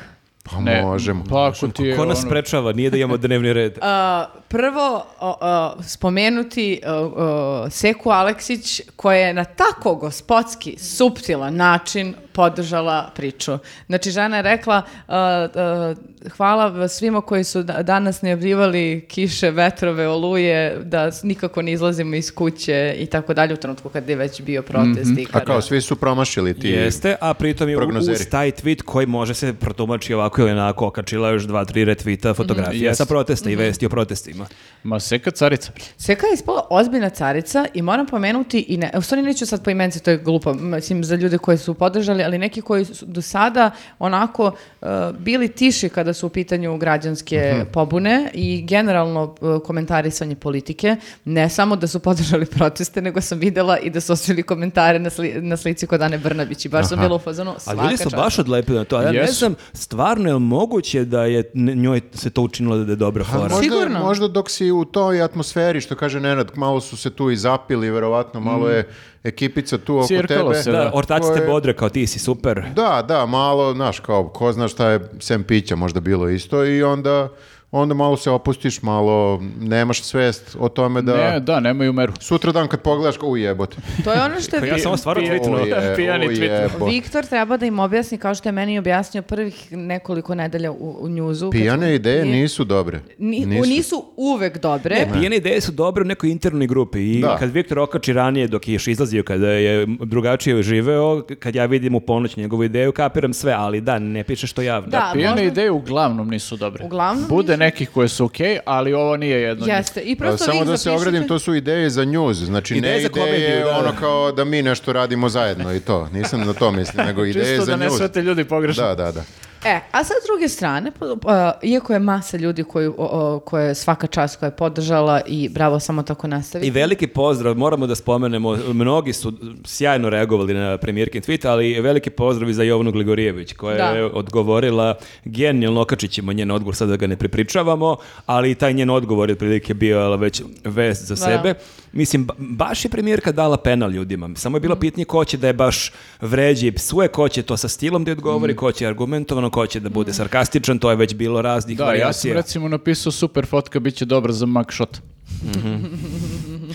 Pa Ne, možemo. Pa ako ti je Ko nas ono- sprečava, nije da imamo dnevni red. A, prvo o, o, spomenuti o, o, Seku Aleksić koja je na tako gospodski suptilan način podržala priču. Znači žena je rekla a, a, hvala svima koji su da- danas najavljivali kiše, vetrove, oluje, da s- nikako ne izlazimo iz kuće i tako dalje u trenutku kad je već bio protest. i Mhm. A Pa- kada- kao, svi su promašili ti... Jeste, a pritom je u- prognozeri. uz taj tweet koji može se protumači ovako ili onako, okačila još dva, tri Mhm. retvita, fotografija Jest. sa protesta i vesti o protestima. Ma seka carica. bre. Seka je ispala ozbiljna carica i moram pomenuti i ne, u stvari neću sad po imence, to je glupo, mislim za ljude koji su podržali, ali neki koji su do sada onako e, bili tiši kada su u pitanju građanske Mhm. pobune i generalno e, komentarisanje politike, ne samo da su podržali proteste, nego sam videla i da su ostavili komentare na, sli- na slici kod Ane Brnabić i baš sam bila u fazonu A svaka ljudi su čast. baš odlepili na to. A ja ne Jesu. znam, stvarno je li moguće da je n- njoj se to učinilo da je dobra Pa fora. možda, Sigurno. možda dok si u toj atmosferi, što kaže Nenad, malo su se tu i zapili, verovatno malo je ekipica tu oko Mm. Cirkalo tebe. se, Da, ortaci Koje- te bodre kao ti si super. Da, da, malo, znaš, kao, ko zna šta je sem pića možda bilo isto i onda, onda malo se opustiš, malo nemaš svest o tome da... Ne, da, nemaju meru. Sutra dan kad pogledaš, kao, u jebote. To je ono što je Pa Ja sam ovo stvarno Pije- tweetnuo. Oje, Pijani oje, tweet. bo- Viktor treba da im objasni kao što je meni objasnio prvih nekoliko nedelja u, u njuzu. kad smo- Pijane ideje Nije- nisu dobre. Ni, nisu. uvek dobre. Ne, E, pijene ideje su dobre u nekoj internoj grupi i Da. kad Viktor okači ranije dok je još izlazio, kada je drugačije živeo, kad ja vidim u ponoć njegovu ideju, kapiram sve, ali da, ne piše što javno. Da, Pijane možda- ideje uglavnom nisu dobre. Uglavnom Bude nisu. nekih koje su okej, ali ovo nije jedno od njih. Jeste. I prosto Samo vi da se zapišite- ogradim, to su ideje za njuz, znači Ideje ne za ideje komediju, da. ono kao da mi nešto radimo zajedno i to. Nisam na to mislim, nego ideje Čisto za da ne njuz. svete ljudi pogrešno. Da, da, da. E, a sa druge strane, po- a, iako je masa ljudi koji, o- o, koje je svaka čast koja je podržala i bravo samo tako nastavi. I veliki pozdrav, moramo da spomenemo, mnogi su sjajno reagovali na premijerkin tweet, ali veliki pozdrav i za Jovnu Gligorijević, koja Da. je odgovorila, genijalno okačit ćemo njen odgovor, sad da ga ne prepričavamo, ali i taj njen odgovor je otprilike bio jel, već vest za Da. sebe. Mislim, ba- baš je premijerka dala penal ljudima, samo je bilo pitanje ko će da je baš vređe i psuje, ko će to sa stilom da je odgovori, ko će argumentovano, ko će da bude sarkastičan, to je već bilo raznih Da, ja sam varijacija. recimo napisao super fotka, bit će dobra za mugshot.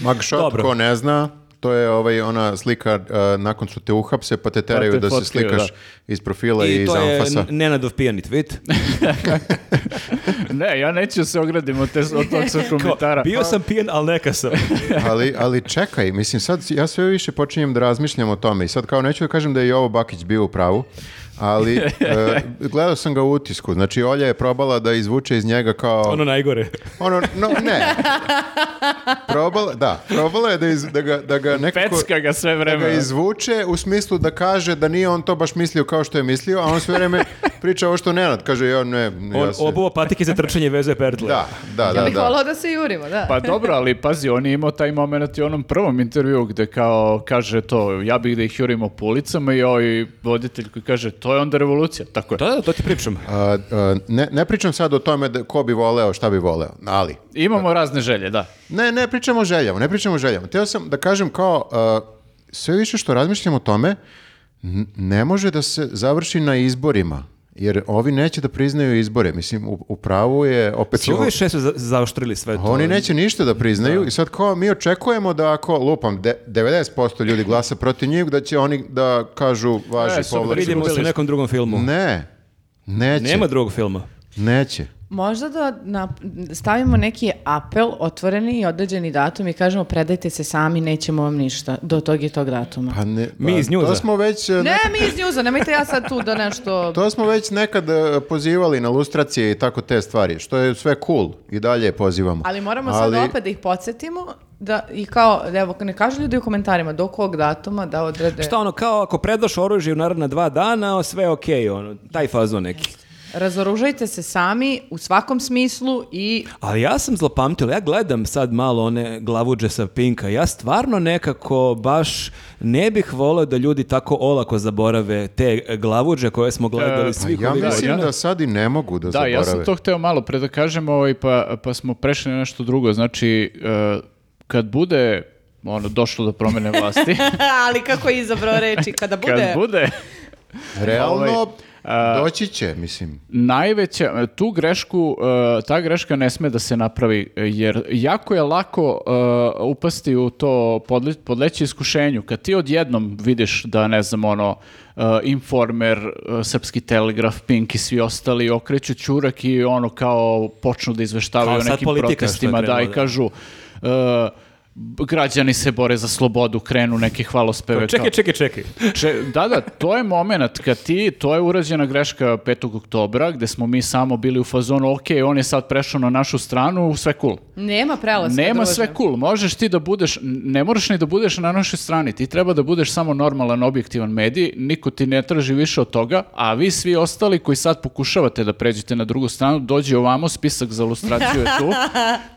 Mugshot, Dobro. ko ne zna, to je ovaj ona slika uh, nakon su te uhapse, pa te teraju te da se fotkaju, slikaš da. iz profila i, I iz to je anfasa. Nenadov pijani tweet. ne, ja neću da se ogradim od, te, od tog svog komentara. Bio sam pijan, ali neka sam. ali, ali čekaj, mislim sad ja sve više počinjem da razmišljam o tome i sad kao neću da kažem da je Jovo Bakić bio u pravu, ali e, gledao sam ga u utisku, znači Olja je probala da izvuče iz njega kao... Ono najgore. Ono, no, ne. Probala, da, probala je da, iz- da, ga, da ga nekako... Pecka ga sve da ga vreme. izvuče u smislu da kaže da nije on to baš mislio kao što je mislio, a on sve vrijeme priča ovo što Nenad kaže, ja ne, ja On se- obuo patike za trčanje i vezuje pertle. Da, da, da, Ja bih da. volao da se jurimo, da. Pa dobro, ali pazi, on je imao taj moment i u onom prvom intervju gde kao kaže to, ja bih da ih jurimo po ulicama i ovaj voditelj koji kaže, to je onda revolucija, tako je. Da, da, to ti pričam. A, a, ne, ne pričam sad o tome da, ko bi voleo, šta bi voleo, ali... Imamo razne želje, da. Ne, ne pričamo o željama, ne pričamo o željama. Htio sam da kažem kao, a, sve više što razmišljam o tome, n- ne može da se završi na izborima, jer ovi neće da priznaju izbore. Mislim, u, u pravu je opet... Suviše su za- zaoštrili sve to. Oni neće ništa da priznaju i sad kao mi očekujemo da ako lupam de- 90% ljudi glasa protiv njih da će oni da kažu važi E, super, povlačimo. Vidimo se u Bili nekom drugom filmu. Ne. Neće. Nema drugog filma. Neće. Možda da nap- stavimo neki apel otvoreni i određeni datum i kažemo predajte se sami, nećemo vam ništa do tog i tog datuma. Pa ne, Mi pa iz njuza. To smo već e, Ne, ne- mi iz njuza, nemojte ja sad tu da nešto... To smo već nekad e, pozivali na lustracije i tako te stvari, što je sve cool i dalje pozivamo. Ali moramo Ali- sad opet da ih podsjetimo da, i kao, evo, ne kažu ljudi u komentarima do kog datuma da odrede... Šta ono, kao ako predaš oružje u naredna dva dana, sve je okej, ono, taj fazon neki. Razoružajte se sami u svakom smislu i Ali ja sam zlopamtila, ja gledam sad malo one glavuđe sa Pinka, ja stvarno nekako baš ne bih volio da ljudi tako olako zaborave te glavuđe koje smo gledali E, svi pa Ja ovih mislim godina. da sad i ne mogu da, Da, zaborave. ja sam to hteo malo pre da kažem, ovaj, pa, pa smo prešli na nešto drugo. Znači, e, kad bude ono, došlo do promjene vlasti, ali kako je izabrao reči kada bude. kad bude, Realno, Ovaj, doći će, mislim. najveća, tu grešku, e, ta greška ne sme da se napravi, e, jer jako je lako e, upasti u to podle, podleći iskušenju. Kad ti odjednom vidiš da, ne znam, ono, e, Informer, e, Srpski telegraf, Pink i svi ostali okreću čurak i ono kao počnu da izveštavaju Kao o sad nekim politika što je protestima, da, krenulo, i da. kažu... e, građani se bore za slobodu, krenu neke hvalospeve. kao- Čekaj, čekaj, čekaj. Če- da, da, to je moment kad ti, to je urađena greška 5. oktobra, gde smo mi samo bili u fazonu, ok, on je sad prešao na našu stranu, sve cool. Nema prelaska. Nema druže. sve cool, možeš ti da budeš, n- ne moraš ni da budeš na našoj strani, ti treba da budeš samo normalan, objektivan medij, niko ti ne traži više od toga, a vi svi ostali koji sad pokušavate da pređete na drugu stranu, dođi ovamo, spisak za ilustraciju je tu,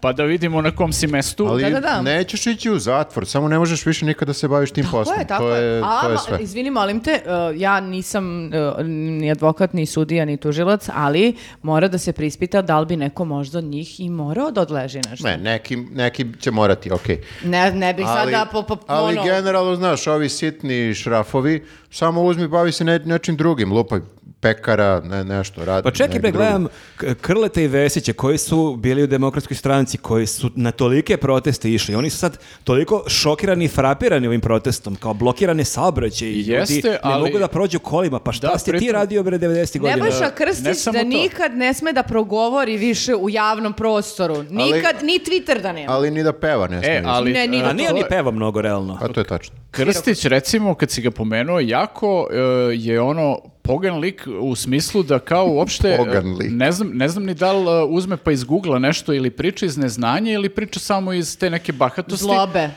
pa da vidimo na kom si mestu. Ali da, da, da. nećeš ići u zatvor, samo ne možeš više nikada da se baviš tim Ko poslom. je, tako to je. je, A, to je ma, sve. Izvini, molim te, uh, ja nisam uh, ni advokat, ni sudija, ni tužilac, ali mora da se prispita da li bi neko možda od njih i morao da odleži nešto. Ne, neki, neki će morati, okej. Ne, ne bih Ali, sada po, po, ali ono, generalno, znaš, ovi sitni šrafovi, samo uzmi, bavi se ne, nečim drugim, lupaj pekara, ne, nešto, radi. Pa čekaj, negde bre, drugo. gledam K- Krleta i Vesića koji su bili u demokratskoj stranci, koji su na tolike proteste išli. Oni su sad toliko šokirani i frapirani ovim protestom, kao blokirane saobraćaj i Jeste, ljudi ne ali- mogu da prođu kolima. Pa šta Da, si ti pritom- radio, bre, 90. godina? Nebojša ne Krstić samo da to. nikad ne sme da progovori više u javnom prostoru. Nikad, ni Twitter da nema. Ali ni da peva ne smije. E, ali, Ne, ni e, da A nije on to ni je- pevao mnogo, realno. Pa to je tačno. Krstić, recimo, kad si ga pomenuo, jako e, je ono pogan lik u smislu da kao uopšte... Pogan lik. e, Ne znam, ne znam ni da li e, uzme pa iz Google-a nešto ili priča iz neznanja ili priča samo iz te neke bahatosti. Zlobe. E,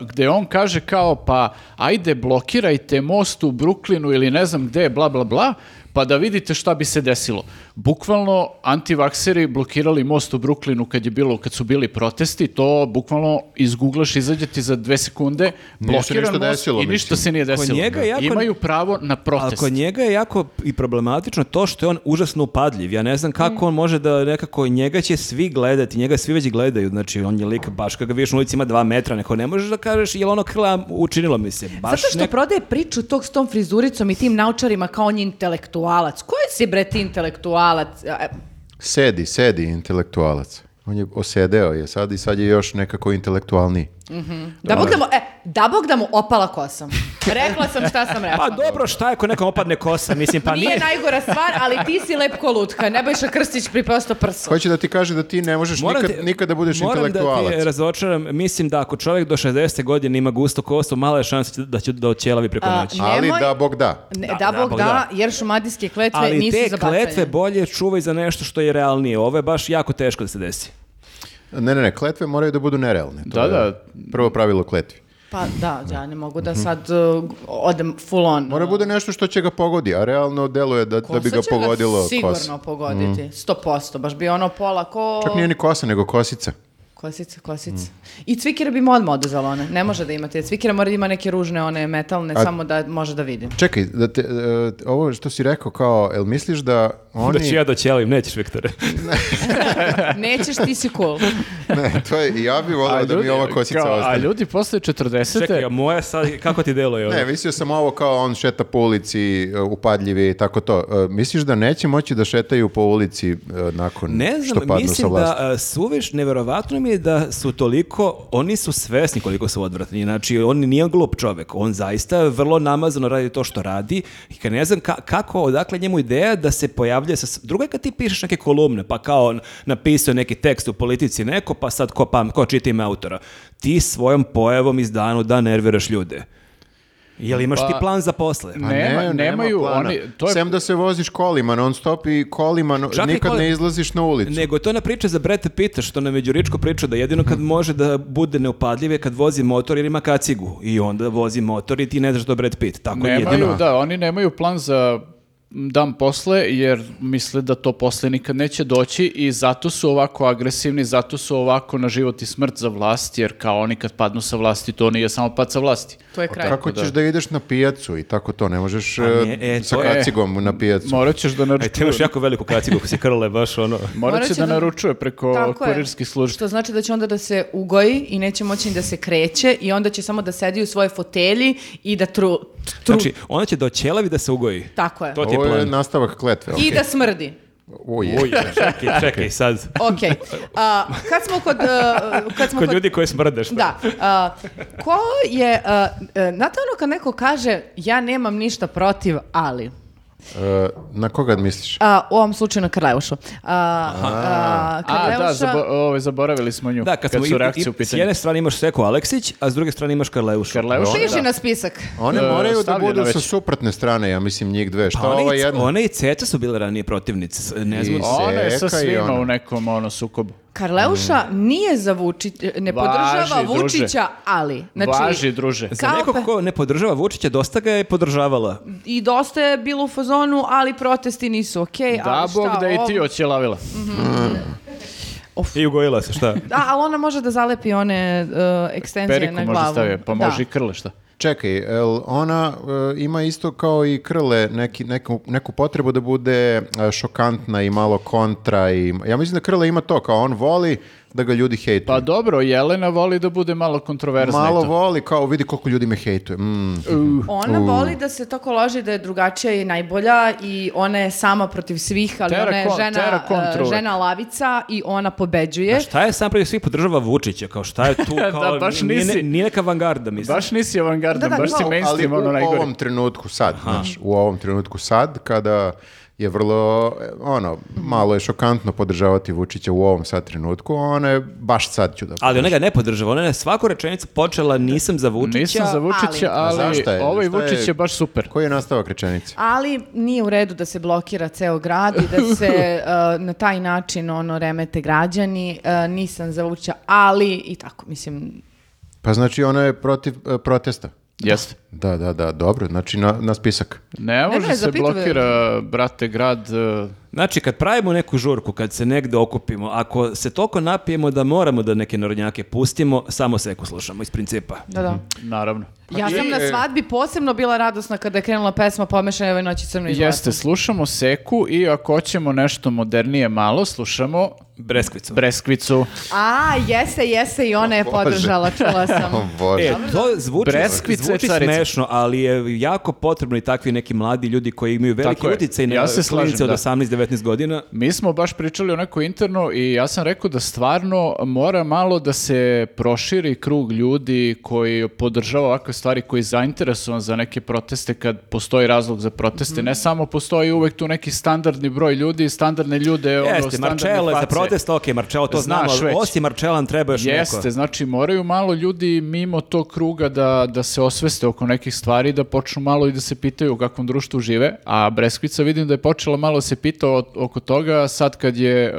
gde on kaže kao pa ajde blokirajte most u Bruklinu ili ne znam gde, bla bla bla, pa da vidite šta bi se desilo. Bukvalno antivakseri blokirali most u Bruklinu kad je bilo kad su bili protesti, to bukvalno izguglaš, izađe ti za dve sekunde, Nije se blokiran ništa most desilo, i ništa mislim. se nije desilo. njega je jako- Imaju pravo na A protest. kod njega je jako i problematično to što je on užasno upadljiv. Ja ne znam kako on može da nekako njega će svi gledati, njega svi već gledaju. Znači on je lik baš kada ga vidiš na ulici ima dva metra, neko ne možeš da kažeš jel ono krla učinilo mi se. Baš Zato što nek- prodaje priču tog s tom frizuricom i tim naučarima kao on je intelektualac. Ko je si bre ti intelektualac? E, Sedi, sedi, intelektualac. On je osedeo je sad i sad je još nekako intelektualniji. Da bog da mu, e, da bog da mu opala kosa. Rekla sam šta sam rekla. Pa dobro, šta je ako nekom opadne kosa, mislim, pa Nije, nije... najgora stvar, ali ti si lep ko lutka. Nebojša Krstić pripeo sto prsa. Hoće da ti kaže da ti ne možeš Moram nikad, te- nikad da budeš Moram intelektualac. da ti razočaram, mislim da ako čovjek do 60 godine ima gusto kosu, mala je šansa da će da oćelavi preko A, noći. Ali Nemoj- da, Bog da. Ne, da, Da, bog da, jer šumadijske kletve Ali nisu te za bacanje. kletve bolje čuvaj za nešto što je realnije. Ovo je baš jako teško da se desi. Ne, ne, ne, kletve moraju da budu nerealne. To Da, je da. Prvo pravilo kletvi. Pa da, ja ne mogu da sad uh, odem full on. Mora bude nešto što će ga pogodi, a realno deluje da, da bi ga pogodilo Mm. sigurno kosa. pogoditi. 100%, baš bi ono pola ko... Čak nije ni kosa, nego kosica. Kosica, kosica. Mm. I cvikera bi mu odmah oduzela one. Ne može da imate. Cvikera mora da ima neke ružne one metalne, A- samo da može da vidi. Čekaj, da te, e, ovo što si rekao kao, jel misliš da oni... Da ću ja doćelavim, nećeš, Viktore. Nećeš, ti si cool. ne, to je, ja bih volio da mi ova kosica kao, a ostane. ljudi posle 40. Čekaj, a moja sad, kako ti deluje ovo? Ne, mislio sam ovo kao on šeta po ulici, e, upadljivi i tako to. E, misliš da neće moći da šetaju po ulici e, nakon Ne što znam, padnu sa mislim vlasti? da a, suviš, neverovatno mi je da su toliko, oni su svesni koliko su odvratni, znači on nije glup čovek, on zaista vrlo namazano radi to što radi i kad ne znam ka- kako, odakle njemu ideja da se pojavlja sa, s- drugo je kad ti pišeš neke kolumne, pa kao on napisao neki tekst u politici neko, pa sad ko, pam, ko čita ime autora, ti svojom pojavom iz dana u dan nerviraš ljude. Jel imaš ti plan za posle? Pa Nema- nemaju plana. oni- to je- Sem da se voziš kolima non stop i kolima, no- Čak i nikad koli- ne izlaziš na ulicu. Nego to je ona priča za Breta Pita što nam je Đuričko pričao da jedino kad može da bude neupadljiv je kad vozi motor jer ima kacigu i onda vozi motor i ti ne znaš da je Brad Pitt. Tako je Nemaju, jedino. da, oni nemaju plan za dan posle, jer misle da to posle nikad neće doći i zato su ovako agresivni, zato su ovako na život i smrt za vlast, jer kao oni kad padnu sa vlasti, to nije samo pad sa vlasti. To je kraj. Kako ćeš da ideš na pijacu i tako to, ne možeš nije, e, e, sa to je- kacigom na pijacu. Morat ćeš da Aj, ti imaš naručuje, jako veliku kacigu ako si krle, baš ono. morat će Morat će da da- naručuje preko Tako je. kurirskih službi. Što znači da će onda da se ugoji i neće moći ni da se kreće i onda će samo da sedi u svoje fotelji i da tru... tru- Znači, ona će do ćelavi da se ugoji. tako je. to ti je Ovo je plan. nastavak kletve. I da smrdi. Oje. Uj, čekaj, čekaj, sad. Ok. kad smo kod... a, kad smo Kod ljudi koji smrdeš. pa. Da. a, ko je... a, e, znate ono kad neko kaže ja nemam ništa protiv, ali... E, na koga E, misliš? A, u ovom slučaju na Karleušu. A, a, A, da, Karleuša- zabo- ovaj, zaboravili smo nju, Da, kad, smo su i- reakcije i- u S pitanju. jedne strane imaš Seko Aleksić, a s druge strane imaš Karleušu. Karleuša, Piši da. na spisak. One E, moraju da stavljeno budu sa već. suprotne strane, ja mislim njih dve. Šta Pa ova one, i, jedna? one i Ceca su bile ranije protivnice. s- Ne znam, I- Ona je sa Seka i svima ona. u nekom ono, sukobu. Karleuša nije za Vučića, ne Mm. Važi, podržava druže. Vučića, ali. Znači, Važi, druže. za kao nekog pe- ko ne podržava Vučića, dosta ga je podržavala. I dosta je bilo u fazonu, ali protesti nisu okej. Da, ali šta Bog da i ti ovo- oćelavila. I ugojila se, šta? Da, ali ona može da zalepi one uh, ekstenzije Periku na glavu. možda stavio, pa Da. može i krle, šta? Čekaj, el ona e, ima isto kao i krle neki, neku, neku potrebu da bude e, šokantna i malo kontra. I, ja mislim da krle ima to, kao on voli da ga ljudi hejtuju. Pa dobro, Jelena voli da bude malo kontroverzna i malo Pa, to. voli, kao vidi koliko ljudi me hejtuje. Mm. Ona voli da se tako loži da je drugačija i najbolja i ona je sama protiv svih, ali Tera ona je kon- tera žena, kontru uh, uvek. žena lavica i ona pobeđuje. A šta je sam prije svih podržava Vučića? Kao šta je tu? Kao, Da, baš nije, nisi. nije neka avangarda, mislim. Baš nisi avangardan, Da, da, baš si kao- Ali mainstream, u ono najgore. ovom trenutku sad, znaš, u ovom trenutku sad, kada je vrlo, e, ono, malo je šokantno podržavati Vučića u ovom sad trenutku, ona je, baš sad ću da... Ali ona ga ne podržava. Ona je svaku rečenicu počela nisam za Vučića. Nisam za Vučića, A ali, zašta je? ovaj Šta je- Vučić je baš super. Koji je nastavak rečenice? Ali nije u redu da se blokira ceo grad i da se uh, na taj način ono remete građani. Uh, nisam za Vučića, ali i tako, mislim, Pa znači ona je protiv e, protesta. Jeste. Da, da, da, dobro, znači na, na spisak. Ne može se ne, zapituje. blokira, brate, grad... e, Znači, kad pravimo neku žurku, kad se negde okupimo, ako se toliko napijemo da moramo da neke narodnjake pustimo, samo seku slušamo iz principa. da, Mhm. da. Naravno. ja sam e. na svadbi posebno bila radosna kada je krenula pesma Pomešane ove noći crno i zlato. Jeste, slušamo Seku i ako hoćemo nešto modernije malo, slušamo Breskvicu. Breskvicu. A, jeste, jeste i ona je Bože. podržala, čula O sam. Bože. E, to zvuči, Breskvice, zvuči carice. smešno, ali je jako potrebno i takvi neki mladi ljudi koji imaju veliki Tako je. utjecaj na Ja se slažem, klinice od da. 18-19 godina. Mi smo baš pričali onako interno i ja sam rekao da stvarno mora malo da se proširi krug ljudi koji podržava ovakve stvari, koji je zainteresovan za neke proteste kad postoji razlog za Mhm. proteste. Ne samo postoji uvek tu neki standardni broj ljudi, standardne ljude, ono, Jeste, standardne Marcello je za face. protest, ok, Marcello to znamo, Znaš ali već. osim Marcella nam treba još Jeste, neko. znači moraju malo ljudi mimo tog kruga da, da se osveste oko nekih stvari, da počnu malo i da se pitaju u kakvom društvu žive, a Breskvica vidim da je počela malo da se pita o- oko toga sad kad je e,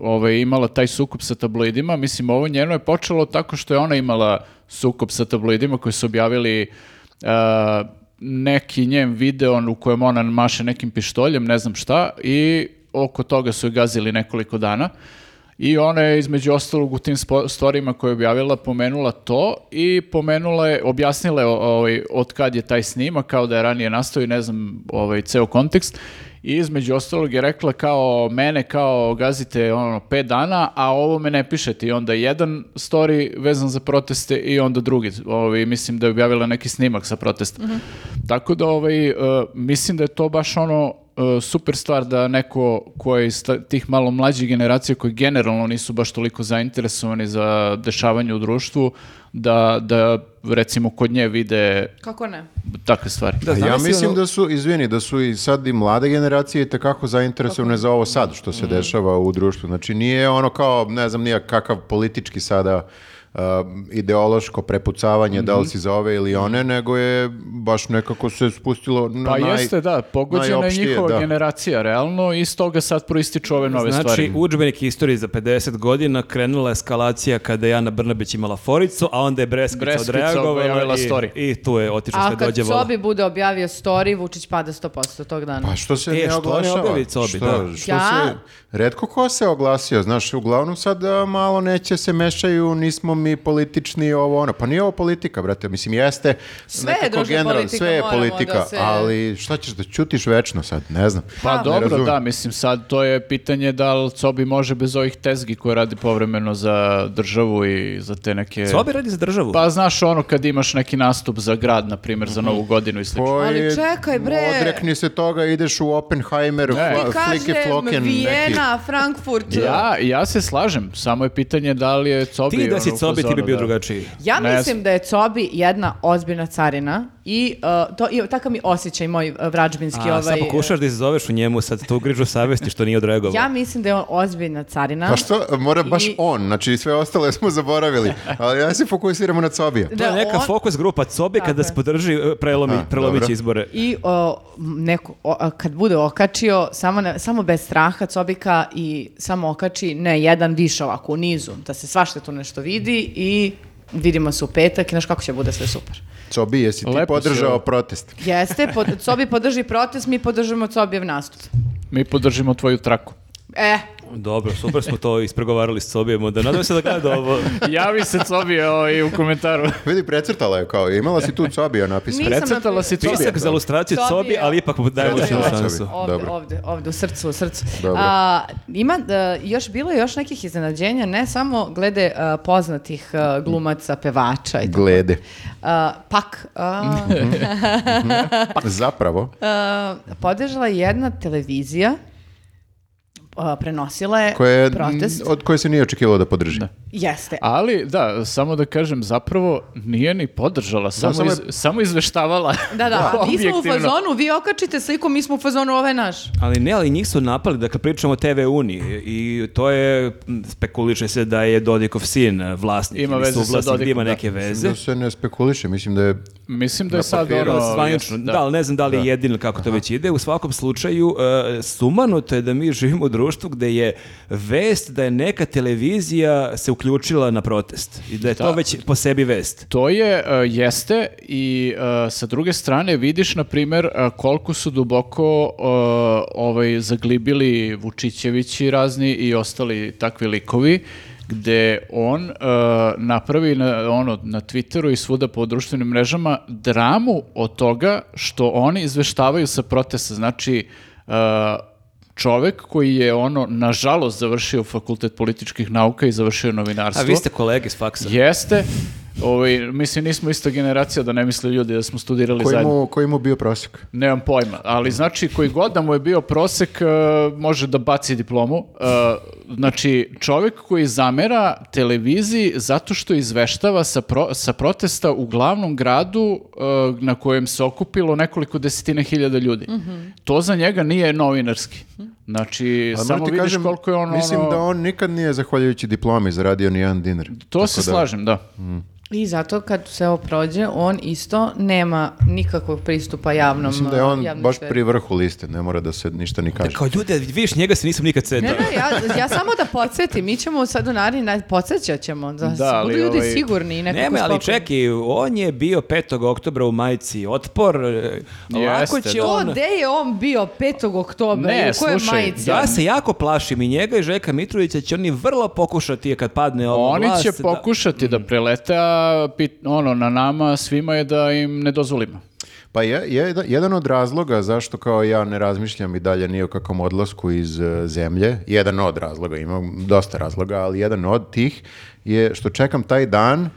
ovaj, imala taj sukup sa tabloidima, mislim ovo njeno je počelo tako što je ona imala sukup sa tabloidima koji su objavili e, neki njen video u kojem ona maše nekim pištoljem, ne znam šta, i oko toga su je gazili nekoliko dana. I ona je između ostalog u tim spo- stvarima koje je objavila pomenula to i pomenula je, objasnila je o- ovaj, od kad je taj snimak, kao da je ranije nastao i ne znam ovaj, ceo kontekst. I između ostalog je rekla kao mene kao gazite ono pet dana, a ovo me ne pišete. I onda jedan story vezan za proteste i onda drugi. Ovaj, mislim da je objavila neki snimak sa protesta. Tako da ovaj, e, mislim da je to baš ono e, super stvar da neko ko je iz ta- tih malo mlađih generacija koji generalno nisu baš toliko zainteresovani za dešavanje u društvu, da, da recimo kod nje vide Kako ne? takve stvari. Da, A znam ja si mislim ono- da su, izvini, da su i sad i mlade generacije tekako zainteresovane za ovo sad što se dešava u društvu. Znači nije ono kao, ne znam, nija kakav politički sada uh, ideološko prepucavanje da li si za ove ili one, nego je baš nekako se spustilo na Pa naj- jeste, da, pogođena je najopštije, njihova da. generacija, realno, i stoga sad proističu ove nove Znači, stvari. udžbenik istorije za 50 godina krenula je eskalacija kada je Ana Brnabić imala foricu, a onda je Breskica, Breskica odreagovala objavila i, story. i tu je otišla A sve kad dođe vola. Cobi bude objavio story, Vučić pada 100% tog dana. Pa što se E, ne što ne oglašava? objavi Cobi, što, da. što Ja? se, redko ko se oglasio, znaš, uglavnom sad a, malo neće se mešaju, nismo mi politični ovo ono. Pa nije ovo politika, brate, mislim jeste Sve je nekako društvena generalno, politika, sve je moramo politika, da se- ali šta ćeš da ćutiš večno sad, ne znam. Pa Ne dobro, razumem. da, mislim, sad to je pitanje da li Cobi može bez ovih tezgi koje radi povremeno za državu i za te neke... Sobi radi za državu. Pa znaš ono kad imaš neki nastup za grad, na primjer, Mhm. za novu godinu i slično. Koji- Ali čekaj, bre. Odrekni se toga, ideš u Oppenheimer, Ne. fla- I flike kažem, floken, Vijena, Frankfurt. Ja, ja se slažem, samo je pitanje da li je Cobi... ti da ono, si u Cobi, ti bi fazoru, bio da. drugačiji. Ja Ne mislim znam. da je Cobi jedna ozbiljna carina i uh, to i takav mi osjećaj moj uh, vrađbinski A, ovaj. sad pokušaš da izazoveš u njemu sad tu grižu savesti što nije odreagovao. Ja mislim da je on ozbiljna carina. Pa što, mora baš I- on, znači sve ostale smo zaboravili, ali ja se fokusiramo na Cobija. To je neka on- fokus grupa Cobi Tako kada je. se podrži e, prelomi, A, prelomić dobro. izbore. I o, m, neko, o, a, kad bude okačio, samo, ne- samo bez straha Cobika i samo okači ne jedan više ovako u nizu, da se svašta tu nešto vidi i vidimo se u petak i znaš kako će bude sve super. Cobi, jesi ti Lepo si podržao ovo. protest? Jeste, pod, Cobi podrži protest, mi podržimo Cobijev nastup. Mi podržimo tvoju traku. E, Dobro, super smo to ispregovarali s Cobijem, onda nadam se da gleda ovo. Javi se Cobi ovaj, u komentaru. Vidi, precrtala je kao, imala si tu Cobija napisano. Nisam Precrtala si napisala. Cobi. Pisak za ilustraciju Cobi je- Cobi, ali ipak mu dajemo Cobi je još jednu ovo. šansu. Ovde, Dobro. ovde, ovde, u srcu, u srcu. Dobro. A, ima, e, još, bilo je još nekih iznenađenja, ne samo glede e, poznatih e, glumaca, pevača i tako. Glede. E, pak, a, Zapravo, e, podežala je jedna televizija, e, prenosila je koje, je- protest. m, od koje se nije očekivalo da podrži. Jeste. Ali, da, samo da kažem, zapravo nije ni podržala, samo, samo je- iz- samo izveštavala. Da, da, mi smo u objektivno. fazonu, vi okačite sliku, mi smo u fazonu, ovaj naš. Ali ne, ali njih su napali, dakle pričamo o TV Uniji i to je, m, spekuliše se da je Dodikov sin e, vlasnik Ima ili veze sa suvlasnik, da Dodikom, ima da. neke veze. Da se ne spekuliše, mislim da je... Mislim da je sad papiru, ono... Zvanično, jest, da, ali ne znam da li je jedino kako to već ide. U svakom slučaju, e, sumanuto je da mi živimo u društvu gde je vest da je neka televizija se uključila na protest i da je to Da. već po sebi vest. To je, e, jeste, i e, sa druge strane vidiš, na primjer, e, koliko su duboko e, ovaj, zaglibili Vučićevići razni i ostali takvi likovi, gde on e, napravi na, ono, na Twitteru i svuda po društvenim mrežama dramu od toga što oni izveštavaju sa protesta. Znači, e, čovek koji je ono nažalost završio fakultet političkih nauka i završio A novinarstvo. vi ste kolege s faksa. Jeste. Ovaj, mislim, nismo ista generacija da ne misle ljudi da smo studirali Koji zajedno. mu, koji mu bio prosjek? Nemam pojma, ali znači koji god da mu je bio prosek e, može da baci diplomu. E, znači čovjek koji zamera televiziji zato što izveštava sa, pro- sa protesta u glavnom gradu e, na kojem se okupilo nekoliko desetina hiljada ljudi. To za njega nije novinarski. Znači, Ali samo moram ti vidiš kažem, koliko je on Mislim ono... da on nikad nije, zahvaljujući diplomi, zaradio ni jedan dinar. To Tako se da- slažem, da. I zato kad se ovo prođe, on isto nema nikakvog pristupa javnom Mislim da je on uh, javnoj baš sferi. pri vrhu liste, ne mora da se ništa ni kaže. Kao ljudi, vidiš, njega se nisam nikad Ne, sedao. ne, ja, ja samo da podsjetim, mi ćemo sad u naredni, na- podsjećat ćemo, da, Da, ali budu ljudi ovaj- sigurni i nekako Nema, ali spokojni. čekaj, on je bio 5. oktobra u majici Otpor, e, lako Jeste, će da. To on... gde je on bio 5. oktobra Ne, i u kojoj slušaj, majici? Ja se jako plašim i njega i Žeka Mitrovića će oni vrlo pokušati kad padne ova Oni vlast će da- pokušati da, prelete, a pit- ono, na nama svima je da im ne dozvolimo. Pa je, je- jedan od razloga zašto kao ja ne razmišljam i dalje ni o kakvom odlasku iz e, zemlje, jedan od razloga, imam dosta razloga, ali jedan od tih je što čekam taj dan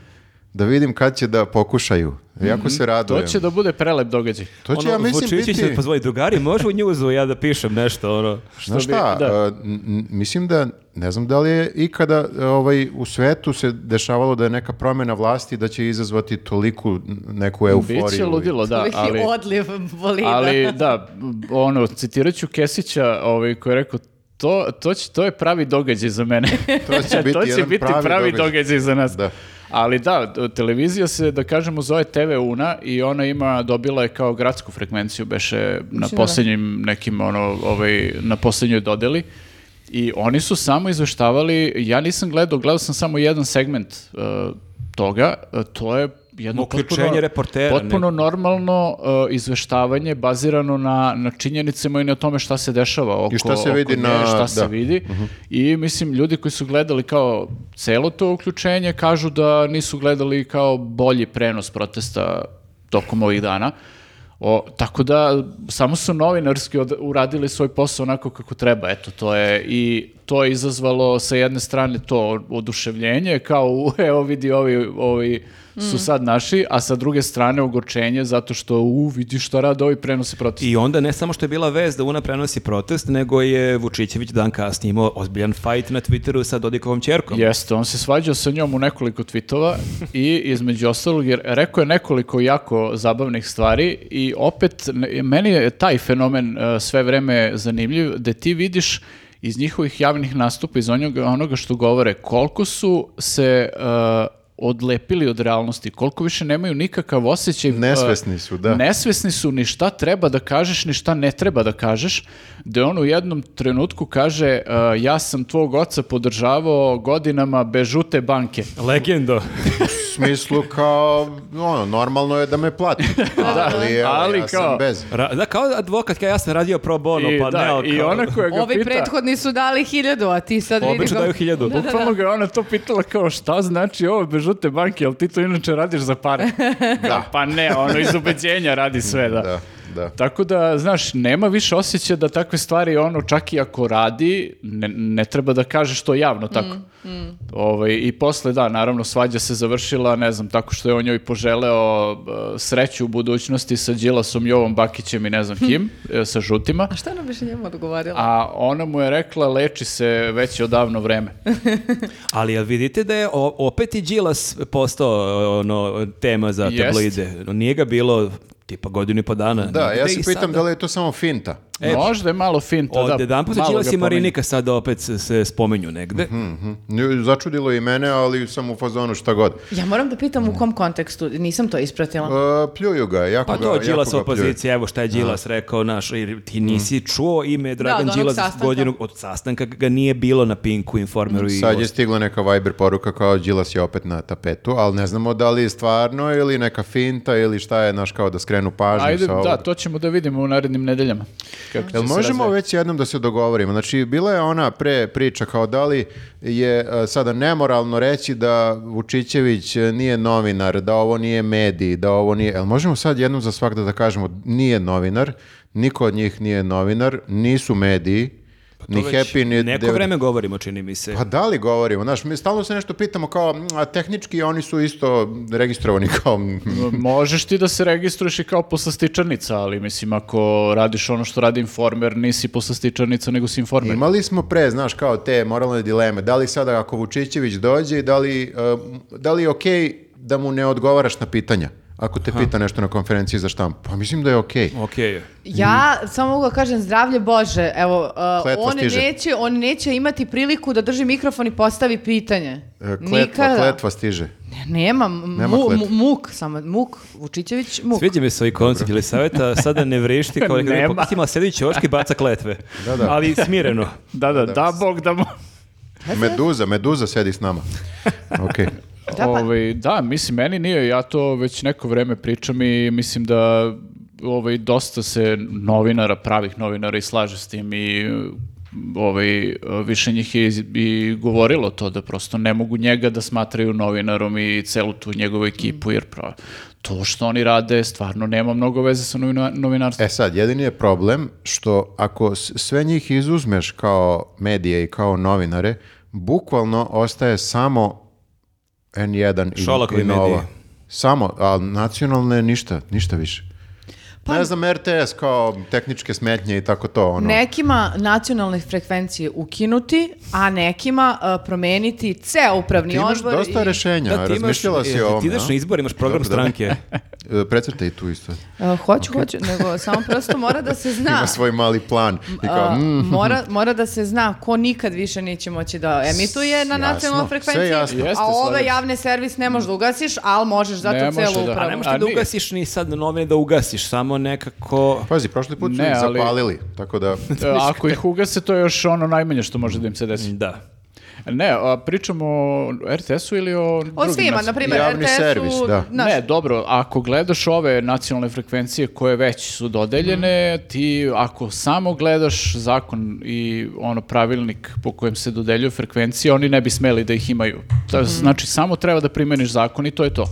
da vidim kad će da pokušaju. Jako se Mhm. To radujem. će ono, da bude prelep događaj. To će, ja mislim, Vučićić Ono, će pa biti... pozvati drugari, može u njuzu ja da pišem nešto, ono. Znaš bi- šta, da. e, n- n- mislim da, ne znam da li je ikada e, ovaj, u svetu se dešavalo da je neka promjena vlasti da će izazvati toliku n- neku euforiju. Biće ludilo, da, Koliki ali... odliv bolida. Ali da, ono, citirat ću Kesića ovaj, koji je rekao, to, to, će, to je pravi događaj za mene. To će biti jedan pravi događaj. za nas. Da. Ali da, televizija se, da kažemo, zove TV Una i ona ima, dobila je kao gradsku frekvenciju, beše na da. posljednjim nekim, ono, ovaj, na posljednjoj dodeli. I oni su samo izveštavali, ja nisam gledao, gledao sam samo jedan segment eh, toga, eh, to je jedno Uključenje reportera, potpuno ne- ono normalno eh, izveštavanje bazirano na, na činjenicama i na tome šta se dešava oko, I šta se oko vidi nje, na- šta se da. vidi. I mislim, ljudi koji su gledali kao celo to uključenje kažu da nisu gledali kao bolji prenos protesta tokom ovih dana. O, tako da samo su novinarski od- uradili svoj posao onako kako treba. Eto, to je i to je izazvalo sa jedne strane to oduševljenje kao u, evo vidi ovi, ovi su sad naši, a sa druge strane ogorčenje zato što u vidi šta rade ovi prenose protesta. I onda ne samo što je bila vez da Una prenosi protest, nego je Vučićević dan kasnije imao ozbiljan fight na Twitteru sa Dodikovom čerkom. Jeste, on se svađao sa njom u nekoliko tvitova i između ostalog jer rekao je nekoliko jako zabavnih stvari i opet ne- meni je taj fenomen e, sve vreme zanimljiv da ti vidiš iz njihovih javnih nastupa, iz onoga, onoga što govore, koliko su se e, odlepili od realnosti, koliko više nemaju nikakav osjećaj. e, Nesvesni su, da. Nesvesni su ni šta treba da kažeš, ni šta ne treba da kažeš, da on u jednom trenutku kaže e, ja sam tvog oca podržavao godinama bez žute banke. Legendo. U smislu kao, ono, normalno je da me plati. ali, evo, ali ja kao- sam bez. Ra- da, kao advokat, kao ja sam radio pro bono, I, pa da, ne, ali I kao- ona koja ga Ovi pita, prethodni su dali hiljadu, a ti sad vidi Obično kako- daju hiljadu. bukvalno ga je ona to pitala kao šta znači ovo bez žute banke, ali ti to inače radiš za pare. Da. pa ne, ono iz ubeđenja radi sve, da. Da, da. Tako da, znaš, nema više osjećaja da takve stvari, ono, čak i ako radi, ne, ne treba da kažeš to javno tako. Ovaj, I posle, da, naravno, svađa se završila, ne znam, tako što je on njoj poželeo e, sreću u budućnosti sa Đilasom, Jovom Bakićem i ne znam kim, e, sa žutima. A šta nam više njemu odgovorila? A ona mu je rekla, leči se već odavno vreme. Ali jel vidite da je o- opet i Đilas postao ono, tema za Jest. tabloide? Nije ga bilo tipa godinu i po dana. Da, Negde ja i se pitam sada. da li je to samo finta. Možda je malo finta, Od da. jedanput malo Đilas ga i pomeni. Marinika sada opet se, se spomenju negde. Mhm. Nju- Začudilo je i mene, ali sam u fazonu šta god. Ja moram da pitam u kom kontekstu, nisam to ispratila. E, pljuju ga, jako Pa ga, to jako Đilas ga Mhm. opozicija, evo šta je Đilas rekao, naš, jer ti nisi čuo ime Dragan od onog Đilas sastanka. godinu od sastanka ga nije bilo na Pinku, Informeru i pljuju. Sad je stigla neka Viber poruka kao Đilas je opet na tapetu, ali ne znamo da li je stvarno ili neka finta ili šta je naš kao da skrenu pažnju Ajde, sa ovog. da, to ćemo da vidimo u narednim nedeljama. Kako će Jel se možemo razvijati. već jednom da se dogovorimo? Znači, bila je ona pre priča kao da li je e, sada nemoralno reći da Vučićević e, nije novinar, da ovo nije medij, da ovo nije... Jel možemo sad jednom za svakda da kažemo nije novinar, niko od njih nije novinar, nisu mediji, Pa To ni već Happy, ni... Neko DVD. vreme govorimo, čini mi se. Pa da li govorimo? Znaš, mi stalno se nešto pitamo kao, "Mm, a tehnički oni su isto registrovani kao... Možeš ti da se registruješ i kao poslastičarnica, ali mislim, ako radiš ono što radi informer, nisi poslastičarnica, nego si informer. Imali smo pre, znaš, kao te moralne dileme. Da li sada ako Vučićević dođe, da li, um, da li je okej da mu ne odgovaraš na pitanja? Ako te pita nešto na konferenciji za štampu. Pa mislim da je okej. Okej. je. Ja samo mogu da kažem zdravlje Bože, evo, uh, Mhm. Kletva on, stiže. neće, on neće imati priliku da drži mikrofon i postavi pitanje. E, Kletva, kletva stiže. Ne, Nema, m- Nema mu- kletve. mu- muk, samo muk, Vučićević, muk. Sviđa mi se ovaj koncept ili saveta, sada ne vrišti kao nekada Nema. ima sedi ćoški i baca kletve. Da, da. Ali smireno. Da, da, da, Bog da mo... Meduza, meduza sedi s nama. Okej. Da, pa- Ovaj, da, mislim, meni nije, ja to već neko vreme pričam i mislim da ovaj, dosta se novinara, pravih novinara i slaže s tim i ovaj, više njih je iz- i govorilo to da prosto ne mogu njega da smatraju novinarom i celu tu njegovu ekipu jer pra- to što oni rade stvarno nema mnogo veze sa novina, novinarstvom. E sad, jedini je problem što ako s- sve njih izuzmeš kao medije i kao novinare, bukvalno ostaje samo N1 i, Šolakovi i Nova. mediji. Samo, a nacionalne ništa, ništa više. Pa ne znam, RTS kao tehničke smetnje i tako to. Ono. Nekima nacionalne frekvencije ukinuti, a nekima uh, promeniti ceo upravni Ti imaš odbor. dosta i- Da, rješenja, ti imaš- razmišljala si e, o ovom, Ti ideš a? na izbor, imaš program Dobro, dobro. stranke. E, Precrtaj i tu isto. Uh, hoću, hoću, nego samo prosto mora da se zna. Ima svoj mali plan. I kao, Uh, mm, mora, mora da se zna ko nikad više neće moći da emituje na Jasno, nacionalnoj sve frekvenciji, jasno. Jeste, a ove slažem se. javne servis ne možeš da ugasiš, ali možeš zato Ne može, celu da. Pa A upravu. ne možeš A ti da nije. ugasiš ni sad novine da ugasiš, samo nekako... pazi, prošli put su Ne, ih ali- zapalili, tako da... E, Ako ih ugase, to je još ono najmanje što može da im se desi. Da. Ne, a pričamo o RTS-u ili o drugim Mm. O svima, nacionalnim- na primjer, Javni RTS-u, servis, da. znaš, Ne, dobro, ako gledaš ove nacionalne frekvencije koje već su dodeljene, Mm. ti ako samo gledaš zakon i ono pravilnik po kojem se dodeljuju frekvencije, oni ne bi smeli da ih imaju. To Mm. je, Znači, samo treba da primeniš zakon i to je to.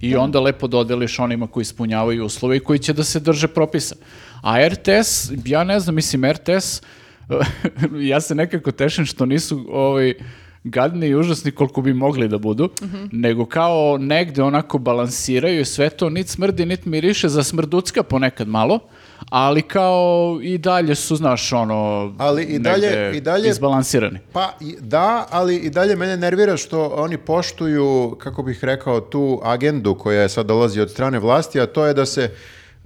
I onda lepo dodeliš onima koji ispunjavaju uslove i koji će da se drže propisa. A RTS, ja ne znam, mislim, RTS, ja se nekako tešim što nisu ovaj, gadni i užasni koliko bi mogli da budu, Mhm. nego kao negde onako balansiraju i sve to, nit smrdi, nit miriše, za smrducka ponekad malo, ali kao i dalje su, znaš, ono, Ali i dalje- negde i dalje- izbalansirani. Pa i- da, ali i dalje mene nervira što oni poštuju, kako bih rekao, tu agendu koja je sad dolazi od strane vlasti, a to je da se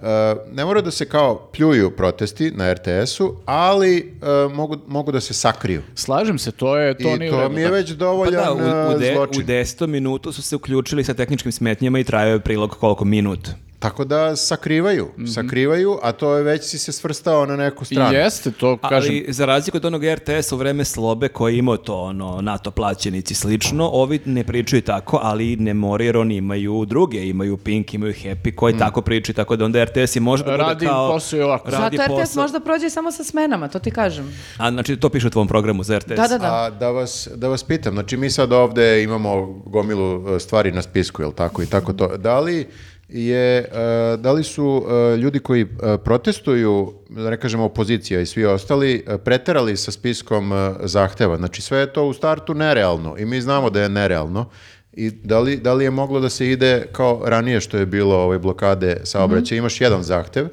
e, ne mora da se kao pljuju protesti na RTS-u, ali e, mogu, mogu da se sakriju. Slažem se, to je, to I nije u to redu, mi je da. već Pa dovoljan da, u, u, e, de, zločin. u desetom minutu su se uključili sa tehničkim smetnjama i trajao je prilog koliko minut. Tako da sakrivaju, sakrivaju, a to je već si se svrstao na neku stranu. Jeste, to kažem. Ali za razliku od onog RTS u vreme slobe koji je imao to ono NATO plaćenici i slično, ovi ne pričaju tako, ali ne moraju jer oni imaju druge, imaju Pink, imaju Happy koji tako pričaju, tako da onda RTS i može da bude Mm. Radi kao... posao i ovako. Radi zato RTS posao. možda prođe samo sa smenama, to ti kažem. A znači to piše u tvom programu za RTS. Da, da, da. A da vas, da vas pitam, znači mi sad ovde imamo gomilu e, stvari na spisku, jel tako i tako to. Da li je, e, da li su e, ljudi koji e, protestuju, da ne kažemo opozicija i svi ostali, e, preterali sa spiskom e, zahteva? Znači sve je to u startu nerealno i mi znamo da je nerealno. I da li, da li je moglo da se ide kao ranije što je bilo ove blokade saobraćaja, Mhm. imaš jedan zahtev,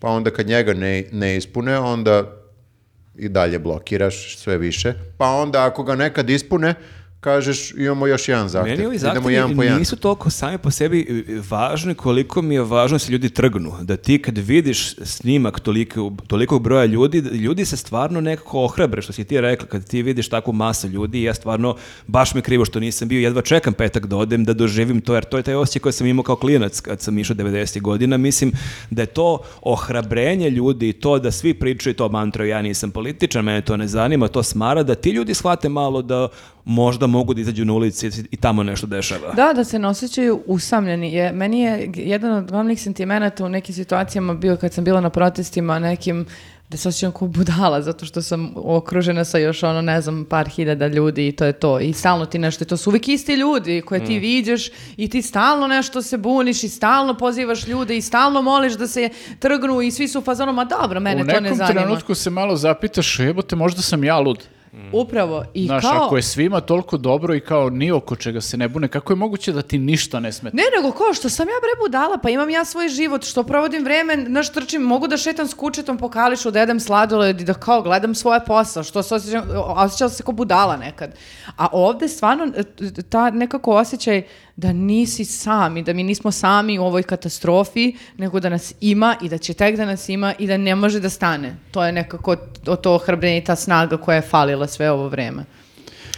pa onda kad njega ne, ne ispune, onda i dalje blokiraš sve više. Pa onda ako ga nekad ispune, kažeš imamo još jedan zahtjev. Meni ovi Idemo zahtevi jedan po jedan. nisu toliko sami po sebi e, važni koliko mi je važno da se ljudi trgnu. Da ti kad vidiš snimak toliko, tolikog broja ljudi, da ljudi se stvarno nekako ohrabre, što si ti rekla, kad ti vidiš takvu masu ljudi, ja stvarno, baš mi je krivo što nisam bio, jedva čekam petak da odem, da doživim to, jer to je taj osjećaj koji sam imao kao klinac kad sam išao 90. godina. Mislim da je to ohrabrenje ljudi i to da svi pričaju to mantra, ja nisam političan, mene to ne zanima, to smara, da ti ljudi shvate malo da možda mogu da izađu na ulici i tamo nešto dešava. Da, da se ne osjećaju usamljeni. Je, meni je g- jedan od glavnih sentimenata u nekim situacijama bio kad sam bila na protestima nekim da se osjećam kao budala zato što sam okružena sa još ono ne znam par hiljada ljudi i to je to i stalno ti nešto, to su uvijek isti ljudi koje Mm. ti viđeš i ti stalno nešto se buniš i stalno pozivaš ljude i stalno moliš da se trgnu i svi su u fazonu ma dobro mene u to ne nekom zanima. trenutku se malo zapitaš, jebote, možda sam ja lud. Upravo i Znaš, kao ako je svima toliko dobro i kao ni oko čega se ne bune, kako je moguće da ti ništa ne smeta? Ne, nego ko, što sam ja bre budala, pa imam ja svoj život, što provodim vreme, znaš, trčim, mogu da šetam s kučetom po kališu, da jedem sladoled i da kao gledam svoje posao, što se osjećam, osjećala sam se kao budala nekad. A ovde stvarno e, t- ta nekako osjećaj da nisi sam i da mi nismo sami u ovoj katastrofi, nego da nas ima i da će tek da nas ima i da ne može da stane. To je nekako to, to ohrabrenje i ta snaga koja je falila sve ovo vreme.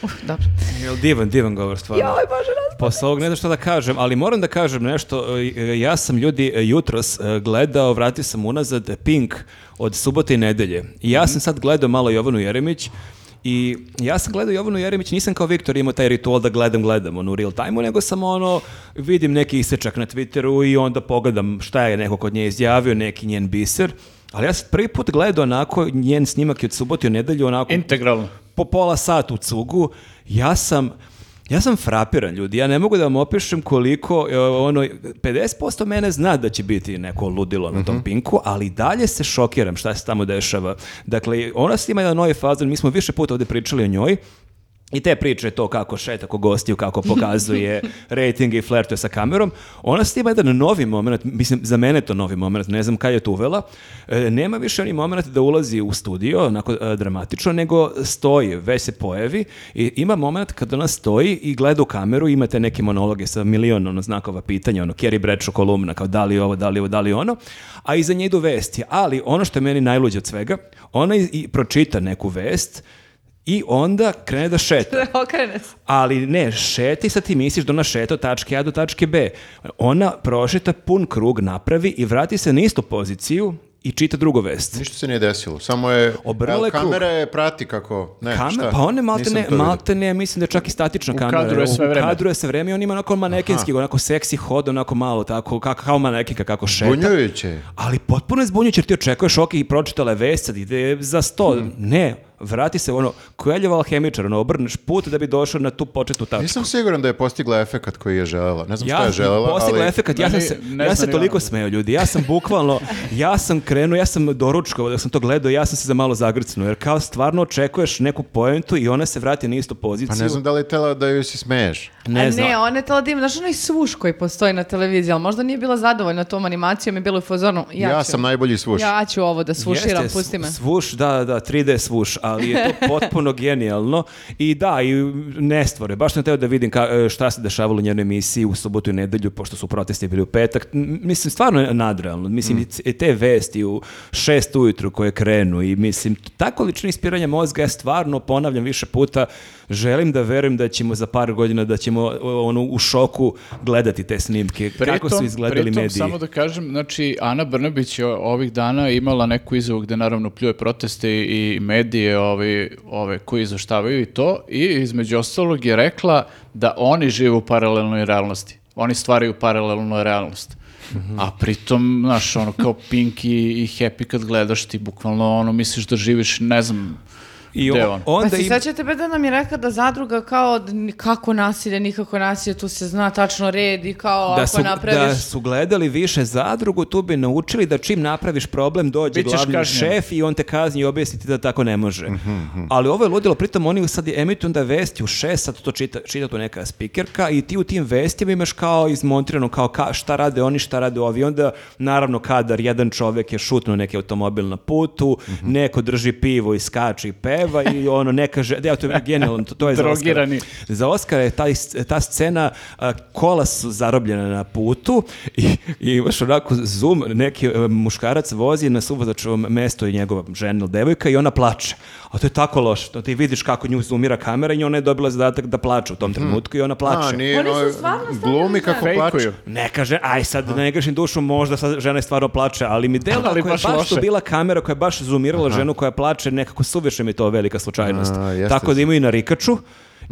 Uf, dobro. Jel divan, divan govor stvarno. Joj, Bože, razum- Posle ovog ne znam šta da kažem, ali moram da kažem nešto. E, e, Ja sam ljudi e, jutros e, gledao, vratio sam unazad e, Pink od subote i nedelje. I ja sam sad gledao malo Jovanu Jeremić i ja sam gledao Jovanu Jeremić, nisam kao Viktor imao taj ritual da gledam, gledam ono u real time nego sam ono, vidim neki isečak na Twitteru i onda pogledam šta je neko kod nje izjavio, neki njen biser. Ali ja sam prvi put gledao onako njen snimak i od subote i u nedelju onako Integralno. po pola sata u cugu, ja sam Ja sam frapiran, ljudi. Ja ne mogu da vam opišem koliko, e, ono, 50% mene zna da će biti neko ludilo na tom pinku, ali dalje se šokiram šta se tamo dešava. Dakle, ona se ima jedan novi fazon, mi smo više puta ovdje pričali o njoj, I te priče to kako šeta ko gostiju, kako pokazuje rating i flertuje sa kamerom. Ona s ima jedan novi moment, mislim za mene je to novi moment, ne znam kad je to uvela. E, nema više ni moment da ulazi u studio, onako e, dramatično, nego stoji, već se pojavi i ima moment kad ona stoji i gleda u kameru, imate neke monologe sa milion ono, znakova pitanja, ono, Kerry Bradshaw kolumna, kao da li ovo, da li ovo, da li ono, a iza nje idu vesti. Ali ono što je meni najluđe od svega, ona i, i pročita neku vest, i onda krene da šeta. Okrene se. Ali ne, šeti sad ti misliš da ona šeta od tačke A do tačke B. Ona prošeta pun krug, napravi i vrati se na istu poziciju i čita drugu vest. Ništa se nije desilo, samo je... Obrnula je evo, krug. kamera je prati kako... Ne, Kamer, šta? pa one malte Nisam ne, to vidio. malte ne, mislim da je čak i statična kamera. kadru je sve vreme. U kadru je sve vreme i on ima onako manekinski, onako seksi hod, onako malo tako, kako, kao manekinka, kako šeta. Zbunjujuće je. Ali potpuno je zbunjujuće jer ti očekuješ, ok, i pročitala je vest, sad ide za sto. Ne, vrati se, ono, Koeljeva alhemičar, ono, obrneš put da bi došao na tu početnu tačku. Nisam siguran da je postigla efekat koji je želela. Ne znam šta je sam želela, postigla ali... efekat, ja sam Meni- se, ne ja znam se ni toliko ja. smeo ljudi, ja sam bukvalno, ja sam krenuo, ja sam doručkovao, dok sam to gledao, ja sam se za malo zagrcnuo, jer kao stvarno očekuješ neku poentu i ona se vrati na istu poziciju. Pa ne znam da li je tela da joj se smeješ. Ne A znam. ne, ona je tela da ima, znaš onaj suš koji postoji na televiziji, ali možda nije bila zadovoljna tom animacijom i bilo je u fazonu, ja, Ja, ću, sam najbolji svuš. ja ću ovo da sluširam, Jeste, pusti me. sv- Svuš, da, da, 3D svuš, ali je to potpuno genijalno i da, i nestvore. Baš sam teo da vidim ka- e, šta se dešavalo u njenoj emisiji u sobotu i nedelju, pošto su protesti bili u petak. M- Mislim, stvarno je nadrealno. Mislim, Mm. i c- te vesti u šest ujutru koje krenu i mislim, t- ta količina ispiranja mozga, ja stvarno ponavljam više puta, želim da verujem da ćemo za par godina, da ćemo o, ono, u šoku gledati te snimke, kako su izgledali pritom, mediji. samo da kažem, znači, Ana Brnabić je ovih dana imala neku izjavu gde naravno pljuje proteste i medije ovi, ove koji izveštavaju i to i između ostalog je rekla da oni žive u paralelnoj realnosti. Oni stvaraju paralelnu realnost. A pritom, znaš, ono, kao Pink i, i Happy kad gledaš ti, bukvalno, ono, misliš da živiš, ne znam, I gde je on- ono. onda pa si im- sećate bre da nam je rekla da zadruga kao d- ni- kako nasilje, nikako nasilje, tu se zna tačno red i kao da ako su, da napraviš... su gledali više zadrugu, tu bi naučili da čim napraviš problem dođe Bićeš glavni kažnjen. Mhm, šef i on te kazni i objasni ti da tako ne može. Ali ovo je ludilo, pritom oni sad emituju da vesti u šest, sad to čita, čita tu neka spikerka i ti u tim vestima imaš kao izmontirano kao ka, šta rade oni, šta rade ovi. Onda naravno kadar jedan čovek je šutnuo neki automobil na putu, Mhm. neko drži pivo i skače i peva i ono ne kaže, da, to je genijalno, to, to je za Oscara. Drogirani. Za Oscara je taj, ta scena, a, kola su zarobljena na putu i, i imaš onako zoom, neki e, muškarac vozi na suvozačevom mesto i njegova žena ili devojka i ona plače. A to je tako loše, to ti vidiš kako nju zoomira kamera i ona je dobila zadatak da plače u tom trenutku i ona plače. Mhm. A, nije, Oni su no, stvarno stavili glumi kako Fejkuju. plače. Ne kaže, aj sad da ne grešim dušu, možda sad žena je stvarno plače, ali mi delo Ali ako je baš baš tu loše. bila kamera koja je baš zoomirala ženu koja plače, nekako suviše mi je to velika slučajnost. A, jeste, Tako da jeste. imaju i na rikaču,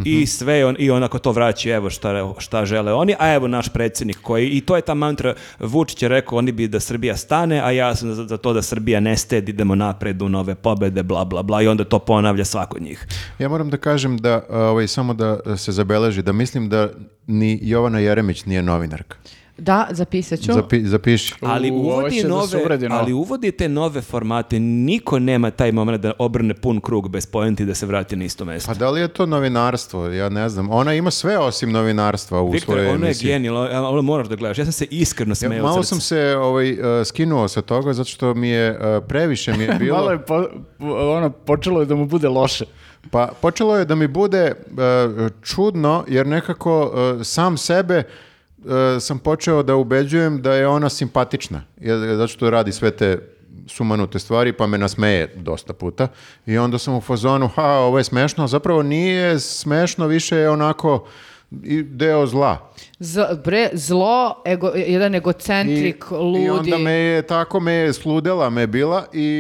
I sve, on, i onako to vraćaju, evo šta, šta žele oni, a evo naš predsjednik koji, i to je ta mantra, Vučić je rekao, oni bi da Srbija stane, a ja sam za, za to da Srbija ne stedi, idemo napred u nove pobede, bla, bla, bla, i onda to ponavlja svako od njih. Ja moram da kažem da, a, ovaj, samo da se zabeleži, da mislim da ni Jovana Jeremić nije novinarka. Da, zapisat ću. Zapi, zapiši. Ali U, ovo uvodi će da se nove, uvredi, no. ali uvodi te nove formate. Niko nema taj moment da obrne pun krug bez poenti da se vrati na isto mesto. Pa da li je to novinarstvo? Ja ne znam. Ona ima sve osim novinarstva u Viktor, svojoj ono je emisiji. genijalno, a- ono moraš da gledaš. Ja sam se iskreno Ja, smeo. malo od sam srca. se ovaj, e, skinuo sa toga zato što mi je e, previše mi je bilo. Malo je, po, ono, počelo je da mu bude loše. Pa počelo je da mi bude e, čudno jer nekako e, sam sebe e, sam počeo da ubeđujem da je ona simpatična. Jer- Zato što radi sve te sumanute stvari pa me nasmeje dosta puta i onda sam u fazonu ha ovo je smešno, a zapravo nije smešno više je onako i deo zla. Z- bre, zlo, ego, jedan egocentrik, ludi. I onda me je, tako me je sludela me je bila i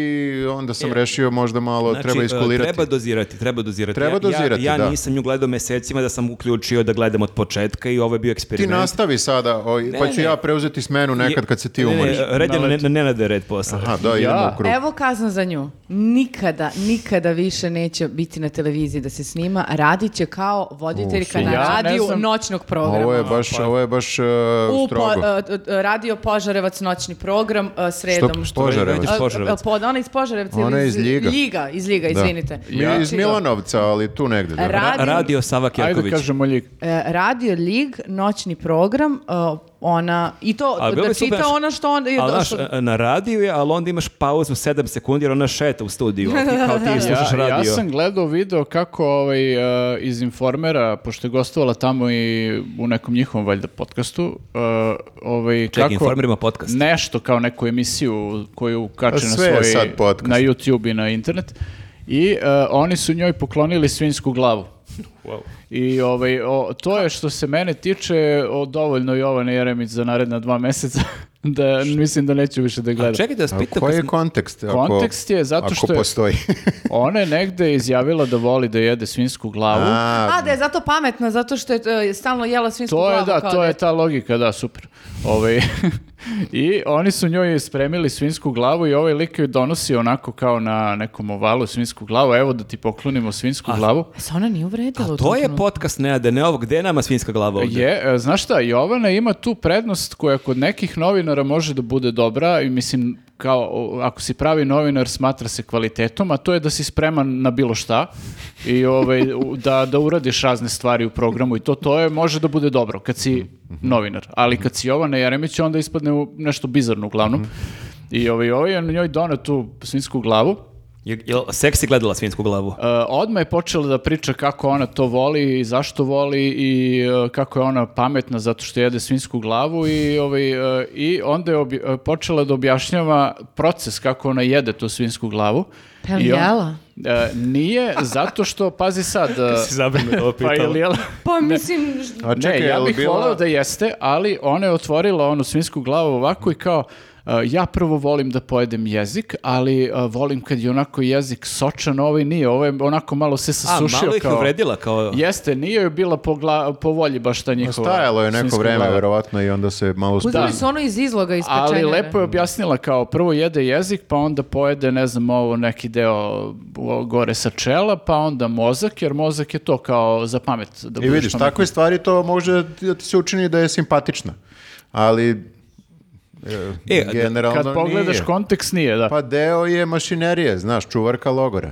onda sam rešio možda malo Znači, treba e, iskulirati. Treba dozirati, treba dozirati. Treba Ja- dozirati, ja, ja, da. nisam nju gledao mesecima da sam uključio da gledam od početka i ovo je bio Ti eksperiment. nastavi sada, oj, pa ću ne. ja preuzeti smenu nekad kad se ti Ne, ne, umoriš. Red je na, Naleti. na Nenada je red posle. Aha, da, idemo Ja. u krug. Evo kazna za nju. Nikada, nikada više neće biti na televiziji da se snima. Radit će kao voditeljka U, na Ja ne radiju znam. noćnog programa. Ovo je baš baš, ovo je baš uh, U po, strogo. e, e, radio Požarevac noćni program e, sredom. Što- Požarevac? Iz Požarevaca. E, Pod, ona iz Požarevca ili Ona je iz Ljiga. Ljiga, iz Ljiga, e, izvinite. Znači, Mi je iz Milanovca, ali tu negde. Da. Ra- Ra- radio Sava Ajde Kjerković. kažemo ljig. E, radio Lig, noćni program, e, ona, i to, A bilo da bi super, čita znaš- ono što on je Ali znaš, e, došlo. na radiju je, ali onda imaš pauzu 7 sekundi jer ona šeta u studiju. a Ti, kao ti slušaš Ja, ja radio. sam gledao video kako ovaj, e, iz Informera, pošto je gostovala tamo i u nekom njihovom valjda podcastu, e, ovaj, Čekaj, kako, Informer ima podcast? Nešto kao neku emisiju koju kače A na Pa sve je svoj, sad podcast. na YouTube i na internet. I e, oni su njoj poklonili svinjsku glavu. I ovaj, o, to je što se mene tiče o, dovoljno Jovane Jeremić za naredna dva meseca. da mislim da neću više da gledam. A čekaj da vas A pitam, koji kad je sam- kontekst? ako- Kontekst je zato što Ako je- postoji. Ona je negde izjavila da voli da jede svinsku glavu. A, da je zato pametna, zato što je e, stalno jela svinsku to glavu. je da, kao to je dete. ta logika, da, super. Ovaj I oni su njoj spremili svinsku glavu i ovaj lik joj donosi onako kao na nekom ovalu svinsku glavu. Evo da ti poklonimo svinsku glavu. Se E, ona nije uvredila. u To tom je trenutku. podcast Nenade Neov, gde je nama svinska glava ovdje? Je, e, znaš šta, Jovana ima tu prednost koja kod nekih novinara može da bude dobra i mislim kao o, ako si pravi novinar smatra se kvalitetom, a to je da si spreman na bilo šta i ovaj, u- da, da uradiš razne stvari u programu i to, to je, može da bude dobro kad si novinar, ali kad si Jovana Jeremić onda ispadne u nešto bizarno uglavnom i ovaj, ovaj je njoj donao tu svinsku glavu Je- Jel seksi gledala svinsku glavu? Uh, odmah je počela da priča kako ona to voli i zašto voli i uh, kako je ona pametna zato što jede svinsku glavu i, ovaj, uh, i onda je obja- uh, počela da objašnjava proces kako ona jede tu svinsku glavu. Pa je li I on- jela? Uh, nije, zato što, pazi sad... uh, Si zabavno ovo pa je pitala. li jela? Pa mislim, š- A čekaj, ne, ja jel bih bila- voleo da jeste, ali ona je otvorila onu svinsku glavu ovako i kao uh, ja prvo volim da pojedem jezik, ali uh, volim kad je onako jezik sočan, ovaj nije, ovaj onako malo se A, sasušio malo ih je kao... uvredila kao... Jeste, nije joj bila po, gla- po volji baš ta njihova. Stajalo je neko svinjska vreme, glava. verovatno, i onda se malo uzeli spusti. su ono iz izloga, iz Ali pečenjare. lepo je objasnila kao prvo jede jezik, pa onda pojede, ne znam, ovo neki deo o, gore sa čela, pa onda mozak, jer mozak je to kao za pamet. Da I budeš vidiš, pametniji. takve stvari to može da ti se učini da je simpatična. Ali, E, e, a- generalno Kad pogledaš nije. kontekst, nije, da. Pa deo je mašinerije, znaš, čuvarka logora.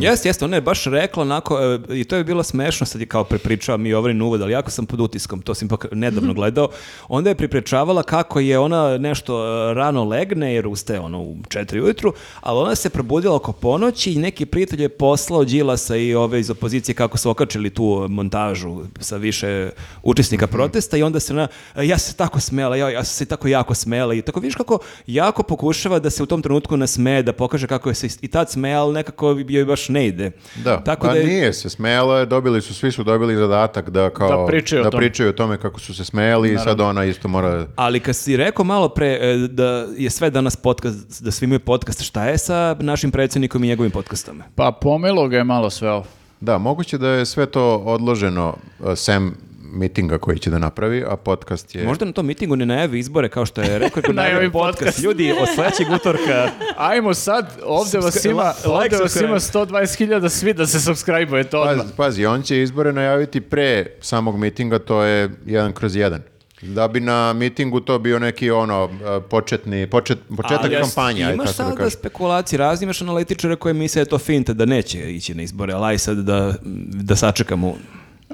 Jeste, jeste, ona je baš rekla onako, e, i to je bilo smešno, sad je kao prepričava mi Jovrin uvod, ali jako sam pod utiskom, to sam ipak nedavno gledao, onda je prepričavala kako je ona nešto e, rano legne, jer ustaje ono u četiri ujutru, ali ona se probudila oko ponoći i neki prijatelj je poslao Đilasa i ove iz opozicije kako su okačili tu montažu sa više učesnika Mhm. protesta i onda se ona, e, ja se tako smela, ja, ja sam se tako jako smela i tako vidiš kako jako pokušava da se u tom trenutku nasmeje, da pokaže kako je se i tad smejala, ali nekako joj baš ne ide. Da, Tako pa da je- nije se smejala, je, dobili su, svi su dobili zadatak da kao... Da pričaju o tome. pričaju o tome kako su se smejali i sad ona isto mora... Ali kad si rekao malo pre e, da je sve danas podcast, da svi imaju podcast, šta je sa našim predsjednikom i njegovim podcastom? Pa pomelo ga je malo sve ovo. Da, moguće da je sve to odloženo eh, sem mitinga koji će da napravi, a podcast je... Možda na tom mitingu ne najavi izbore kao što je rekao i najavi Najavi podcast. podcast. Ljudi, od sledećeg utorka Ajmo sad, ovde vas Subscri- ima, like, ovde vas subscribe. ima 120.000 svi da se subscribe-uje, to odmah. Pazi, pazi, on će izbore najaviti pre samog mitinga, to je jedan kroz jedan. Da bi na mitingu to bio neki ono eh, početni, počet, početak Ali kampanje, ajde Imaš tako da sada da kažem. spekulacije, razni imaš analitičara koji misle da je to finta, da neće ići na izbore, ali aj sad da, da sačekamo.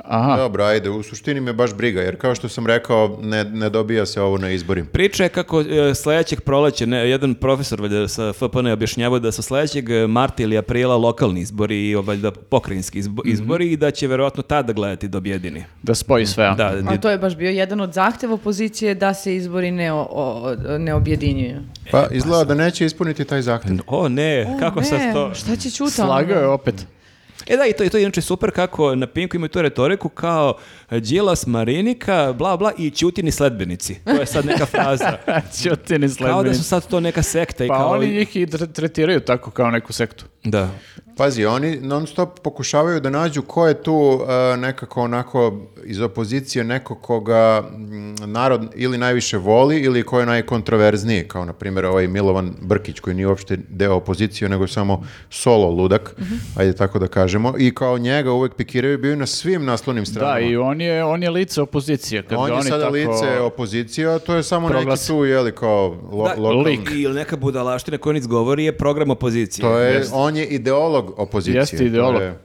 Aha, Dobro, ajde, u suštini me baš briga, jer kao što sam rekao, ne, ne dobija se ovo na izborima. Pa, Priča je kako e, sledećeg proleća, ne, jedan profesor valjda sa FPN je objašnjavao da su sledećeg e, marta ili aprila lokalni izbori i o, valjda pokrajinski izbo- Mhm. izbori i da će verovatno tada gledati da objedini. da spoji sve. a? Da, A to je baš bio jedan od zahteva opozicije da se izbori ne, o- o- ne objedinjuju. E, Pa izgleda da neće ispuniti taj zahtjev. O ne, O, E, kako ne, sad to? Šta će ono čuta? Slagao je opet. E da, i to, i to je inače super kako na Pinku imaju tu retoriku kao e, Đilas, Marinika, bla bla i Ćutini sledbenici. To je sad neka fraza. Ćutini Kao da su sledbenici. sad to neka sekta i Pa kao... oni njih i tre- tretiraju tako kao neku sektu. Da. Pazi, oni non stop pokušavaju da nađu ko je tu e, nekako onako iz opozicije neko koga mm, narod ili najviše voli ili ko je najkontroverzniji, kao na primjer ovaj Milovan Brkić koji nije uopšte deo opozicije nego je samo solo ludak, Mhm. ajde tako da kažemo, i kao njega uvek pikiraju bio na svim naslovnim Da, stranama. i on je, on je lice opozicije. Kad on ga je oni sada tako... lice opozicije, a to je samo neki proglasi. tu, jeli, kao lo, Da, lokalni- lik. Ili neka budalaština koju on izgovori je program opozicije. To je, on je ideolog opozicije. Jeste to ideolog. je-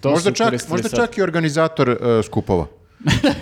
To možda su čak, koristili možda sad. čak i organizator e, skupova.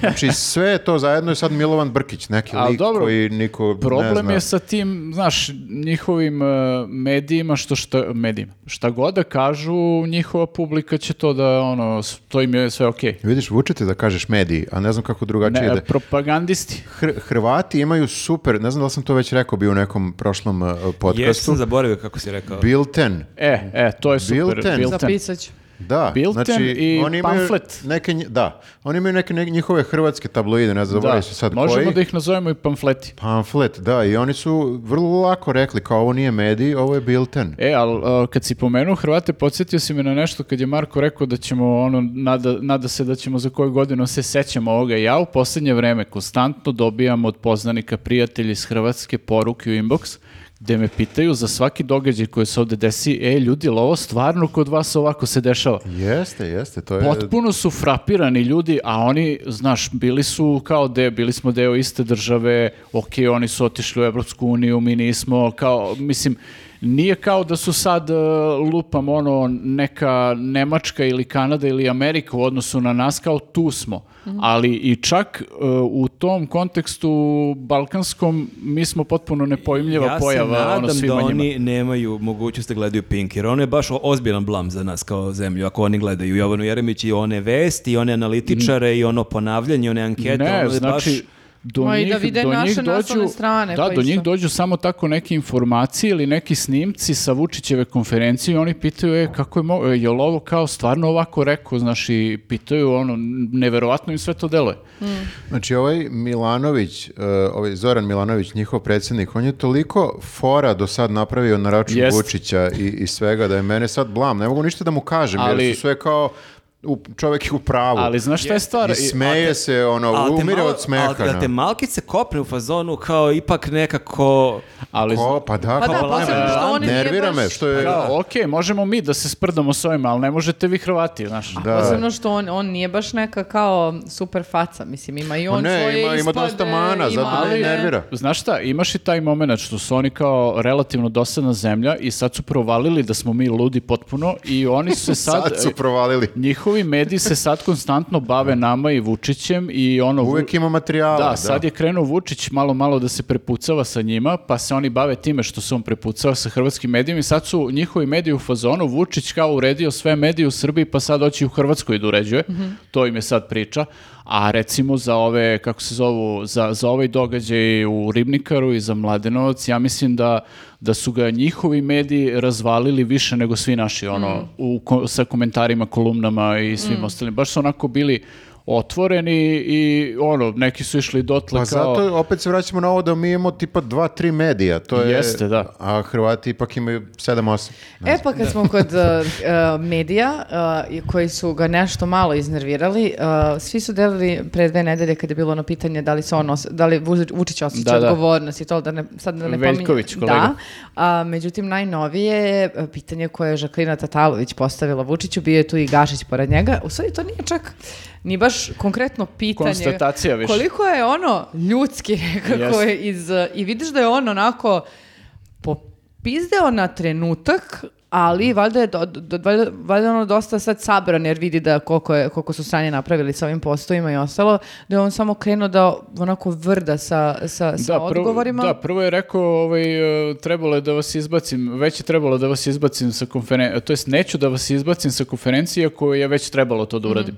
Znači sve je to zajedno je sad Milovan Brkić, neki Ali lik dobro, koji niko ne Problem zna. je sa tim, znaš, njihovim e, medijima, što šta, medijima, šta god da kažu, njihova publika će to da, ono, s- to im je sve okej. Vidiš, vučete da kažeš mediji, a ne znam kako drugačije Ne, da... propagandisti. Hr- Hrvati imaju super, ne znam da li sam to već rekao bio u nekom prošlom e, podcastu, Jesam zaboravio kako si rekao. Bilten. E, e, to je super. Bilten. Zapisat ću. Da, Bilten znači, i oni imaju pamflet. Neke, nj- da, oni imaju neke, neke njihove hrvatske tabloide, ne znam, Da, da, sad možemo koji. da ih nazovemo i pamfleti. Pamflet, da, i oni su vrlo lako rekli kao ovo nije medij, ovo je bilten. E, ali kad si pomenuo Hrvate, podsjetio si me na nešto kad je Marko rekao da ćemo, ono, nada, nada se da ćemo za koju godinu se sećamo ovoga. Ja u posljednje vreme konstantno dobijam od poznanika prijatelji iz Hrvatske poruke u inbox gde me pitaju za svaki događaj koji se ovde desi, e, ljudi, jel ovo stvarno kod vas ovako se dešava? Jeste, jeste, to je... Ovaj, Potpuno su frapirani ljudi, a oni, znaš, bili su kao de, bili smo deo iste države, ok, oni su otišli u Evropsku uniju, mi nismo, kao, mislim, nije kao da su sad, e, lupam, ono, neka Nemačka ili Kanada ili Amerika u odnosu na nas, kao tu smo. Ali i čak e, u tom kontekstu balkanskom mi smo potpuno nepojmljiva ja pojava se ono, nadam svima da njima. oni nemaju mogućnost da gledaju Pink, jer ono je baš o- ozbiljan blam za nas kao zemlju, ako oni gledaju Jovanu Jeremić i one vesti, i one analitičare, i ono ponavljanje, i one ankete, Ne, ono je znači, baš... do Ma i njih, da vide do naše njih dođu, naslovne strane, da, pa do njih isto. dođu samo tako neke informacije ili neki snimci sa Vučićeve konferencije i oni pitaju, e, kako je, mo e, jel ovo kao stvarno ovako rekao, znaš, i pitaju, ono, neverovatno im sve to deluje. Znači, ovaj Milanović, eh, ovaj Zoran Milanović, njihov predsjednik, on je toliko fora do sad napravio na račun Jest. Vučića i, i svega, da je mene sad blam. Ne mogu ništa da mu kažem, Ali- jer su sve kao, u, čovjek je u pravu. Ali znaš šta je stvar? Pa, I smeje se, ono, Ali te umire malo- od smeha. ali da te no. malkice kopne u fazonu kao ipak nekako... Ali, Ko, pa da, Pa da, kao, posebno ne, što oni nije nervira baš- me, što je... kao, okej, možemo mi da se sprdamo s ovima, ali ne možete vi Hrvati, znaš. Da. Posebno što on, on nije baš neka kao super faca, mislim, ima i Pa on ne, svoje ima, ima ispade, dosta mana, ima- zato me ali- i nervira. Znaš šta, imaš i taj moment što su oni kao relativno dosadna zemlja i sad su provalili da smo mi ludi potpuno i oni su se sad... Sad su provalili. Njihovi mediji se sad konstantno bave nama i Vučićem i ono... Vu- Uvijek ima materijala. Da, sad je krenuo Vučić malo malo da se prepucava sa njima, pa se oni bave time što se on prepucava sa hrvatskim medijima i sad su njihovi mediji u fazonu, Vučić kao uredio sve medije u Srbiji, pa sad oći u Hrvatskoj da uređuje, to im je sad priča, a recimo za ove, kako se zovu, za, za ovaj događaj u Ribnikaru i za Mladenovac, ja mislim da da su ga njihovi mediji razvalili više nego svi naši, ono, u ko- sa komentarima, kolumnama i svim ostalim. Baš su onako bili otvoreni i ono, neki su išli dotle Pa Dakle, kao... zato opet se vraćamo na ovo da mi imamo tipa dva, tri medija. To je, Jeste, da. A Hrvati ipak imaju sedam, osam. E pa kad smo kod uh, uh, medija uh, i koji su ga nešto malo iznervirali, uh, svi su delili pre dve nedelje kad je bilo ono pitanje da li se on os- da li Vuzi- Vučić osjeća Da, da. odgovornost i to da ne sad da ne pominjem- Veljković, kolega. Da. A, međutim najnovije je uh, pitanje koje je Žaklina Tatalović postavila Vučiću, bio je tu i Gašić pored njega. U stvari to nije čak ni baš konkretno pitanje. Konstatacija više. Koliko je ono ljudski nekako Jeste. je iz uh, i vidiš da je on onako popizdeo na trenutak, ali valjda je, do, do- valjda, valjda je ono dosta sad sabran jer vidi da koliko, je, koliko su sanje napravili sa ovim postojima i ostalo, da je on samo krenuo da onako vrda sa, sa, sa prvo- odgovorima. da, prvo je rekao, ovaj, e, trebalo je da vas izbacim, već je trebalo da vas izbacim sa konferencije, to jest neću da vas izbacim sa konferencije ako je već trebalo to Mhm. da uradim.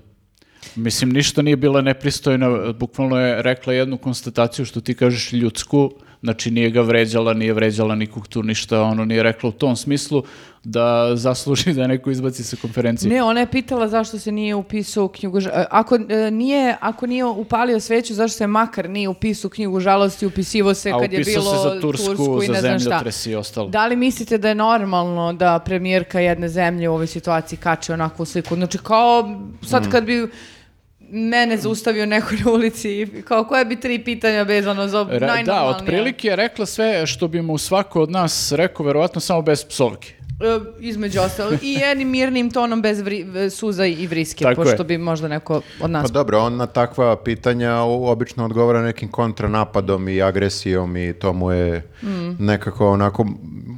Mislim, ništa nije bila nepristojna, bukvalno je rekla jednu konstataciju što ti kažeš ljudsku, Znači nije ga vređala, nije vređala nikog tu ništa, ono nije rekla u tom smislu da zasluži da je neko izbaci sa konferencije. Ne, ona je pitala zašto se nije upisao u knjigu ža- e, Ako e, nije, ako nije upalio sveću, zašto se makar nije upisao u knjigu žalosti, upisivo se A kad je upisao bilo se za Tursku, i za ne znam šta. zemljotres i ostalo. Da li mislite da je normalno da premijerka jedne zemlje u ovoj situaciji kače onakvu sliku? Znači kao Mm. sad kad bi mene zaustavio neko na ulici i kao koja bi tri pitanja vezano za Re- najnormalnije. da, otprilike je rekla sve što bi mu svako od nas rekao, verovatno samo bez psovke. E, između ostalog. I jednim mirnim tonom bez vri- suza i vriske, Tako pošto je. bi možda neko od nas Pa dobro, on na takva pitanja u- obično odgovara nekim kontranapadom i agresijom i to mu je nekako onako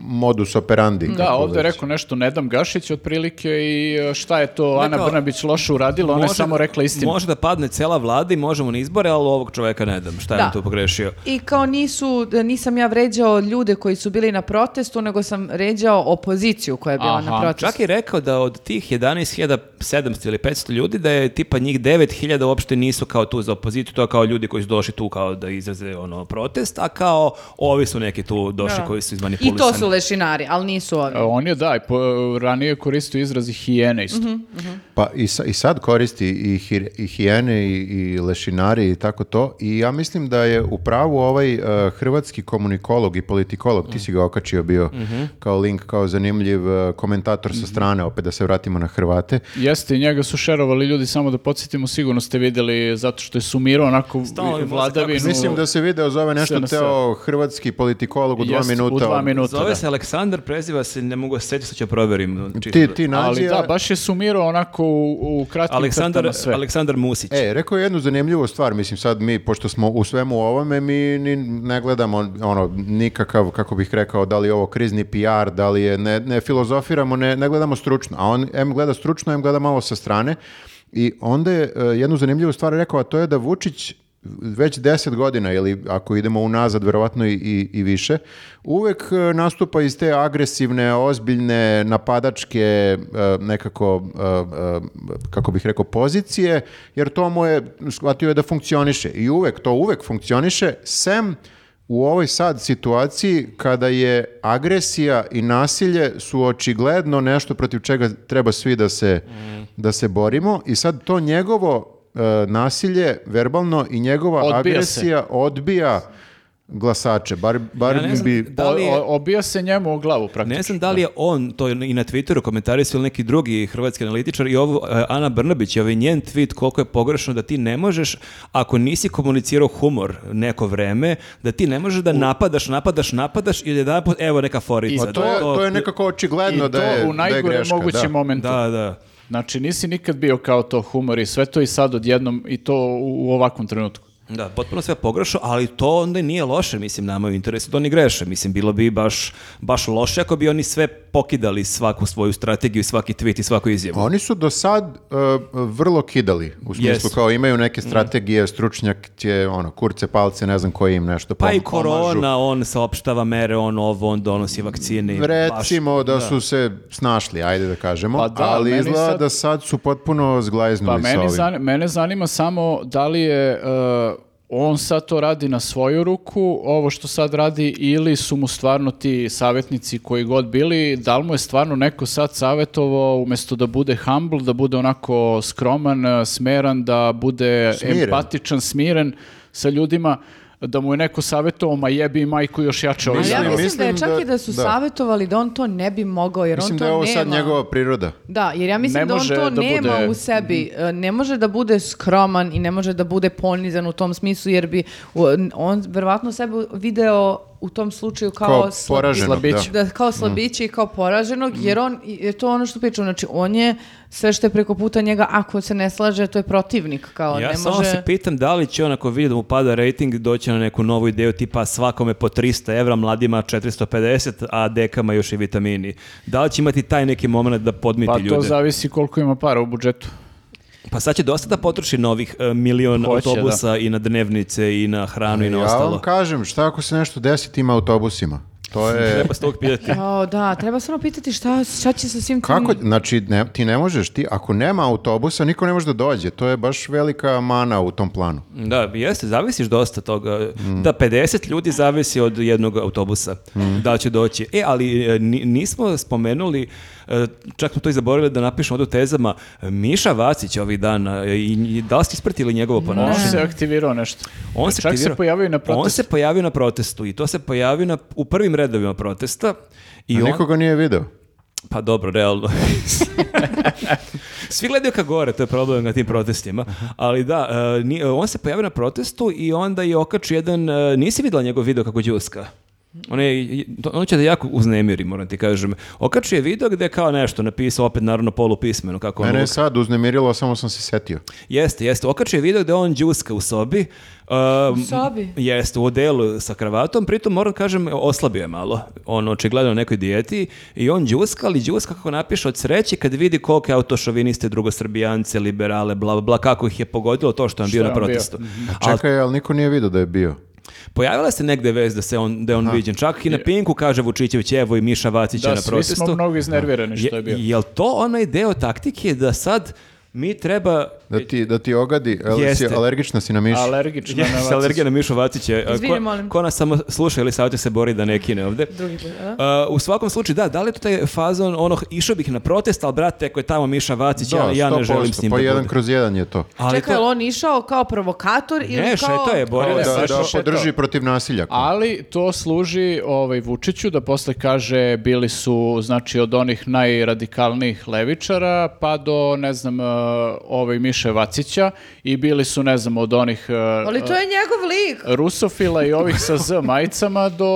modus operandi. Mm. Da, kako ovdje je već. rekao nešto Nedam Gašić otprilike i e, šta je to Ana kao- Brnabić loše uradila, ona je Može- samo rekla istinu. Može da padne cela vlada i možemo na izbore, ali ovog čoveka ne dam. Šta je Da. on tu pogrešio? I kao nisu, nisam ja vređao ljude koji su bili na protestu, nego sam vređao opoziciju koja je bila Aha. na protestu. Čak je rekao da od tih 11.700 ili 500 ljudi, da je tipa njih 9.000 uopšte nisu kao tu za opoziciju, to je kao ljudi koji su došli tu kao da izraze ono protest, a kao ovi su neki tu došli Da. koji su I izmanipulisani. to su lešinari, ali nisu ovi. E, On je, da, i po- ranije koristio izrazi hijene isto. Pa i, sa- i sad koristi i, hir- i hijene i, i lešinari i tako to i ja mislim da je u pravu ovaj e, hrvatski komunikolog i politikolog, ti si ga okačio bio Mhm. kao link, kao zanimljiv e, komentator sa strane, opet da se vratimo na Hrvate. Jeste, i njega su šerovali ljudi, samo da podsjetimo, sigurno ste vidjeli, zato što je sumirao onako vi- Stalno mi mozak vladavinu. kako Mislim da se video zove nešto SNS. teo hrvatski politikolog u dva Jest, minuta. ono. U dva minuta, Zove da. se Aleksandar, preziva se, ne mogu se sjetiti, sad ću proverim. čisto Ti, da- ti nađi, Ali da, a- baš je sumirao onako u, u kratkim Aleksandar, crtama sve. Aleksandar Musić. E, rekao je jednu zanimljivu stvar, mislim sad mi, pošto smo u svemu ovome, mi ni, ne gledamo ono, nikakav, kako bih rekao, da li je ovo krizni PR, da li je, ne, ne filozofiramo, ne, ne gledamo stručno, a on em gleda stručno, em gleda malo sa strane i onda je e, jednu zanimljivu stvar rekao, a to je da Vučić već 10 godina ili ako idemo unazad verovatno i, i, i više, uvek e, nastupa iz te agresivne, ozbiljne, napadačke e, nekako, e, e, kako bih rekao, pozicije, jer to mu je, shvatio je da funkcioniše i uvek, to uvek funkcioniše, sem u ovoj sad situaciji kada je agresija i nasilje su očigledno nešto protiv čega treba svi da se, Mm. da se borimo i sad to njegovo e, nasilje verbalno i njegova Odbija se. agresija odbija glasače. Bar, bar Ja ne znam bi, da li je- O- o- obija se njemu o glavu praktično. Ne znam da li je on to i na Twitteru komentarisao ili neki drugi hrvatski analitičar i ovo e, Ana Brnabić, i ovaj njen tweet koliko je pogrešno da ti ne možeš ako nisi komunicirao humor neko vreme, da ti ne možeš da napadaš, napadaš, napadaš i jedan put evo neka forica. Pa to, je, to je nekako I očigledno to da je, u da je najgorem greška. mogućem da. momentu. Da, da. Znači nisi nikad bio kao to humor i sve to i sad odjednom i to u, u ovakvom trenutku. Da, potpuno sve pogrešno, ali to onda i nije loše, mislim, nama je u interesu da oni greše. Mislim, bilo bi baš, baš loše ako bi oni sve pokidali svaku svoju strategiju, svaki tweet i svaku izjavu. Oni su do sad e, vrlo kidali, u smislu Jesu. kao imaju neke Mm. strategije, stručnjak će, ono, kurce, palce, ne znam koji im nešto Pa i pom- pomažu. korona, on saopštava mere, on ovo, on donosi vakcine. i Recimo da, su se snašli, ajde da kažemo, Pa da, ali meni izgleda sad- da sad su potpuno Pa zglajznuli sa meni, ovim. zani- mene zanima samo da li je e, on sad to radi na svoju ruku, ovo što sad radi, ili su mu stvarno ti savjetnici koji god bili, da li mu je stvarno neko sad savjetovao umjesto da bude humble, da bude onako skroman, e, smeran, da bude Smiren. empatičan, smiren sa ljudima, da mu je neko savjetovao, ma jebi majku još jače ovaj Ali ja Pa Mislim, mislim, da je mislim čak da- i da su da. savjetovali da on to ne bi mogao, jer Mislim on da to je ovo nema. sad njegova priroda. Da, jer ja mislim Ne da on može to da nema bude- u sebi. Mhm. E, Ne može da bude skroman i ne može da bude ponizan u tom smislu, jer bi u- on verovatno sebe video u tom slučaju kao, Kao slab- poraženog, slabić. da. Mhm. da kao slabiće i kao poraženog, jer on, je to ono što pričam, znači on je sve što je preko puta njega, ako se ne slaže, to je protivnik, kao Ja ne samo može... se pitam da li će on ako vidi da mu pada rating doći na neku novu ideju tipa svakome po 300 evra, mladima 450, a dekama još i vitamini. Da li će imati taj neki moment da podmiti Pa to ljude? zavisi koliko ima para u budžetu. Pa sad će dosta da potroši novih e, milion Hoće, autobusa i na dnevnice i na hranu i na Ja ostalo. vam kažem, šta ako se nešto desi tim autobusima? To je... Treba se tog pitati. O, da, treba samo pitati šta, šta će sa svim tim... Kako, znači, ne, ti ne možeš, ti, ako nema autobusa, niko ne može da dođe. To je baš velika mana u tom planu. Da, jeste, zavisiš dosta toga. Da, 50 ljudi zavisi od jednog autobusa da li će doći. E, ali e, ni- nismo spomenuli, e, čak smo to i zaboravili da napišemo ovdje u tezama, Miša Vacić ovih dana, e, i, i da li ste ispratili njegovo On ponašanje? Ono se aktivirao nešto. On se, Čak aktivirao- se pojavio i na On protestu. se pojavio na protestu i to se pojavio na, u prvim redovima protesta. I I on- niko ga nije video. pa dobro, realno. Svi gledaju ka gore, to je problem na tim protestima. Ali da, e, ni- e, on se pojavio na protestu i onda je okačio jedan, e, nisi vidjela njegov video kako đuska? On, je, to- on će da jako uznemiri, moram ti kažem. Okačio je video gde je kao nešto napisao, opet naravno polupismeno. Kako on Mene je luk- sad uznemirilo, samo sam se setio. Jeste, jeste. Okačio je video gde on đuska u sobi. u sobi? Jeste, u odelu sa kravatom. Pritom moram da kažem, oslabio je malo. On očigledno na nekoj dijeti i on đuska, ali đuska kako napiše od sreće kad vidi koliko je autošoviniste, drugosrbijance, liberale, bla, bla, bla, kako ih je pogodilo to što je on bio je na on bio? Mhm. protestu. A čekaj, ali niko nije video da je bio. Pojavila se negde vez da se on, da je on viđen. Čak i na Pinku kaže Vučićević, evo i Miša Vacić je Da, na svi protestu. smo mnogo iznervirani što je bio. Jel to onaj deo taktike da sad mi treba... Da ti, da ti ogadi, jel si Jeste. alergična si na miš. Alergično na Yes, vacicu. alergija na Mišu Vacića. Izvini, Ko, molim. ko nas samo sluša ili savjetuje se bori da ne kine ovde. Drugi put, a? Uh, u svakom slučaju, da, da li je to taj fazon, ono, išao bih na protest, ali brate, ako je tamo Miša Vacić, Da, ja, ja ne 100%, želim s njim Pa da jedan budem. kroz jedan je to. Ali Čekaj, to- jel on išao kao provokator ili Ne, kao... šetao e, je, borio Da, se. da, baš je šetao. podrži protiv nasilja. Ali to služi ovaj Vučiću da posle kaže bili su znači od onih najradikalnijih levičara pa do ne znam e, ovaj Miše Vacića i bili su ne znam od onih e, Ali to je njegov lik. rusofila i ovih sa Z majicama do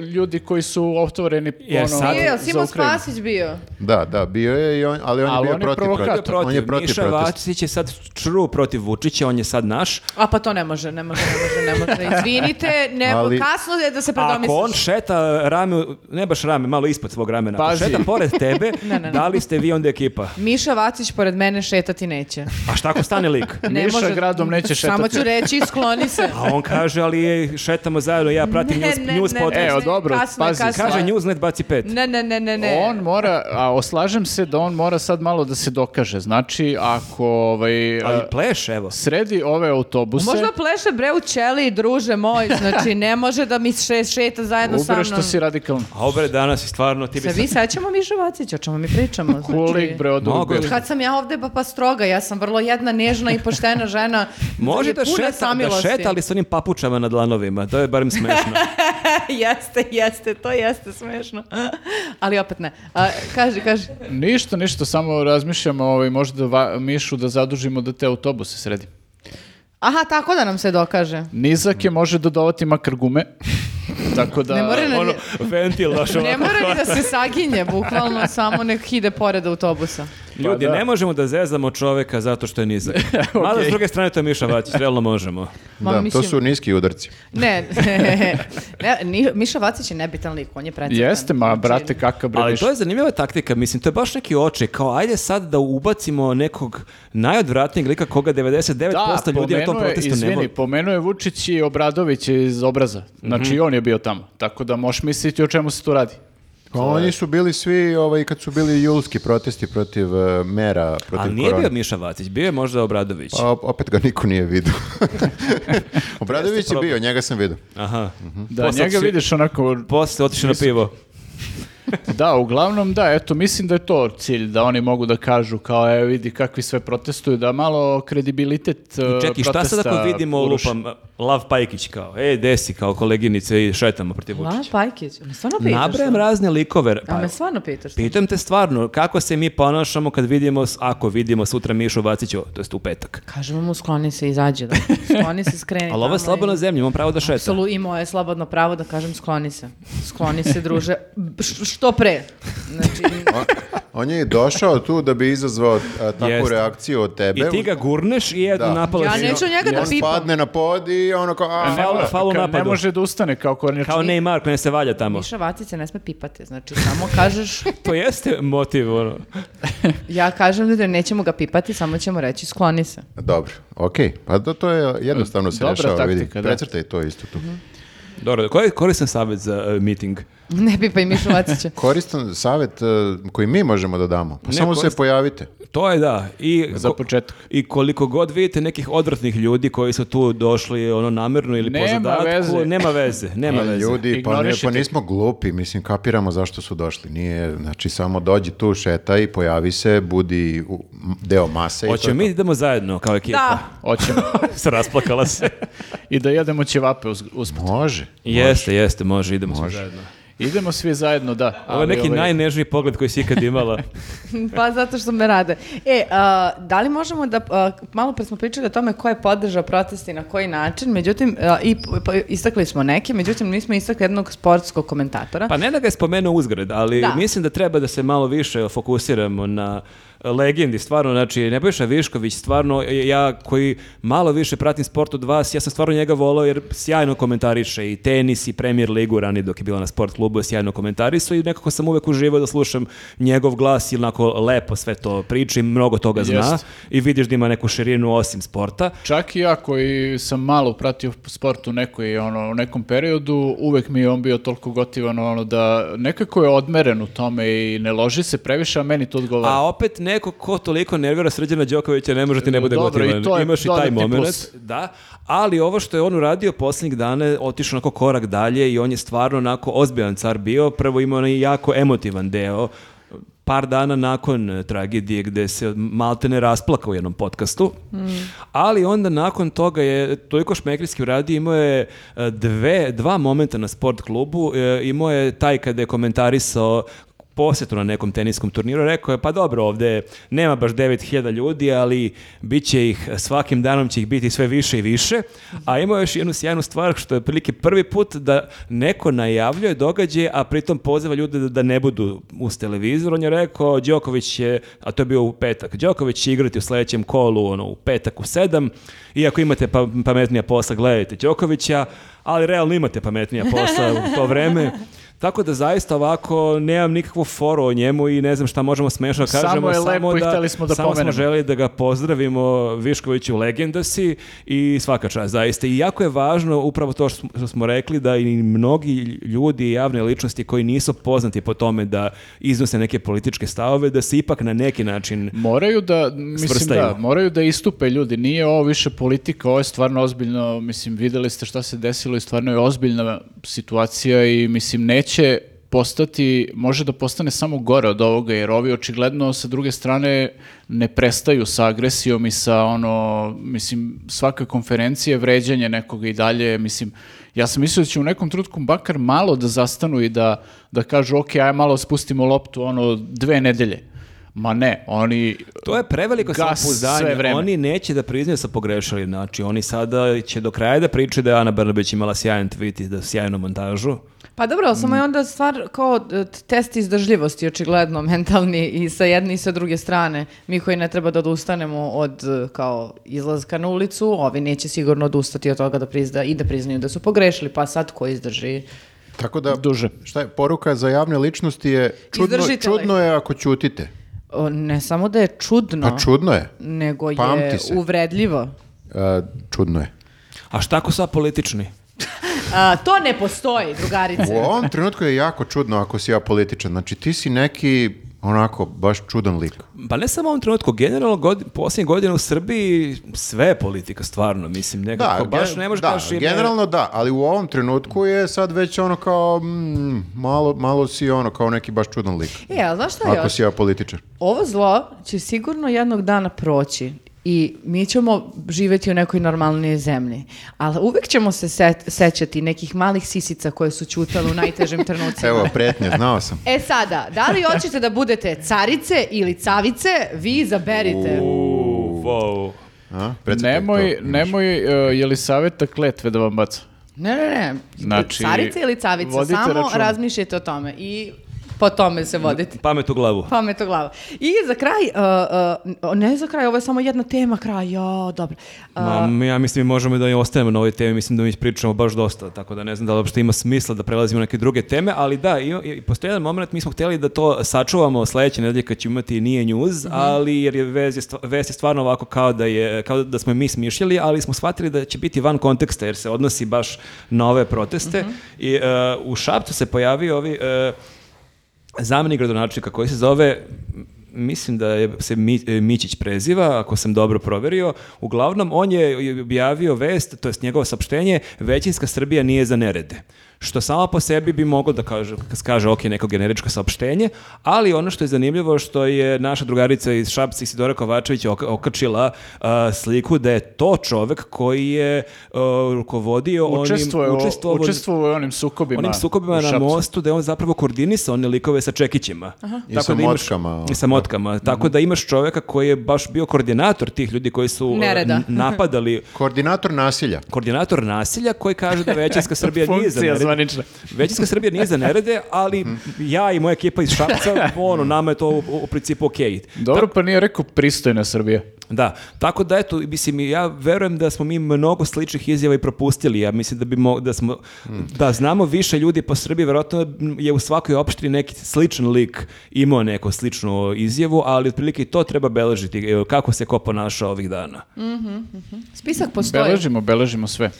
ljudi koji su optovareni Jer ono, E, sad- Bio, jel za Simo Ukrajinu. Spasić bio? Da, da, bio je, i on, ali on Ali je bio on je protiv provokator. Bio protesta. On je protiv Miša protesta. Vacić je sad čru protiv Vučića, on je sad naš. A pa to ne može, ne može, ne može, ne može. Izvinite, ne, Ali- kasno je da se predomisliš. Ako on šeta rame, u- ne baš rame, malo ispod svog ramena, ako Pazi. šeta pored tebe, Ne, ne, ne. da li ste vi onda ekipa? Miša Vacić pored mene šetati neće. A šta ako stane lik? Ne Miša može- gradom neće Samo šetati. ću reći, skloni se. A on kaže, ali je, šetamo zajedno, ja pratim news, news podcast. Evo, dobro, kasno je, pazi. kasno je. Kaže Newsnet baci pet. Ne, ne, ne, ne, ne. On mora, a oslažem se da on mora sad malo da se dokaže. Znači, ako ovaj, Ali e, pleš, evo. sredi ove autobuse... Možda pleše bre u ćeliji, druže moj, znači ne može da mi še, šeta zajedno sa Ubre mnom. što si radikalan. A obre danas je stvarno ti bi Se sad- vi sećamo Miša Vacića, o čemu mi pričamo? Znači, Kulik, bre, od Mnogo je Uber. Kad sam ja ovde pa, pa stroga, ja sam vrlo jedna nežna i poštena žena. Može da puna šeta, da samilosti. šeta, ali s onim papučama na dlanovima. To je barem smešno. jeste, jeste, to jeste smešno. ali opet ne. A, kaži, kaži. Ništa, ništa, samo razmišljamo ovaj, možda va- Mišu da zadužimo da te autobuse sredi. Aha, tako da nam se dokaže. Nizak Mm. je može dodavati makar gume, tako da... Ne mora na- ono, ventil daš Ne ovako. mora ni da se saginje, bukvalno samo nek ide pored autobusa. Ljudi, Pa da. ne možemo da zezamo čoveka zato što je nizak. Mada s druge strane to je Miša Vacić, realno možemo. Ma, da, mislim- to su niski udarci. Ne, ne, ni- Miša Vacić je nebitan lik, on je precetan. Jeste, ma, Znači, brate, kakav bre, Ali Miša. to je zanimljiva taktika, mislim, to je baš neki oči, kao ajde sad da ubacimo nekog najodvratnijeg lika koga 99% ljudi na tom pomenuo je- protestu ne izvini, voli. pomenuo je Vučić i Obradović iz obraza. Znači, Mhm. i on je bio tamo. Tako da možeš misliti o čemu se tu radi. Pa oni su bili svi, ovaj, kad su bili julski protesti protiv eh, mera, protiv Ali nije korone. bio Miša Vacić, bio je možda Obradović. Pa op- opet ga niko nije vidio. Obradović Jeste je problem. bio, njega sam vidio. Aha. Da, Posle njega su- vidiš onako... Posle otišao na pivo. Da, uglavnom da, eto, mislim da je to cilj, da oni mogu da kažu kao, e, vidi kakvi sve protestuju, da malo kredibilitet e, Čekaj, šta sad ako protesta vidimo, uruši. lupam, Lav Pajkić kao, e, desi, kao koleginice i šetamo protiv La, Vučića. Znači, Pajkić, me stvarno pitaš? Nabrajam to? razne likove. A Pa, me stvarno pitaš? to? pitam te stvarno, kako se mi ponašamo kad vidimo, s- ako vidimo sutra Mišu Vaciću, to jest u petak. Kažemo mu skloni se, izađe. Da. Skloni se, skreni. Ali ovo je E, tamo slabo i- na zemlji, imam pravo da šeta. Apsolu- i moje slobodno pravo da kažem skloni se. Skloni se, druže. B- š- Što pre. Znači, On, on je i došao tu da bi izazvao eh, takvu Jeste. reakciju od tebe. I ti ga gurneš i jedno Da. napala ja si- neću njega da On pipam. spadne na pod i ono kao... a, Ne, Faul- mora- faul ka- ne napadu. može da ustane kao kornjač. Kao Neymar koji ne se valja tamo. Miša Vacić se ne sme pipati, znači samo kažeš, To jeste motiv, ono. ja kažem da nećemo ga pipati, samo ćemo reći skloni se. Dobro, okej. Pa to, to je jednostavno se Dobra rešava, vidi. taktika, da. Precrtaj to isto tu. Dobro, koji je koristan savjet za e, miting? Ne bi pa i Mišu Vacića. Koristan savjet e, koji mi možemo da damo. Pa samo se koristan. pojavite. To je da. I, Za ko- početak. I koliko god vidite nekih odvratnih ljudi koji su tu došli ono namerno ili po Nema zadatku, veze. nema veze, nema veze. Ljudi, pa, ne, Ignorišite. pa nismo glupi, mislim, kapiramo zašto su došli. Nije, znači, samo dođi tu, šetaj, pojavi se, budi u- m- deo mase. i to je Hoćemo mi idemo zajedno kao ekipa. Hoćemo. se rasplakala se. I da jedemo ćevape uz, usput. to. Može. jeste, jeste, može, idemo svi zajedno. Idemo svi zajedno, da. Ovo je ali neki ovaj- najnežniji pogled koji si ikad imala. pa zato što me rade. E, a, da li možemo da, a, malo pre smo pričali o tome ko je podržao protesti na koji način, međutim, a, i, p- pa istakli smo neke, međutim, nismo istakli jednog sportskog komentatora. Pa ne da ga je spomenuo uzgred, ali Da. mislim da treba da se malo više fokusiramo na legendi, stvarno, znači Nebojša Višković, stvarno, ja koji malo više pratim sport od vas, ja sam stvarno njega volao jer sjajno komentariše i tenis i premier ligu rani dok je bila na sport klubu, je sjajno komentarisu i nekako sam uvek uživao da slušam njegov glas i onako lepo sve to priča i mnogo toga zna Jest. i vidiš da ima neku širinu osim sporta. Čak i ja koji sam malo pratio sport u, nekoj, ono, u nekom periodu, uvek mi je on bio toliko gotivan ono, da nekako je odmeren u tome i ne loži se previše, a meni to odgovara. A opet neko ko toliko nervira Srđana Đokovića ne može ti ne bude Dobro, gotivan. i to je Imaš i taj dodatni moment. plus. Da, ali ovo što je on uradio posljednjih dana je otišao onako korak dalje i on je stvarno onako ozbiljan car bio. Prvo imao onaj jako emotivan deo par dana nakon eh, tragedije gde se malte ne rasplaka u jednom podcastu, ali onda nakon toga je toliko šmekrijski uradio, imao je eh, dve, dva momenta na sport klubu, eh, imao je taj kada je komentarisao posetu na nekom teniskom turniru, rekao je pa dobro ovde nema baš 9000 ljudi, ali bit će ih, svakim danom će ih biti sve više i više, a imao je još jednu sjajnu stvar što je prilike prvi put da neko najavljuje događaje, a pritom poziva ljude da, da ne budu uz televizor, on je rekao Đoković je, a to je bio u petak, Đoković će igrati u sledećem kolu ono, u petak u sedam, i ako imate pa, pametnija posla, gledajte Đokovića, ali realno imate pametnija posla u to vreme. Tako da zaista ovako nemam nikakvu foru o njemu i ne znam šta možemo smešno da Samo kažemo. je lepo i hteli smo da samo pomenemo. smo želi da ga pozdravimo Viškoviću legenda si i svaka čast zaista. I jako je važno upravo to što smo, što smo rekli da i mnogi ljudi i javne ličnosti koji nisu poznati po tome da iznose neke političke stavove, da se ipak na neki način Moraju da, mislim Svrstaju. da, moraju da istupe ljudi. Nije ovo više politika, ovo je stvarno ozbiljno, mislim, videli ste šta se desilo i stvarno je ozbiljna situacija i mislim neće postati, može da postane samo gore od ovoga, jer ovi očigledno sa druge strane ne prestaju sa agresijom i sa ono, mislim, svaka konferencija je vređanje nekoga i dalje, mislim, ja sam mislio da će u nekom trutku bakar malo da zastanu i da, da kažu, ok, aj malo spustimo loptu, ono, dve nedelje. Ma ne, oni... To je preveliko Gas sve samopouzdanje. vreme. Oni neće da priznaju da su pogrešili. Znači, oni sada će do kraja da pričaju da je Ana Brnabić imala sjajan tweet i da sjajnu montažu. Pa dobro, ali samo Mm. je onda stvar kao e, t- test izdržljivosti, očigledno, mentalni i sa jedne i sa druge strane. Mi koji ne treba da odustanemo od e, kao izlaska na ulicu, ovi neće sigurno odustati od toga da prizna, i da priznaju da su pogrešili, pa sad ko izdrži? Tako da, Duže. šta je, poruka za javne ličnosti je, čudno, Izdržite, like. čudno je ako ćutite. O, ne samo da je čudno, Pa čudno je. nego je pamti se. uvredljivo. E, čudno je. A šta ako su apolitični? A, to ne postoji, drugarice. U ovom trenutku je jako čudno ako si ja političan. Znači, ti si neki, onako, baš čudan lik. Pa ne samo u ovom trenutku, generalno godi, posljednje godine u Srbiji sve je politika, stvarno, mislim, nekako, baš gen- ne možeš da, kažeš ime- generalno da, ali u ovom trenutku je sad već ono kao, mm, malo, malo si ono, kao neki baš čudan lik. E, ali znaš šta je Ako još? si ja političar. Ovo zlo će sigurno jednog dana proći i mi ćemo živjeti u nekoj normalnijoj zemlji. Ali uvek ćemo se set, sećati nekih malih sisica koje su ćutale u najtežim trenucima. Evo, pretnje, znao sam. E sada, da li hoćete da budete carice ili cavice, vi izaberite. Uuu, wow. A? Precrtaj Nemoj, to. nemoj, uh, je li savjeta kletve da vam baca? Ne, ne, ne. Znači, carice ili cavice, vodite samo računa. razmišljajte o tome. I Po tome se voditi. Pamet u glavu. Pamet u glavu. I za kraj, uh, uh, ne za kraj, ovo je samo jedna tema, kraj, jo, dobro. Uh, Ma, mi- ja mislim mi možemo da i ostajemo na ovoj temi, mislim da mi pričamo baš dosta, tako da ne znam da li uopšte ima smisla da prelazimo na neke druge teme, ali da, i, i postoji jedan moment, mi smo htjeli da to sačuvamo sledeće nedelje kad ćemo imati nije news, ali jer je vez je stva- vest je stvarno ovako kao da je kao da smo je mi smišljali, ali smo shvatili da će biti van konteksta jer se odnosi baš na ove proteste i e, u Šapcu se pojavio ovi e, zamenik gradonačelnika koji se zove mislim da je se Mi- e, Mićić preziva, ako sam dobro proverio. Uglavnom, on je objavio vest, to jest njegovo saopštenje, većinska Srbija nije za nerede. Što samo po sebi bi moglo da kaže, kaže ok, neko generičko saopštenje, ali ono što je zanimljivo što je naša drugarica iz Šapca Isidora Kovačević ok- okačila a, sliku da je to čovek koji je a, rukovodio Učestvovao onim... učestvovao učestvovao- je u onim sukobima. onim u sukobima na Šapcu. mostu da je on zapravo koordinisao one likove sa čekićima. I Tako sa da imaš- ono. motkama. I sa motkama. Mhm. Tako da imaš čoveka koji je baš bio koordinator tih ljudi koji su uh, Nereda. n- napadali Koordinator nasilja. koordinator nasilja koji kaže da većinska Srbija nije za Funkcija nerede. zvanična. Mhm. Većinska Srbija nije za nerede, ali ja i moja ekipa iz Šapca, ono, nama je to u, u principu okej. Dobro, pa nije rekao pristojna Srbija. Da, tako da eto, mislim, ja verujem da smo mi mnogo sličnih izjava i propustili. Ja mislim da bi mo- da smo, da znamo više ljudi po Srbiji, vjerojatno je u svakoj opštini neki sličan lik imao neku sličnu izjavu, ali otprilike i to treba beležiti, e, kako se ko ponašao ovih dana. spisak postoji. Beležimo, beležimo sve.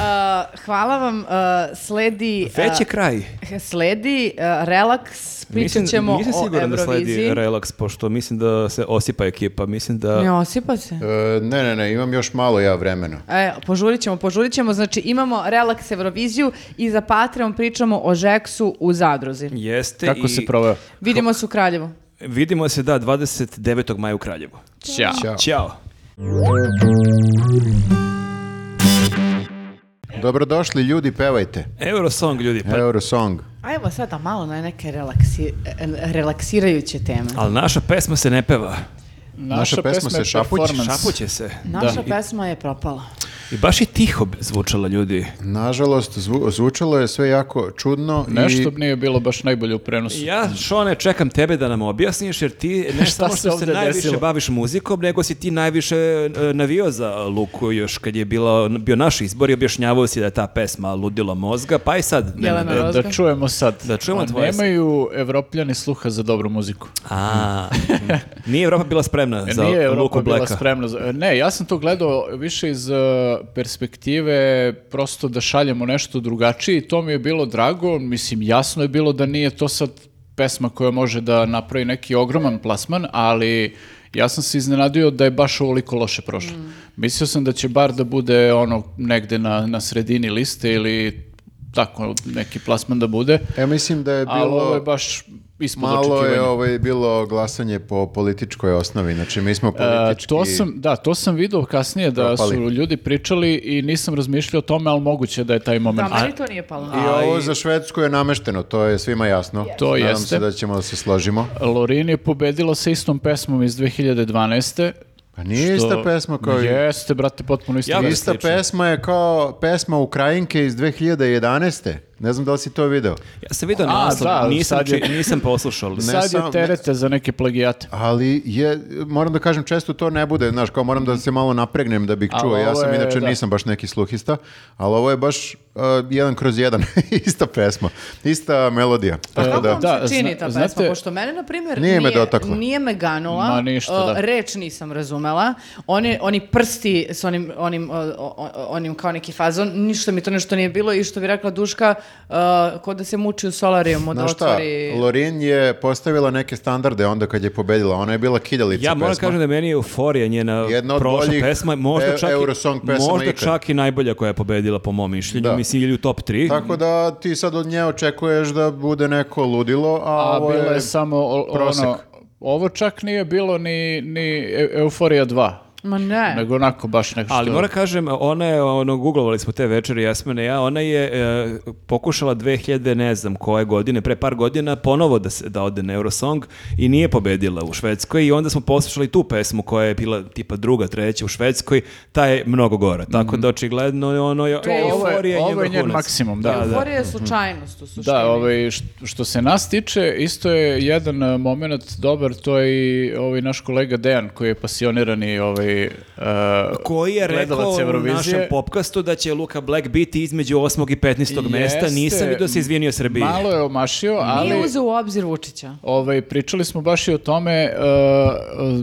A, Uh, hvala vam. a, sledi... a, Već je kraj. Sledi a, relaks, pričat ćemo nisam o siguran da sledi Euroviziji. relaks, pošto mislim da se osipa ekipa, mislim da... Ne osipa se. E, ne, ne, ne, imam još malo ja vremena. E, požurit ćemo, požurit ćemo. Znači imamo relaks Euroviziju i za Patreon pričamo o Žeksu u Zadruzi. Jeste Kako i se proveo? Vidimo se u Kraljevu. vidimo se da 29. maja u Kraljevu. Ćao. Ćao. Ćao. Dobrodošli ljudi, pevajte. Eurosong ljudi, pa Eurosong. A evo sada malo na neke relaksi- relaksirajuće teme. ali naša pesma se ne peva. Naša pesma se je šapuće, performance. Šapuće se. Naša pesma je propala. I baš je tiho zvučala ljudi. Nažalost, zvu- zvučalo je sve jako čudno Nešto i nije bilo baš najbolje u prenosu. Ja, Šone, čekam tebe da nam objasniš, jer ti ne Šta samo se što se ovde najviše desilo? baviš muzikom, nego si ti najviše e, navio za Luku još kad je bila, bio naš izbor i objašnjavao si da je ta pesma ludilo mozga, pa i sad. Nenade. Jelena Ro- Da čujemo sad. Da čujemo A tvoje- Nemaju evropljani sluha za dobru muziku. A, nije Evropa bila spremna za E, Nije Europa Luku bila Blacka. spremna. za- e, Ne, ja sam to gledao više iz eh, perspektive prosto da šaljemo nešto drugačije i to mi je bilo drago. Mislim, jasno je bilo da nije to sad pesma koja može da napravi neki ogroman plasman, ali ja sam se iznenadio da je baš ovoliko loše prošlo. Mislio sam da će bar da bude ono negde na, na sredini liste ili tako neki plasman da bude, ja mislim da je ali ovo je bilo baš ispod malo je očekivanja. ovaj bilo glasanje po političkoj osnovi. Znači mi smo E, politički to sam, da, to sam video kasnije da Propali. su ljudi pričali i nisam razmišljao o tome, ali moguće da je taj moment. Da, meni to nije palo. I ovo za Švedsku je namešteno, to je svima jasno. To Nadam jeste. se da ćemo da se složimo. Lorin je pobedila sa istom pesmom iz 2012. Pa nije ista pesma kao i... Jeste, brate, potpuno ista Ja- pesma. Ista slično. pesma je kao pesma Ukrajinke iz 2011. Ne znam da li si to video. Ja sam vidio A, naslov, da, nisam, sad je- či- nisam poslušao. Sad je sam- terete za neke plagijate. Ali je, moram da kažem, često to ne bude, znaš, kao moram da se malo napregnem da bih Ali čuo. Ja ovo sam je, inače da. nisam baš neki sluhista, ali ovo je baš uh, jedan kroz jedan, ista pesma, ista melodija. Tako Pa Kako da, vam E, Da, se čini zna- ta pesma? znate- Pošto mene, na primjer, Nije me dotakla. nije me ganula, Ma ništa, o, da. reč nisam razumela, oni, oni prsti s onim, onim, o, o, onim kao neki fazon, ništa mi to nešto nije bilo i što bi rekla Duška, uh, ko da se muči u Pa solarijumu, da znaš šta, otvori... Lorin je postavila neke standarde onda kad je pobedila. Ona je bila kiljalica Ja moram pesma. kažem da meni je euforija njena Jedna od prošla boljih pesma, možda e- čak, Eurosong i, pesama možda ikad. čak i najbolja koja je pobedila po mom mišljenju, Da. mislim ili u top 3. Tako da ti sad od nje očekuješ da bude neko ludilo, a, A ovo je... bila je samo o- prosek. ono... Ovo čak nije bilo ni, ni Eu- Euforija 2. Ma ne. Nego onako baš nešto Ali što- moram kažem, ona je, ono, googlovali smo te večeri, Jasmina i ja, ona je e, pokušala 2000, ne znam koje godine, pre par godina, ponovo da, se, da ode na Eurosong i nije pobedila u Švedskoj i onda smo poslušali tu pesmu koja je bila tipa druga, treća u Švedskoj, ta je mnogo gora. Tako Mhm. da očigledno ono je, je- euforija je ovo je njen njen vrhunac. maksimum, da. Mhm. da. Euforija je slučajnost u suštini. Da, ovaj, š- što se nas tiče, isto je jedan e, moment dobar, to je i ovaj naš kolega Dejan, koji je pasionirani ovaj, e, Koji je rekao gledalac u našem Eurovizije. popkastu da će Luka Black biti između 8. i 15. mesta. Jeste, Nisam vidio da se izvinio Srbiji. Malo je omašio, ali... Nije uzeo u obzir Vučića. Ovaj, pričali smo baš i o tome, e, e,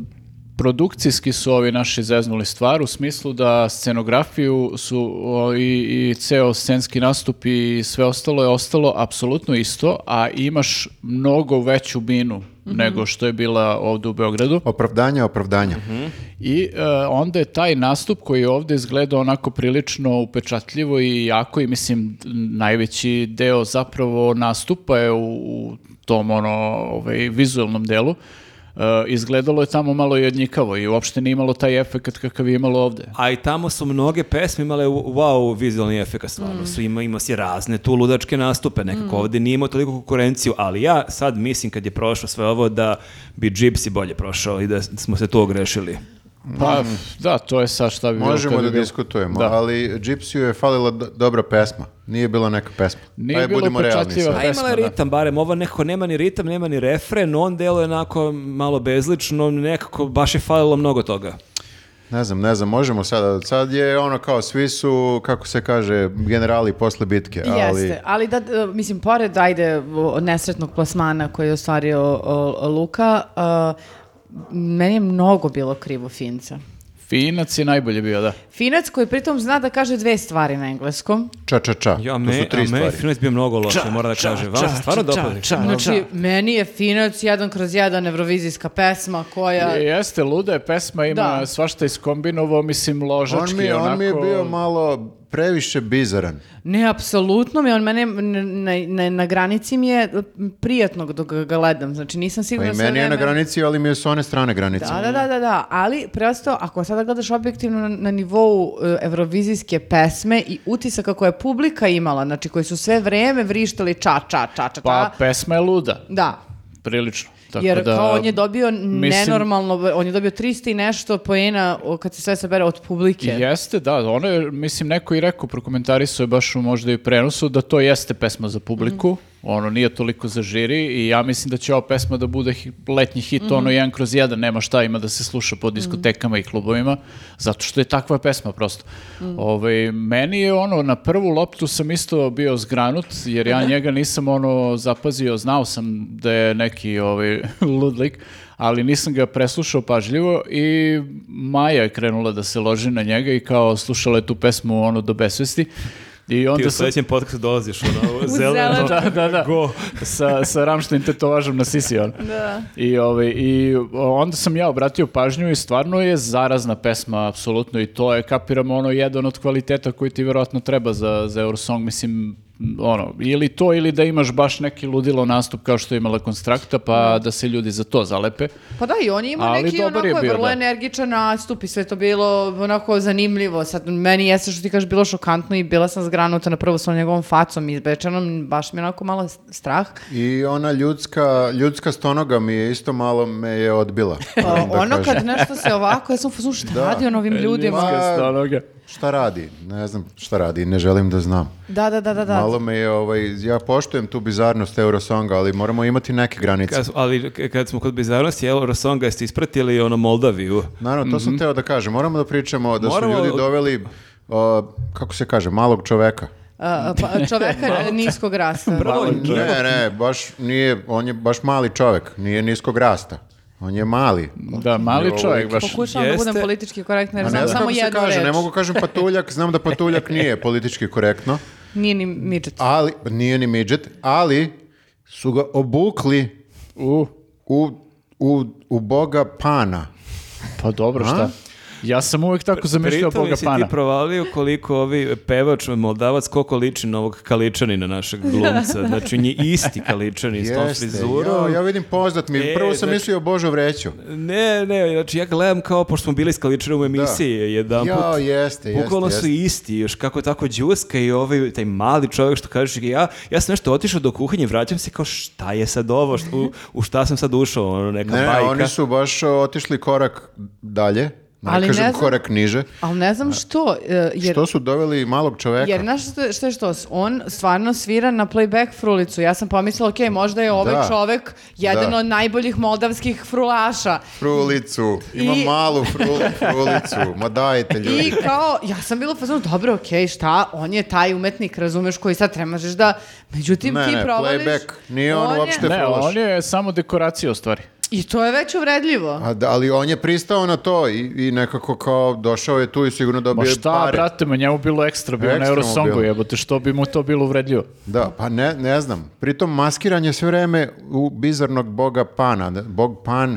produkcijski su ovi naši zeznuli stvar, u smislu da scenografiju su o, i, i ceo scenski nastup i sve ostalo je ostalo apsolutno isto, a imaš mnogo veću binu nego što je bila ovdje u Beogradu. Opravdanja, opravdanja. I e, onda je taj nastup koji je ovdje izgledao onako prilično upečatljivo i jako i mislim najveći deo zapravo nastupa je u, u tom ono ovaj, vizualnom delu. E, izgledalo je tamo malo i odnjikavo i uopšte nije imalo taj efekt kakav je imalo ovdje. A i tamo su mnoge pesme imale wow vizualni efekt, stvarno Mm. su ima, ima si razne tu ludačke nastupe, nekako ovdje nije imao toliko konkurenciju, ali ja sad mislim kad je prošlo sve ovo da bi Gypsy bolje prošao i da smo se to ogrešili. Pa da, to je sad šta bi bilo Mhm. Možemo kad bi da bilo. diskutujemo, Da. ali Gypsyu je falila do- dobra pesma. Nije bila neka pesma. Nije Ajde, bilo budimo realni upečatljiva. sad. A imala je pesma, da. ritam, barem ovo nekako nema ni ritam, nema ni refren, on delo je onako malo bezlično, nekako baš je falilo mnogo toga. Ne znam, ne znam, možemo sada. Sad je ono kao svi su, kako se kaže, generali posle bitke. Ali... Jeste, ali da, e, mislim, pored, ajde, o, nesretnog plasmana koji je ostvario o, o, Luka, e, meni je mnogo bilo krivo Finca. Finac je najbolje bio, da. Finac koji pritom zna da kaže dve stvari na engleskom. Ča, ča, ča. Ja, to me, su tri a me stvari. Finac bio mnogo loše, mora da kaže. Vam se stvarno dopali? Pa, Znači, meni je Finac jedan kroz jedan evrovizijska pesma koja... E, Jeste, luda je pesma, ima Da. svašta iskombinovao, mislim, ložački, On mi, je- on mi je onako- bio malo previše bizaran. Ne, apsolutno mi, on mene n- na, na, na granici mi je prijatno dok ga gledam, znači nisam Pa i sigurna sve meni je na vreme- granici, ali mi je s one strane granice. Da, da, da, da, da, ali prosto ako sada gledaš objektivno na, na nivou e, evrovizijske pesme i utisaka koje publika imala, znači koji su sve vreme vrištali ča, ča, ča, ča, Pa, ča, pesma je luda. da, Prilično. Tako jer da, kao on je dobio mislim- nenormalno, on je dobio 300 i nešto poena o, kad se sve sabere od publike. Jeste, da, ono je, mislim, neko i rekao, prokomentarisao je baš u možda i prenosu, da to jeste pesma za publiku, Mhm. ono nije toliko za žiri i ja mislim da će ova pesma da bude hi- letnji hit, Mhm. ono jedan kroz jedan, nema šta ima da se sluša po diskotekama i klubovima, zato što je takva pesma prosto. Mhm. Ovaj, meni je ono, na prvu loptu sam isto bio zgranut, jer ja njega nisam ono zapazio, znao sam da je neki ovaj, ludlik, ali nisam ga preslušao pažljivo i Maja je krenula da se loži na njega i kao slušala je tu pesmu ono do besvesti. I onda Ti u sam, sledećem podcastu dolaziš ono, u zeleno. zeleno. da, da, da. Go. sa, sa Rammstein tetovažom na sisi ono. on. I, ovaj, I onda sam ja obratio pažnju i stvarno je zarazna pesma, apsolutno, i to je, kapiram, ono, jedan od kvaliteta koji ti vjerojatno treba za, za Eurosong, mislim, ono, ili to, ili da imaš baš neki ludilo nastup kao što je imala Konstrakta, pa da se ljudi za to zalepe. Pa da, i on je imao Ali neki dobar je onako bio, vrlo da. energičan nastup i sve to bilo onako zanimljivo. Sad, meni jeste što ti kažeš bilo šokantno i bila sam zgranuta na prvu sa njegovom facom izbečenom, baš mi je onako malo s- strah. I ona ljudska, ljudska stonoga mi je isto malo me je odbila. Pa, moram da ono kažem. kad nešto se ovako, ja sam u fazonu, šta radi on ovim E, ljudima? Ma- Ljudska stanoga. Šta radi? Ne znam šta radi, ne želim da znam. Da, da, da, da. da. Malo me je, ovaj, ja poštujem tu bizarnost Eurosonga, ali moramo imati neke granice. Kad, ali k- kad smo kod bizarnosti, jel, Rosonga ste ispratili ono Moldaviju. Naravno, to sam teo da kažem. Moramo da pričamo da Moramo- su ljudi doveli, o, kako se kaže, malog čoveka. A, pa, čoveka niskog rasta. Prvo, Ne, ne, baš nije, on je baš mali čovek, nije niskog rasta. On je mali. Da, mali čovjek baš. Pokušavam da Jeste. budem politički korektna jer A ne znam znam samo kako se jednu kaže, reč. ne mogu kažem patuljak, znam da patuljak nije politički korektno, Nije ni midget. ali, nije ni midget, ali su ga obukli U, u, u, u boga pana. pa dobro, šta? Ja sam uvek tako zamišljao Pritom Boga si ti Pana. provalio koliko ovi pevač Moldavac, koliko liči na ovog Kaličanina našeg glumca. Znači, on je isti Kaličanin s tom Jeste, frizurom. jo, ja vidim poznat mi. E, Prvo sam znači- mislio Božo Vreću. Ne, ne, znači ja gledam kao, pošto smo bili s Kaličanom u emisiji jedan Jo, put. jeste, jeste. Bukvalno su jeste. isti, još kako tako Đuska i ovaj, taj mali čovjek što kažeš, ja, ja sam nešto otišao do kuhinje, vraćam se kao šta je sad ovo, Šta- u, u šta sam sad ušao, ono neka Ne, bajka. oni su baš o, otišli korak dalje, da ne Ali ne kažem znam- korak niže. Ali ne znam što, e, jer... Što su doveli malog čoveka? Jer znaš što, je- što je što, on stvarno svira na playback frulicu. Ja sam pomislila, ok, možda je ovaj Da. čovek jedan Da. od najboljih moldavskih frulaša. Frulicu, ima I- malu frul- frulicu, ma dajte ljudi. I kao, ja sam bila fazonu, dobro, ok, šta, on je taj umetnik, razumeš, koji sad tremažeš da, međutim, Ne, ti ne, provališ... playback, nije on je- uopšte- Ne, frulaš. on je samo dekoracija u stvari. I to je već uvredljivo. A da, ali on je pristao na to i, i nekako kao došao je tu i sigurno Ma dobio je šta, pare. brate, ma njemu bilo ekstra, bio na Ekstra mu Eurosongu, bilo. jebote, što bi mu to bilo uvredljivo? Da, pa ne, ne znam. Pritom maskiranje sve vreme u bizarnog boga Pana. Bog Pan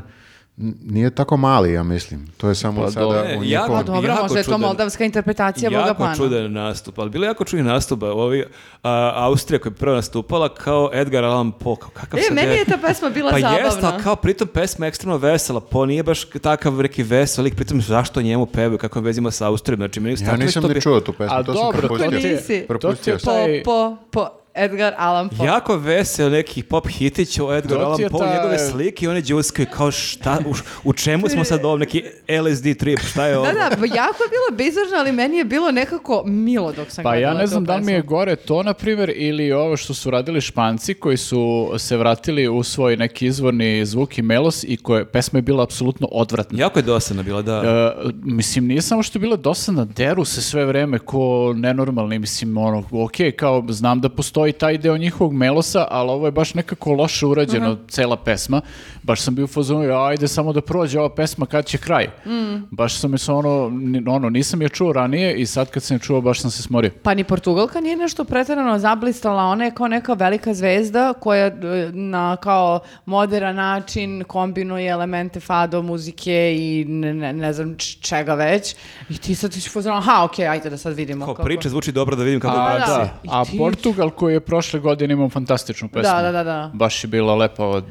n- nije tako mali, ja mislim. To je samo Pa sada dobro. u E, ja njihovom... Pa dobro, Jako možda je to čudan. moldavska interpretacija Boga jako Pana. čudan nastup, ali bilo je jako čudan nastup. Ovi, a, Austrija koja je prva nastupala kao Edgar Allan Poe. Kao, kakav E, sad meni je ta pesma bila pa zabavna. jeste, ali kao pritom pesma je ekstremno vesela. Poe nije baš takav reki vesel, lik pritom zašto njemu pevaju, kako je vezima sa Austrijom. Znači, meni je Ja strašno nisam to ni bi- čuo tu pesmu, A to dobro, sam to propustio. ti je- ti, to ti Propustio je sam. taj... Po, po, po, Edgar Allan Poe. Jako vesel neki pop hitić o Edgar To ti Allan je Poe, ta- njegove slike i one džuskaju kao šta, u, u čemu smo sad ovom neki LSD trip, šta je ovo? Da, da, pa jako je bilo bizarno, ali meni je bilo nekako milo dok sam Pa gledala ja ne tu znam da li mi je pesmu. gore to, na primjer, ili ovo što su radili španci koji su se vratili u svoj neki izvorni zvuk i melos i koje pesma je bila apsolutno odvratna. Jako je dosadna bila, da. E, mislim, nije samo što je bila dosadna, deru se sve vreme ko nenormalni, mislim, ono, ok, kao znam da postoji taj deo njihovog melosa, ali ovo je baš nekako loše urađeno, Mhm. cela pesma. Baš sam bio u fazonu, ajde samo da prođe ova pesma, kad će kraj. Mm. Baš sam je se ono, ni- ono, nisam je čuo ranije i sad kad sam je čuo, baš sam se smorio. Pa ni Portugalka nije nešto pretjerano zablistala, ona je kao neka velika zvezda koja e, na kao moderan način kombinuje elemente fado, muzike i ne, ne, ne znam č- čega već. I ti sad ćeš pozvano, aha, okej, ajde da sad vidimo. Kao kako- priča zvuči dobro da vidim kako je A, praksi. da. I Znači, A ti- Portugal koji je prošle godine imao fantastičnu pesmu. Da, da, da, da. Baš je bila lepa od,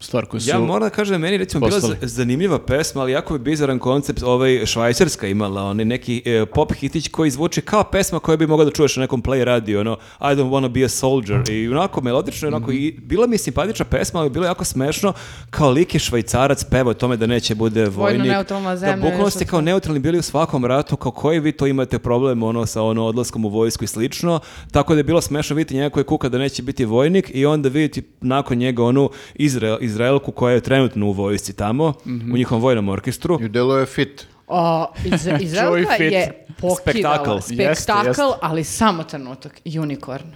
stvar koju su... Ja moram da kažem da je meni recimo poslali. bila z- zanimljiva pesma, ali jako je bizaran koncept ovaj švajcarska imala, onaj neki e, pop hitić koji zvuči kao pesma koju bi mogao da čuješ na nekom play radio, ono I don't wanna be a soldier i onako melodično, i onako i bila mi je simpatična pesma, ali bilo je jako smešno kao lik je švajcarac peva o tome da neće bude vojnik. neutralna zemlja, Da bukvalno nešto ste kao neutralni bili u svakom ratu, kao koji vi to imate problem ono sa ono odlaskom u vojsku i slično. Tako da je bilo smešno vidjeti njega koji kuka da neće biti vojnik i onda vidjeti nakon njega onu Izrael, Izraelku koja je trenutno u vojsci tamo, Mhm. u njihovom vojnom orkestru. I delo je fit. O, iz, Izraelka Čuj fit. je Spektakl. pokivala. Jeste, Spektakl, jeste. ali samo trenutak. Unicorn.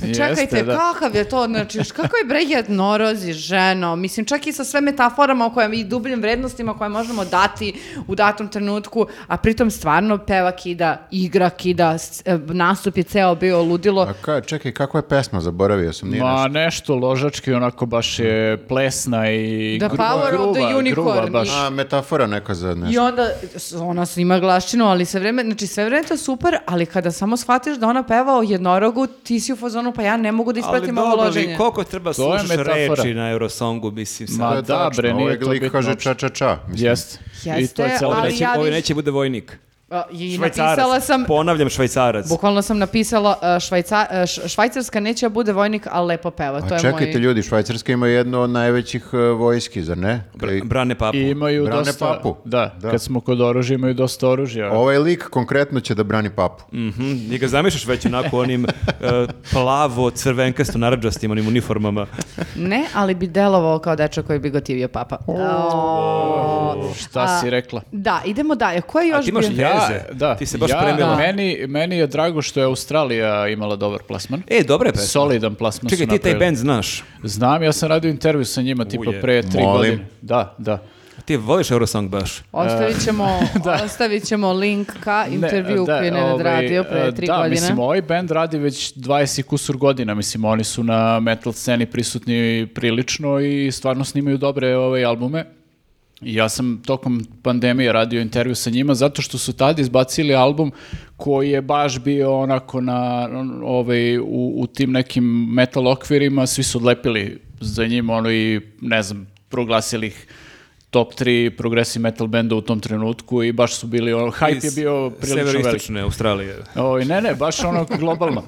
Pa Jeste, Čekajte, da. kakav je to, znači, š- kako je bre jednorozi ženo, mislim, čak i sa sve metaforama o kojem, i dubljim vrednostima koje možemo dati u datom trenutku, a pritom stvarno peva kida, igra kida, s- e, nastup je ceo bio ludilo. A Pa ka, čekaj, kakva je pesma? Zaboravio sam, nije Ma nešto. nešto ložački, onako baš je plesna i The power of the unicorn. gruva pa baš. A, metafora neka za I nešto. onda s- ona snima glaščinu, ali sve vreme, znači sve vreme je to super, ali kada samo shvatiš da ona peva o jednorogu, ti si u fazonu, pa ja ne mogu Ali da ispratim ovo dobro, vi loženje. koliko treba To je slušaš metafora. reči na Eurosongu, mislim sad. Ma, To je da, tačno, bre, nije ovaj to lik bitno kaže uopšte. ča ča ča. mislim. Jeste. I to je Jeste, cela Ovo ali neće, ja ovo viš- neće bude vojnik. A, Pa, I Švajcarac. napisala sam, Ponavljam, švajcarac. Bukvalno sam napisala uh, švajca, uh, š- Švajcarska neće da bude vojnik, ali lepo peva. to A je čekajte moj... ljudi, Švajcarska ima jedno od najvećih e, vojski, zar ne? Ej, Bra- brane papu. I imaju Brane dosta... papu. Da, Da. kad smo kod oružja imaju dosta oružja. Ovaj lik konkretno će da brani papu. Mhm, i ga zamišljaš već onako onim e, plavo crvenkasto naranđastim onim uniformama. Ne, ali bi delovao kao dečak koji bi ga tivio papa. O. Šta si rekla? Da, idemo dalje. Ko je A još ti imaš bio? Ja, teze. da. Ti se baš ja, spremila. Meni, meni je drago što je Australija imala dobar plasman. E, dobra je pesma. Solidan plasman su Čekaj, ti taj napravili. band znaš. Znam, ja sam radio intervju sa njima tipa Uje. pre tri Molim. godine. Da, da. Ti voliš Eurosong baš. Ostavit ćemo, ostavit ćemo link ka intervju E, da, koji je Nenad ovaj, radio pre e, tri da, godine. mislim, ovaj band radi već 20 i kusur godina, mislim, oni su na metal sceni prisutni prilično i stvarno snimaju dobre ove ovaj, albume. Ja sam tokom pandemije radio intervju sa njima zato što su tad izbacili album koji je baš bio onako na, on- ovaj, u, u tim nekim metal okvirima, svi su odlepili za njim ono i ne znam, proglasili ih top 3 progressive metal benda u tom trenutku i baš su bili, ono, hype je Iz bio prilično veliki. Severoistočne Australije. Oj, ne, ne, baš ono globalno.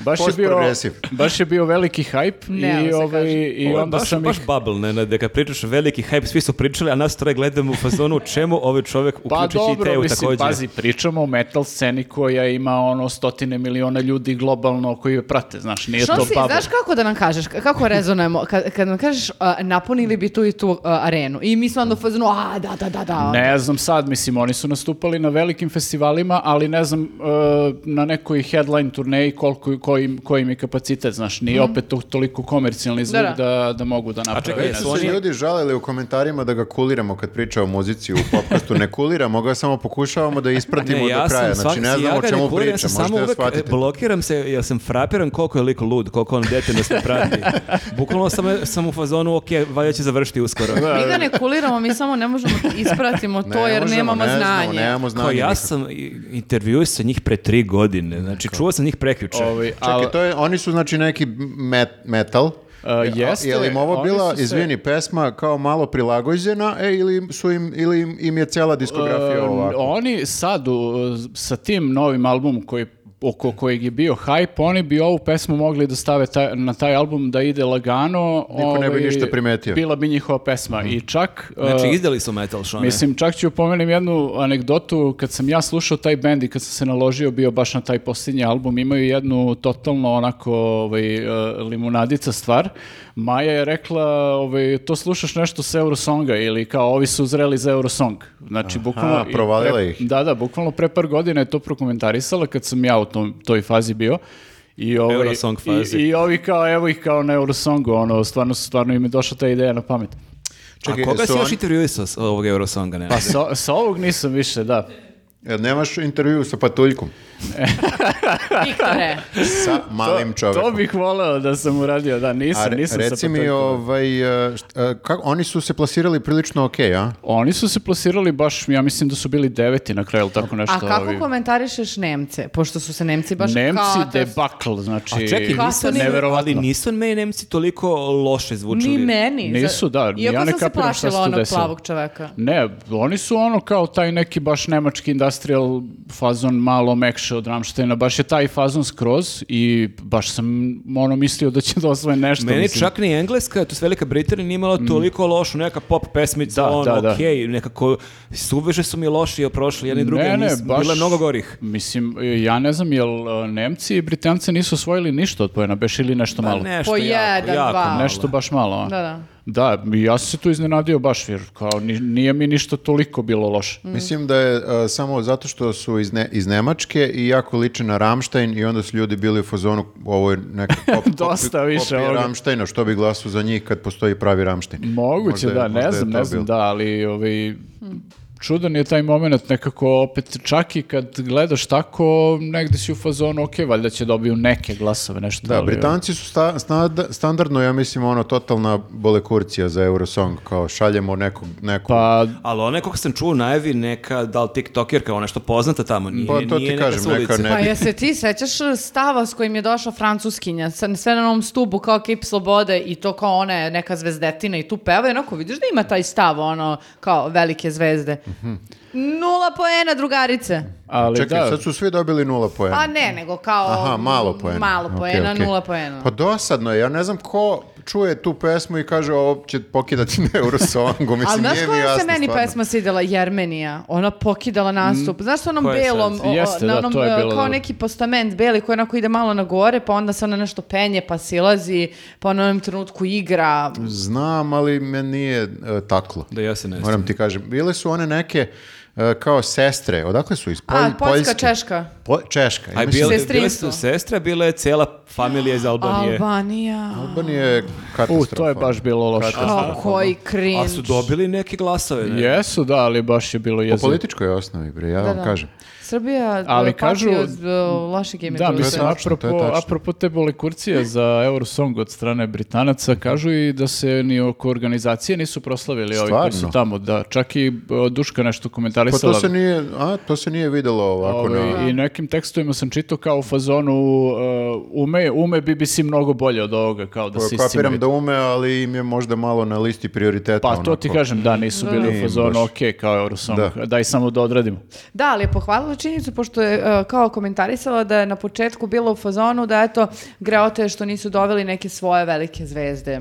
Baš je bio, Postprogresiv. baš je bio veliki hype Ne, ono i, se ovaj, i Ovo je onda baš, sam baš ih... bubble, ne, ne, da kad pričaš veliki hype, svi su pričali, a nas troje gledamo u fazonu čemu ovaj čovjek, Pa uključujući i dobro, Teju mislim, također. pazi, pričamo o metal sceni koja ima ono stotine miliona ljudi globalno koji je prate, znaš, nije Što to si, bubble. znaš kako da nam kažeš, k- kako rezonujemo, kad, kad nam kažeš a, e, napunili bi tu i tu a, arenu i mi smo onda u fazonu, a da, da, da, da. Ne znam sad, mislim, oni su nastupali na velikim festivalima, ali ne znam e, na nekoj headline turneji koliko, koji, koji im je kapacitet, znaš, nije opet to, toliko komercijalni zvuk da, Mhm. Da, da. da, mogu da naprave. čekaj, ne su znam. Su se Oni- ljudi žalili u komentarima da ga kuliramo kad priča o muzici u popkastu. Ne kuliramo ga, samo pokušavamo da ispratimo do kraja. Znači, ne znamo o ga ne čemu kuram, ja priča. sam samo Možete da uvek, e, shvatite. blokiram se, ja sam frapiran koliko je lik lud, koliko on detinjast ne prati. Bukvalno sam, sam u fazonu, ok, valjda će završiti uskoro. Mi ga ne kuliramo, mi samo ne možemo da ispratimo Ne to jer možemo, nemamo ne znamo, znanje. nemamo znanje Kao ja nikako. sam intervjuo sa njih pre tri godine, znači čuo sam njih prekjuče. Ovaj, ali- Čekaj, to je, oni su znači neki met- metal. A, E, jeste, je li im ovo oni bila, su se- izvini, pesma kao malo prilagođena e, ili, su im, ili im, im je cijela diskografija E, ovako? Oni sad u- sa tim novim albumom koji oko kojeg je bio hype, oni bi ovu pesmu mogli da stave taj- na taj album da ide lagano. Niko ne bi ovaj, ništa primetio. Bila bi njihova pesma. I čak... e, Znači, izdali su metal šone. Mislim, čak ću pomenem jednu anegdotu, kad sam ja slušao taj bend i kad sam se naložio bio baš na taj posljednji album, imaju jednu totalno onako ovaj, e, limunadica stvar. Maja je rekla, ovaj, to slušaš nešto s Eurosonga ili kao ovi su zreli za Eurosong. Znači, bukvalno... i provalila pre- ih. Da, da, bukvalno pre par godina je to prokomentarisala kad sam ja u tom, toj fazi bio. I ovaj, Eurosong fazi. I, I ovi kao, evo ih kao na Eurosongu, ono, stvarno, stvarno im je došla ta ideja na pamet. A koga si su još oni- intervjuisao s ovog Eurosonga? Ne? Pa sa, sa ovog nisam više, da. E, Nemaš intervju sa patuljkom, Viktore, sa malim čovekom. To bih voleo da sam uradio, da, A nisam, re- nisam reci sa mi, patentom. ovaj, e, št- e, kako, oni su se plasirali prilično okej, a? Oni su se plasirali baš, ja mislim da su bili deveti na kraju, ili tako nešto. a kako ovi. komentarišeš Nemce? Pošto su se Nemci baš Nemci kao... debakl, znači, A čekaj, nisu oni, ali neverovatno. nisu me i Nemci toliko loše zvučili. Ni meni. Nisu, da, Iako ja ne sam se kapiram šta se plašila tu onog desilo. plavog čoveka. Ne, oni su ono kao taj neki baš nemački industrial fazon malo mekše od Ramštajna, baš je taj fazon skroz i baš sam ono mislio da će da osvoje nešto. Meni mislim. čak ni Engleska, to je Velika Britanija, nije imala toliko lošu, neka pop pesmica, Da, ono, da, da. okej, nekako suveže su mi loši prošli jedni druge, ne, bilo je mnogo gorih. Mislim, ja ne znam, jel e, Nemci i Britanci nisu osvojili ništa od pojena, beš ili nešto malo? Pa Nešto Po jako, jedan, jako dva. malo. Nešto baš malo, a? Da, da. Da, ja sam se tu iznenadio baš, jer kao ni- nije mi ništa toliko bilo loše. Mislim da je e, samo zato što su iz, Ne- iz Nemačke i jako liče na Ramštajn i onda su ljudi bili u fazonu ovo je neka pop, pop- Dosta pop- više je ovoga. Rammsteina, što bi glasu za njih kad postoji pravi Ramštajn. Moguće, Možda je- da, možda ne je znam, to ne znam, bilo. da, ali ovaj, čudan je taj moment nekako opet, čak i kad gledaš tako, negde si u fazonu, ok, valjda će dobiju neke glasove, nešto. Da, ali, Britanci su sta- snad- standardno, ja mislim, ono, totalna bolekurcija za Eurosong, kao šaljemo nekog, nekog Pa, Ali ona je, kako sam čuo, najavi neka, da li TikTokerka, ona je što poznata tamo, nije, Pa to ti nije neka kažem, s ulice. neka ne- Pa bi- jel se ti sećaš stava s kojim je došla francuskinja, sa- sve na onom stubu kao kip slobode i to kao ona je neka zvezdetina i tu peva i onako vidiš da ima taj stav, ono, kao velike zvezde. Mhm. Nula poena, drugarice. ali Čekaj, da, sad su svi dobili nula poena. Pa ne, nego kao... Aha, malo poena. Malo Okej, poena, okej. nula poena. Pa dosadno je, ja ne znam ko čuje tu pesmu i kaže ovo će pokidati na Eurosongu, Ali mislim, znaš nije mi koja jasno se meni stvarno. pesma sidjela? Jermenija. Ona pokidala nastup. Znaš onom Koja je sad? belom, o- o- Jeste, da, na onom, to je e, bilo kao dobro. neki postament beli koji onako ide malo na gore, pa onda se ona nešto penje, pa silazi, pa na onom trenutku igra. Znam, ali me nije e, taklo. Da ja se ne Moram ti kažem, bile su one neke e, kao sestre, odakle su iz Polj- A, Poljska, Poljske? Češka. Po- Češka. Ja Aj, mislim- bile, bile Sestrinstvo. su sestra, bila je cijela familija iz Albanije. Albanija. Albanija je U, katastrofa. ono. to je baš bilo loše. Kao koji A cringe. su dobili neke glasove, ne? Jesu, da, ali baš je bilo Po jezivo. političkoj osnovi, bre, ja Da, vam da. kažem. Srbija Ali Ali kažu, kažu- od uh, lošeg Da, imidža. je mislim, tačno, to je apropo, tačno. apropo te bolikurcije za Eurosong od strane Britanaca, kažu i da se ni oko organizacije nisu proslavili ovi koji su Stvarno? tamo, da. Čak i e, Duška nešto Pa komentarisala. to se nije, a, to se nije videlo ovako Ovaj, na... I nekim tekstovima sam čitao kao u fazonu uh, ume, ume BBC mnogo bolje od ovoga, kao da se Pa Kapiram iscimaju. da ume, ali im je možda malo na listi prioriteta. Pa to ti onako. kažem, da, nisu bili u Nije fazonu, baš. ok, kao Eurosong, Da. daj samo da odradimo. Da, ali je pohvalila činjenicu, pošto je e, kao komentarisala da je na početku bila u fazonu da eto, greote što nisu doveli neke svoje velike zvezde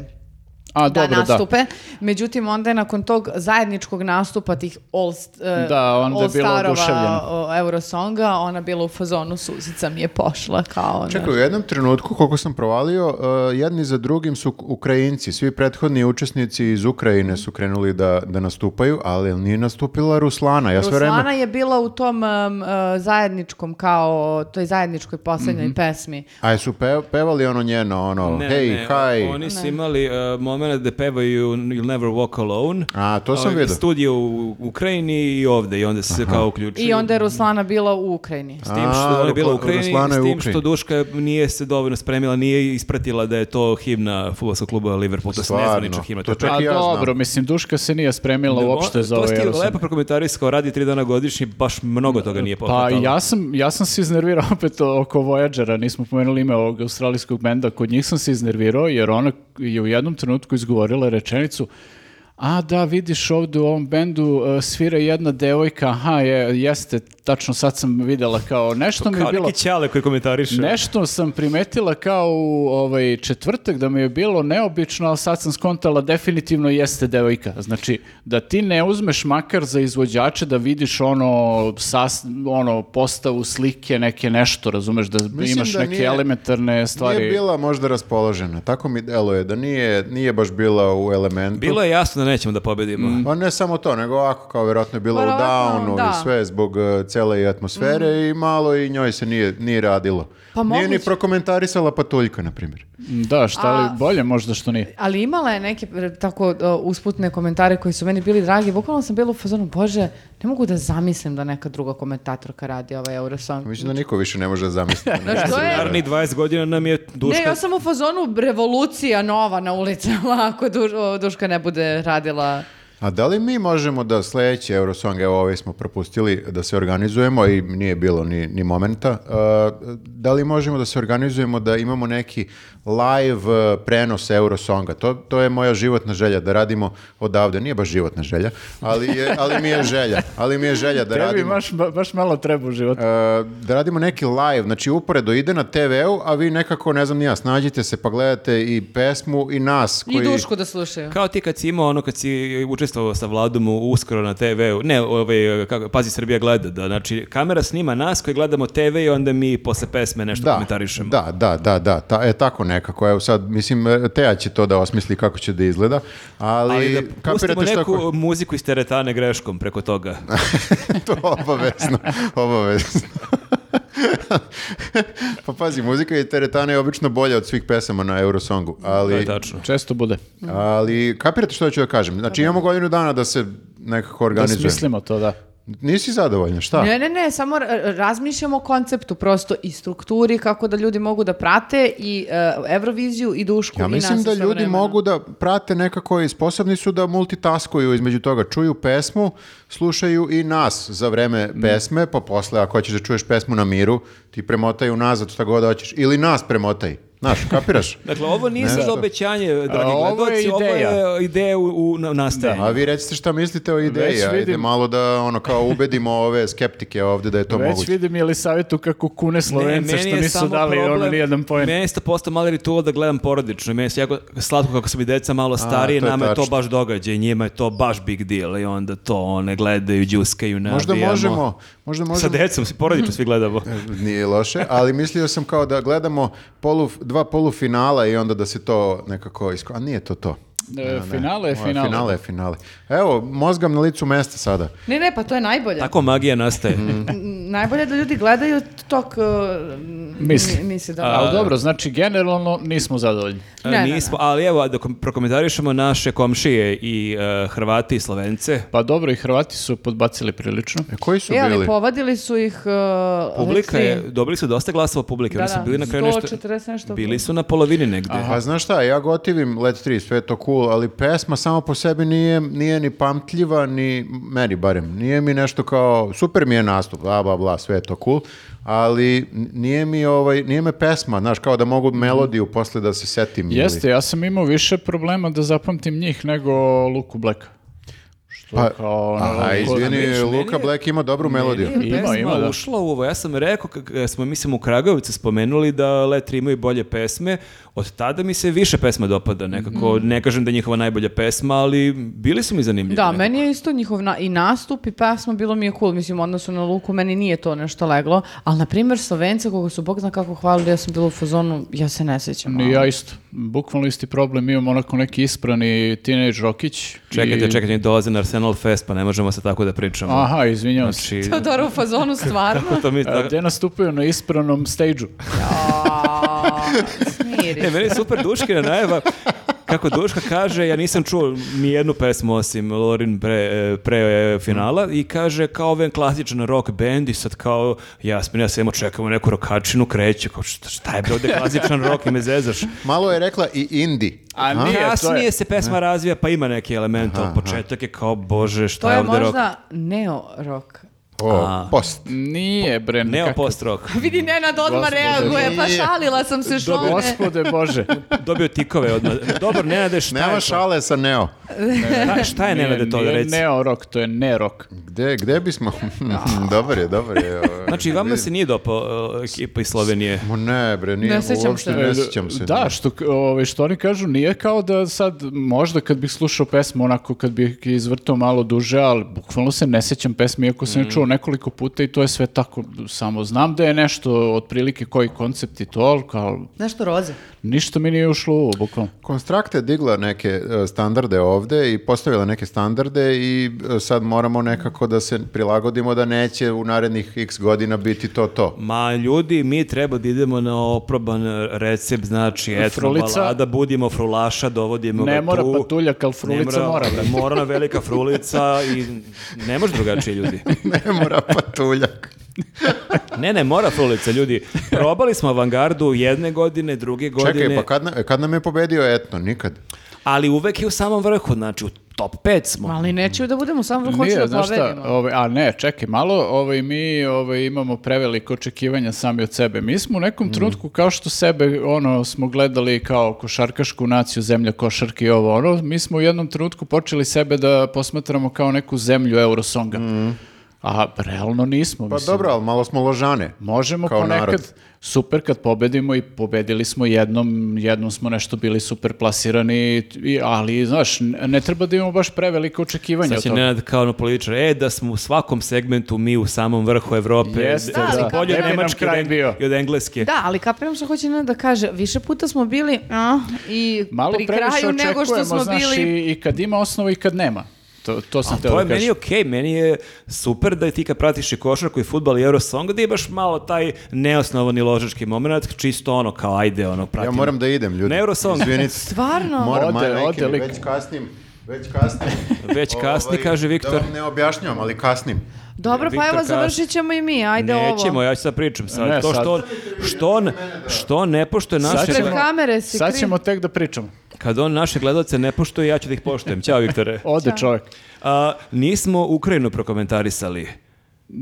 A, da dobro, da. nastupe. Međutim, onda je nakon tog zajedničkog nastupa tih all, st- e, Da, onda je all bila starova oduševljena. o, Eurosonga, ona bila u fazonu suzica mi je pošla, kao ono. ona. Čekaj, u jednom trenutku, koliko sam provalio, eh, jedni za drugim su Ukrajinci. Svi prethodni učesnici iz Ukrajine su krenuli da, da nastupaju, ali nije nastupila Ruslana. Ja sve vreme- Ruslana je bila u tom em, e, zajedničkom, kao toj zajedničkoj poslednjoj Mhm. pesmi. A su pe- pevali ono njeno, ono, Ne, hej, ne, haj. Oni su imali uh, moment da pevaju You'll Never Walk Alone. A, to sam Ovaj, vidio. Studio u Ukrajini i ovde i onda se kao uključuju. I onda je Ruslana bila u Ukrajini. S tim što A, ona je bila u Rusla- Ukrajini, Ruslana je s u tim što Ukrajini. Duška nije se dovoljno spremila, nije ispratila da je to himna futbolskog kluba Liverpool, to je Stvarno, nezvanična himna. to je čak A i ja znam. dobro, mislim, Duška se nije spremila uopšte za to ovaj ste Eurosong. lepo prokomentarisao, radi tri dana godišnji, baš mnogo toga nije Pa pohvatalo. ja sam, ja sam se iznervirao opet oko Voyagera, nismo pomenuli ime ovog australijskog benda, kod njih sam se iznervirao jer ona je u jednom trenutku izgovorila rečenicu a da, vidiš ovdje u ovom bendu e, svira jedna devojka, aha, je, jeste, tačno sad sam videla kao nešto mi je Kao bilo... neki ćale koji komentariše. Nešto sam primetila kao u ovaj četvrtak da mi je bilo neobično, ali sad sam skontala definitivno jeste devojka. Znači, da ti ne uzmeš makar za izvođače da vidiš ono, sas, ono postavu slike, neke nešto, razumeš, da Mislim imaš da neke nije- elementarne stvari. Nije bila možda raspoložena, tako mi deluje, da nije, nije baš bila u elementu. Bilo je jasno da nećemo da pobedimo. Mm. Pa ne samo to, nego ovako kao vjerojatno je bila u Verovatno, downu Pa da. Mhm. i sve zbog uh, cele i atmosfere i malo i njoj se nije, nije radilo. Pa nije ni moguće. prokomentarisala patuljka, na primjer. Da, šta li, bolje možda što nije. Ali imala je neke e, tako e, usputne komentare koji su meni bili dragi. Bukvalno sam bila u fazonu, bože, ne mogu da zamislim da neka druga komentatorka radi ovaj Eurosong. Mislim da niko više ne može da zamisli. da Znaš, neko to je- radi. Naravni 20 godina nam je duška. Ne, ja sam u fazonu revolucija nova na ulicama ako Duš- o, Duška ne bude radila. A da li mi možemo da sledeći Eurosong, evo ovaj smo propustili da se organizujemo i nije bilo ni, ni momenta, uh, da li možemo da se organizujemo da imamo neki live uh, prenos Eurosonga? To, to je moja životna želja da radimo odavde. Nije baš životna želja, ali, je, ali mi je želja. Ali mi je želja da Tebi radimo... baš, ba- baš malo treba u životu. Uh, da radimo neki live, znači uporedo ide na TV-u, a vi nekako, ne znam ni ja, snađite se pa gledate i pesmu i nas koji... I Dušku da slušaju. Kao ti kad si imao ono, kad si učestvovao sa Vladom u- uskoro na TV-u, ne, ovaj, kako, pazi Srbija gleda, da, znači kamera snima nas koji gledamo TV i onda mi posle pesme nešto komentarišemo. Da, da, da, da, ta, e, tako nekako. Evo sad, mislim, e, Teja će to da osmisli kako će da izgleda, ali, Ali da pustimo kapirate šta neku ko- muziku iz teretane greškom preko toga. to obavezno, obavezno. pa pazi, muzika i teretana je obično bolja od svih pesama na Eurosongu, ali... To je tačno. E, Često bude. Ali kapirate što ću da kažem? Znači imamo godinu dana da se nekako Da organizujemo. smislimo to, da. Nisi zadovoljna, šta? Ne, ne, ne, samo ra- razmišljamo o konceptu prosto i strukturi kako da ljudi mogu da prate i e, Euroviziju i Dušku Ja i mislim nas da ljudi istovremeno. mogu da prate nekako i sposobni su da multitaskuju između toga. Čuju pesmu, slušaju i nas za vreme Mm. pesme, pa posle ako hoćeš da čuješ pesmu na miru, ti premotaju nazad šta god hoćeš. Ili nas premotaj. Znaš, kapiraš? Dakle, ovo nije sad obećanje, dragi A, ovo je gledoci, ovo je ideja. ideja u, u na- nastajanju. A vi recite šta mislite o ideji, Već ajde vidim. malo da ono kao ubedimo ove skeptike ovde da je to Već moguće. vidim ili savjetu kako kune Slovence što nisu dali ono nijedan poen. Meni je isto postao mali ritual da gledam porodično. i Meni je jako slatko kako su mi deca malo starije, to je nama je to tačno. baš događaj, njima je to baš big deal i onda to one gledaju, džuskaju, navijamo. Možda možemo, možda Sa možemo. E, decom, porodično svi gledamo. Nije loše, ali mislio sam kao da gledamo polu, dva polufinala i onda da se to nekako... Isko... A nije to to. E, finale je Ovo je finale. Finale, je finale. Evo, mozgam na licu mesta sada. Ne, ne, pa to je najbolje. Tako magija nastaje. Mhm. N- Najbolje je da ljudi gledaju tok e, uh, Misli. mi- misli da... Ali dobro, znači generalno nismo zadovoljni. E, Ne, ne, Nismo, ali evo, da kom- prokomentarišemo naše komšije i e, Hrvati i Slovence. Pa dobro, i Hrvati su podbacili prilično. E, koji su E, ali bili? povadili su ih... Uh, Publika Letri. je, dobili su dosta glasova publike, Da, oni su da, bili na kraju nešto, 140 nešto. bili su na polovini negdje. Pa znaš šta, ja gotivim Let 3, sve je to cool, ali pesma samo po sebi nije, nije ni pamtljiva, ni meni barem. Nije mi nešto kao, super mi je nastup, bla, bla, bla, sve je to cool, ali n- nije mi ovaj, nije me pesma, znaš, kao da mogu melodiju posle da se setim. ili- Mhm. Jeste, ja sam imao više problema da zapamtim njih nego Luku Bleka. Što Pa, kao... ono, Aha, ko- meni izvini, je- Luka Black ima dobru melodiju. Nije Ima, pesma ima, da. ušla u ovo. Ja sam rekao, kad smo, mislim, u Kragovicu spomenuli da Letri imaju bolje pesme, od tada mi se više pesma dopada nekako. Mm. Ne kažem da je njihova najbolja pesma, ali bili su mi zanimljivi. Da, nekako. meni je isto njihov na- i nastup i pesma bilo mi je cool, mislim, u odnosu na Luku, meni nije to nešto leglo, ali, na primjer, Slovence, koga su Bog zna kako hvalili, ja sam bila u fazonu, ja se ne sjećam. ono. Ni ja isto. Bukvalno isti problem. Imam onako neki isprani teenage rokić. Čekajte, i- čekajte, dolaze na Arsenal Fest, pa ne možemo se tako da pričamo. Aha, izvinjavam se. Znači, Teodora u fazonu, stvarno? to mi, A, da, Gde nastupaju na ispranom stage A, smiri. E, meni je super Duškina najava. Kako Duška kaže, ja nisam čuo ni jednu pesmu osim Lorin pre, e, pre e, finala i kaže kao ovaj klasičan rock band i sad kao Jasmin, ja samo čekamo neku rokačinu kreću, kao šta, šta je bre ovdje klasičan rock i me zezaš. Malo je rekla i Indi. A nije, to je. Kasnije se pesma razvija pa ima neki element, ali početak je kao bože To šta je je ovdje rock. možda neo-rock. O, post. Nije, bre, Neo nekako. post rock. Vidi, Nenad odmah Gospode. reaguje, pa Nije. šalila sam se Do, šone. gospode Bože. Dobio tikove odmah. Dobro, ne nadeš šta je Nema to? šale sa Neo. Šta, šta je ne Nije- to da nije reci? neo rock, to je ne rock. Gde, gde bismo? dobar je, dobar je. ovaj. Znači, vama se nije dopao e, ekipa iz Slovenije. Ma ne bre, nije, Ne sjećam uopšte se. ne sjećam se. Da, što, k- ovaj, što oni kažu, nije kao da sad, možda kad bih slušao pesmu, onako kad bih izvrtao malo duže, ali bukvalno se ne sjećam pesmi, iako sam je čuo nekoliko puta i to je sve tako, samo znam da je nešto, otprilike koji koncept i to, ali kao, Nešto roze. ništa mi nije ušlo u ovo, bukvalno. Konstrakta je digla neke e, standarde ovde i postavila neke standarde i e, sad moramo nekako da se prilagodimo da neće u narednih x godina biti to to. Ma ljudi, mi treba da idemo na oproban recept, znači etno Frulica. balada, budimo frulaša, dovodimo Ne ga mora tu. patuljak, ali frulica mora, brate. Mora nam velika frulica i ne može drugačije ljudi. ne mora patuljak. Ne, ne, mora frulica ljudi. Probali smo avangardu jedne godine, druge godine, Čekaj, pa kad, na- kad nam je pobedio etno? Nikad. ali uvek je u samom vrhu, znači u top 5 smo. Ali neću da budemo samo hoću Nije, da znaš šta, povedemo. ovaj, a ne, čekaj, malo ovaj, mi ovaj, imamo preveliko očekivanja sami od sebe. Mi smo u Mhm. nekom trenutku, kao što sebe ono, smo gledali kao košarkašku naciju, zemlja košarki i ovo ono, mi smo u jednom trenutku počeli sebe da posmatramo kao neku zemlju Eurosonga. A realno nismo. Mhm. Pa mislim. dobro, ali malo smo ložane. Možemo Kao ponekad, narod. super kad pobedimo i pobedili smo jednom, jednom smo nešto bili super plasirani, i- ali znaš, n- ne treba da imamo baš prevelike očekivanja Sad od će toga. Nenad kao ono političar, e, da smo u svakom segmentu mi u samom vrhu Evrope. Jeste, da, smo da. bolji Ne od bi nam Nemačke i od kraj Eng- bio. i od Engleske. Da, ali kapiram što hoće ne da kaže. Više puta smo bili a, i Malo pri previše kraju nego što očekujemo, smo znaš, bili... i, i kad ima osnovu i kad nema. To, to sam teo To je da Pa meni kažem. okej, meni je super da ti kad pratiš i košarku i futbal i Eurosong, da imaš malo taj neosnovani ložački moment, čisto ono kao ajde, ono Ja pratim. moram da idem, ljudi. Na Eurosong. Izvinite. Stvarno? Moram, Ode- aj, majke ode mi, lik. već kasnim. Već kasnim. Već Ovaj, kasni, kaže Viktor. Ovaj, Da vam ne objašnjam, ali kasnim. Dobro, pa Viktor evo Kas- završit ćemo i mi. Ajde Nećemo, ovo. ja ću sad pričam sad. Ne, to sad. što, on, što, on, što on ne poštuje Sad naše... ćemo- Pred kamere si Sad kri- ćemo tek da pričamo. Kad on naše gledalce ne poštuje, ja ću da ih poštujem. Ćao, Viktore. Ode čovjek. A, nismo Ukrajinu prokomentarisali.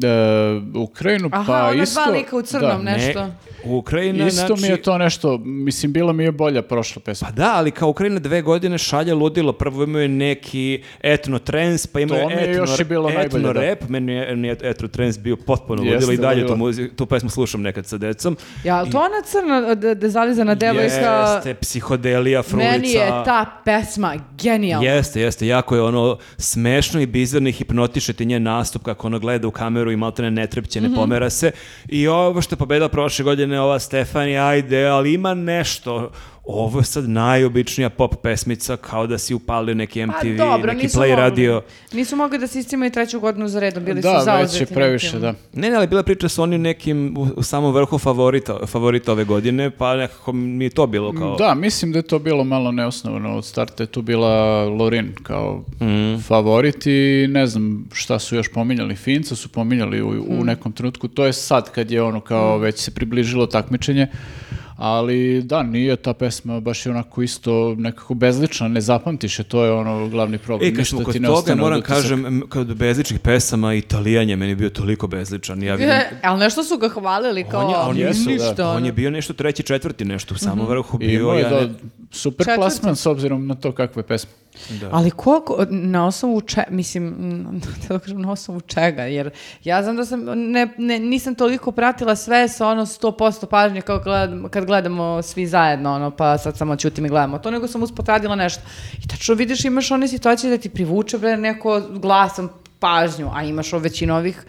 E, Ukrajinu, Aha, pa ona isto... dva lika u crnom, da. ne? Nešto. Ne, Ukrajina, Isto znači... mi je to nešto, mislim, bila mi je bolja prošla pesma. Pa da, ali kao Ukrajina dve godine šalje ludilo, prvo imaju neki etno trends, pa imaju To mi je etno, još i bilo etno najbolje, da. rap, meni je, meni je etno trends bio potpuno Jeste, ludilo i dalje ludilo. tu, muzi- tu pesmu slušam nekad sa decom. Ja, ali to ona crna d- d- zalizana devojka... Jeste, psihodelija, frulica. Meni je ta pesma genijalna. Jeste, jeste, jako je ono smešno i bizarno i hipnotiše ti njen nastup kako ona gleda u kameru i maltene ne trepće, Mhm. ne pomera se. I ovo što je pobedala prošle godine ova Stefani, ajde, ali ima nešto ovo je sad najobičnija pop pesmica, kao da si upalio neki Pa MTV, dobro, neki nisu play mogli. radio. Nisu mogli da se iscimaju treću godinu za redom, Pa, bili su Da, već zauzeti. je previše, ono. nekim. da. Ne, ne, ali bila priča s onim nekim u, u samom vrhu favorita, favorita ove godine, pa nekako mi je to bilo kao... Da, mislim da je to bilo malo neosnovano. Od starta je tu bila Lorin kao Mhm. favorit i ne znam šta su još pominjali. Finca su pominjali u, Mhm. u nekom trenutku. To je sad kad je ono kao već se približilo takmičenje. Ali da, nije ta pesma baš je onako isto nekako bezlična, ne zapamtiš je, to je ono glavni problem. E, kad smo Ništa ti kod ne toga, ostane od moram utisak. kažem, m, kod bezličnih pesama, Italijan je meni bio toliko bezličan. Ja vidim, E, ali nešto su ga hvalili kao on je, on je- jesu, da. Mhm. ništa. on ono. je bio nešto treći, četvrti, nešto u samom vrhu I bio. imao je ja da, ne- super Četvrti. plasman s obzirom na to kakve pesme. Ali koliko, na osnovu če, mislim, mm, da kažem, na osnovu čega, jer ja znam da sam, ne, ne, nisam toliko pratila sve sa ono 100% pažnje kao gledam, kad gledamo svi zajedno, ono, pa sad samo ćutim i gledamo to, nego sam uspotradila nešto. I tačno vidiš, imaš one situacije da ti privuče, bre, neko glasom pažnju, a imaš o većinu ovih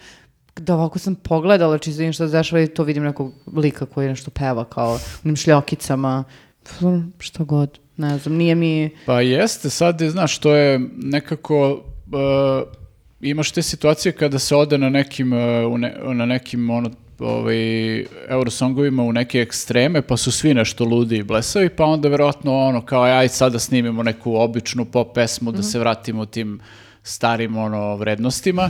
da ovako sam pogledala čisto vidim što se dešava i to vidim nekog lika koji nešto peva kao u onim šljokicama, što god, ne znam, nije mi... Pa jeste, sad je, znaš, to je nekako... e, imaš te situacije kada se ode na nekim, e, u ne- na nekim ono, ovaj, eurosongovima u neke ekstreme, pa su svi nešto ludi i blesavi, pa onda verovatno ono, kao aj sad da snimimo neku običnu pop pesmu, da se vratimo tim starim ono, vrednostima.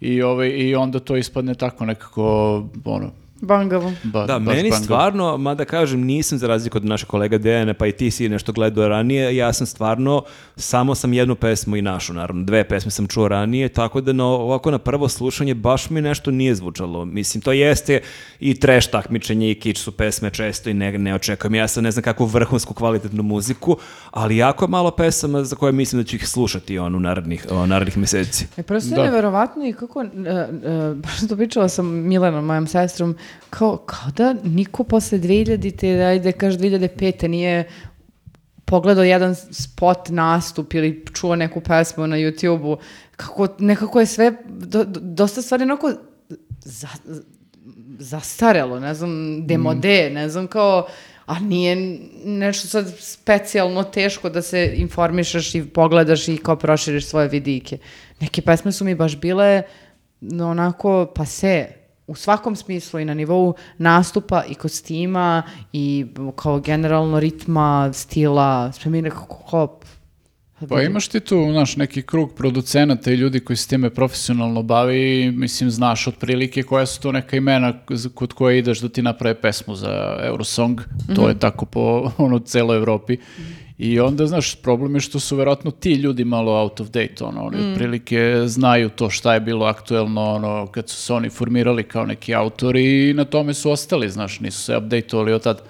I, ovaj, I onda to ispadne tako nekako, ono, Bangavo. ba- Da, pa baš meni bangavo. stvarno, mada kažem, nisam za razliku od našeg kolega Dejana, pa i ti si nešto gledao ranije, ja sam stvarno, samo sam jednu pesmu i našu, naravno, dve pesme sam čuo ranije, tako da na, ovako na prvo slušanje baš mi nešto nije zvučalo. Mislim, to jeste i trash takmičenje i kič su pesme često i ne, ne očekujem. Ja sad ne znam kakvu vrhunsku kvalitetnu muziku, ali jako je malo pesama za koje mislim da ću ih slušati on, u narednih, o, narednih meseci. E, prosto Da. je neverovatno i kako, e, e, baš to pričala sam Milanom, mojom sestrom, kao, kao da niko posle 2000-te, da ajde, kaš 2005 nije pogledao jedan spot nastup ili čuo neku pesmu na YouTube-u, kako, nekako je sve, do- do- dosta stvari onako za, zastarelo, ne znam, demode, ne znam, kao, a nije nešto sad specijalno teško da se informišeš i pogledaš i kao proširiš svoje vidike. Neke pesme su mi baš bile no, onako pase, u svakom smislu i na nivou nastupa i kostima i kao generalno ritma, stila, sve mi nekako hop. Pa imaš ti tu, znaš, neki krug producenata i ljudi koji se time profesionalno bavi i, mislim, znaš otprilike koja su to neka imena k- za- kod koje ideš da ti naprave pesmu za Eurosong, to je tako po ono, celoj Evropi. I onda, znaš, problem je što su verovatno ti ljudi malo out of date, ono, oni otprilike znaju to šta je bilo aktuelno, ono, kad su se oni formirali kao neki autori i na tome su ostali, znaš, nisu se updateovali od tad.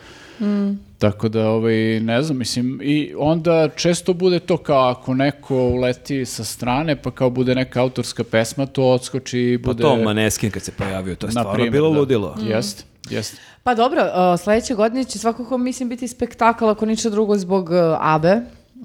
Tako da, ovaj, ne znam, mislim, i onda često bude to kao ako neko uleti sa strane, pa kao bude neka autorska pesma, to odskoči i Pa bude... to Maneskin kad se pojavio, to je na stvarno primer, bilo da. Mm. ludilo. Jeste, jeste. Pa dobro, uh, sledeće godine će svakako mislim biti spektakl ako ništa drugo zbog uh, Abe.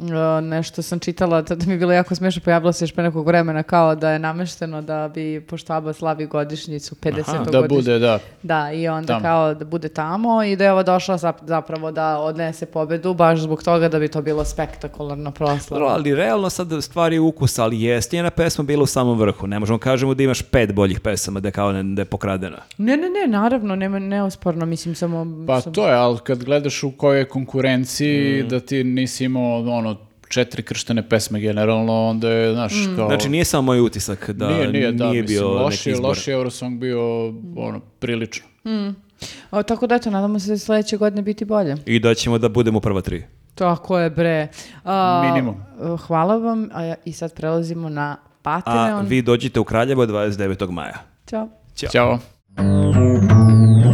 Uh, nešto sam čitala, to da mi je bilo jako smešno, pojavilo se još pre nekog vremena kao da je namešteno da bi, pošto Aba slavi godišnjicu, 50. Da godišnjicu. bude, da. Da, i onda Tamo. kao da bude tamo i da je ova došla zap- zapravo da odnese pobedu baš zbog toga da bi to bilo spektakularno Dobro, proslava. Pa, ali realno sad stvari ukusa, ali jeste njena pesma bila u samom vrhu. Ne možemo kažemo da imaš pet boljih pesama da je kao ne, da je pokradena. Ne, ne, ne, naravno, nema neosporno, mislim samo... Pa sam- to je, ali kad gledaš u kojoj je konkurenciji, Mhm. da ti nisi imao, ono, četiri krštene pesme generalno, onda je, znaš, kao... Znači nije samo moj utisak da nije, bio mislim, neki loši, izbor. loši Eurosong bio, ono, prilično. O, tako da, eto, nadamo se da će sledeće godine biti bolje. I da ćemo da budemo prva tri. Tako je, bre. A, Minimum. a, Hvala vam a, ja- i sad prelazimo na A Patreon. vi dođite u Kraljevo 29. maja. Ćao. Ćao.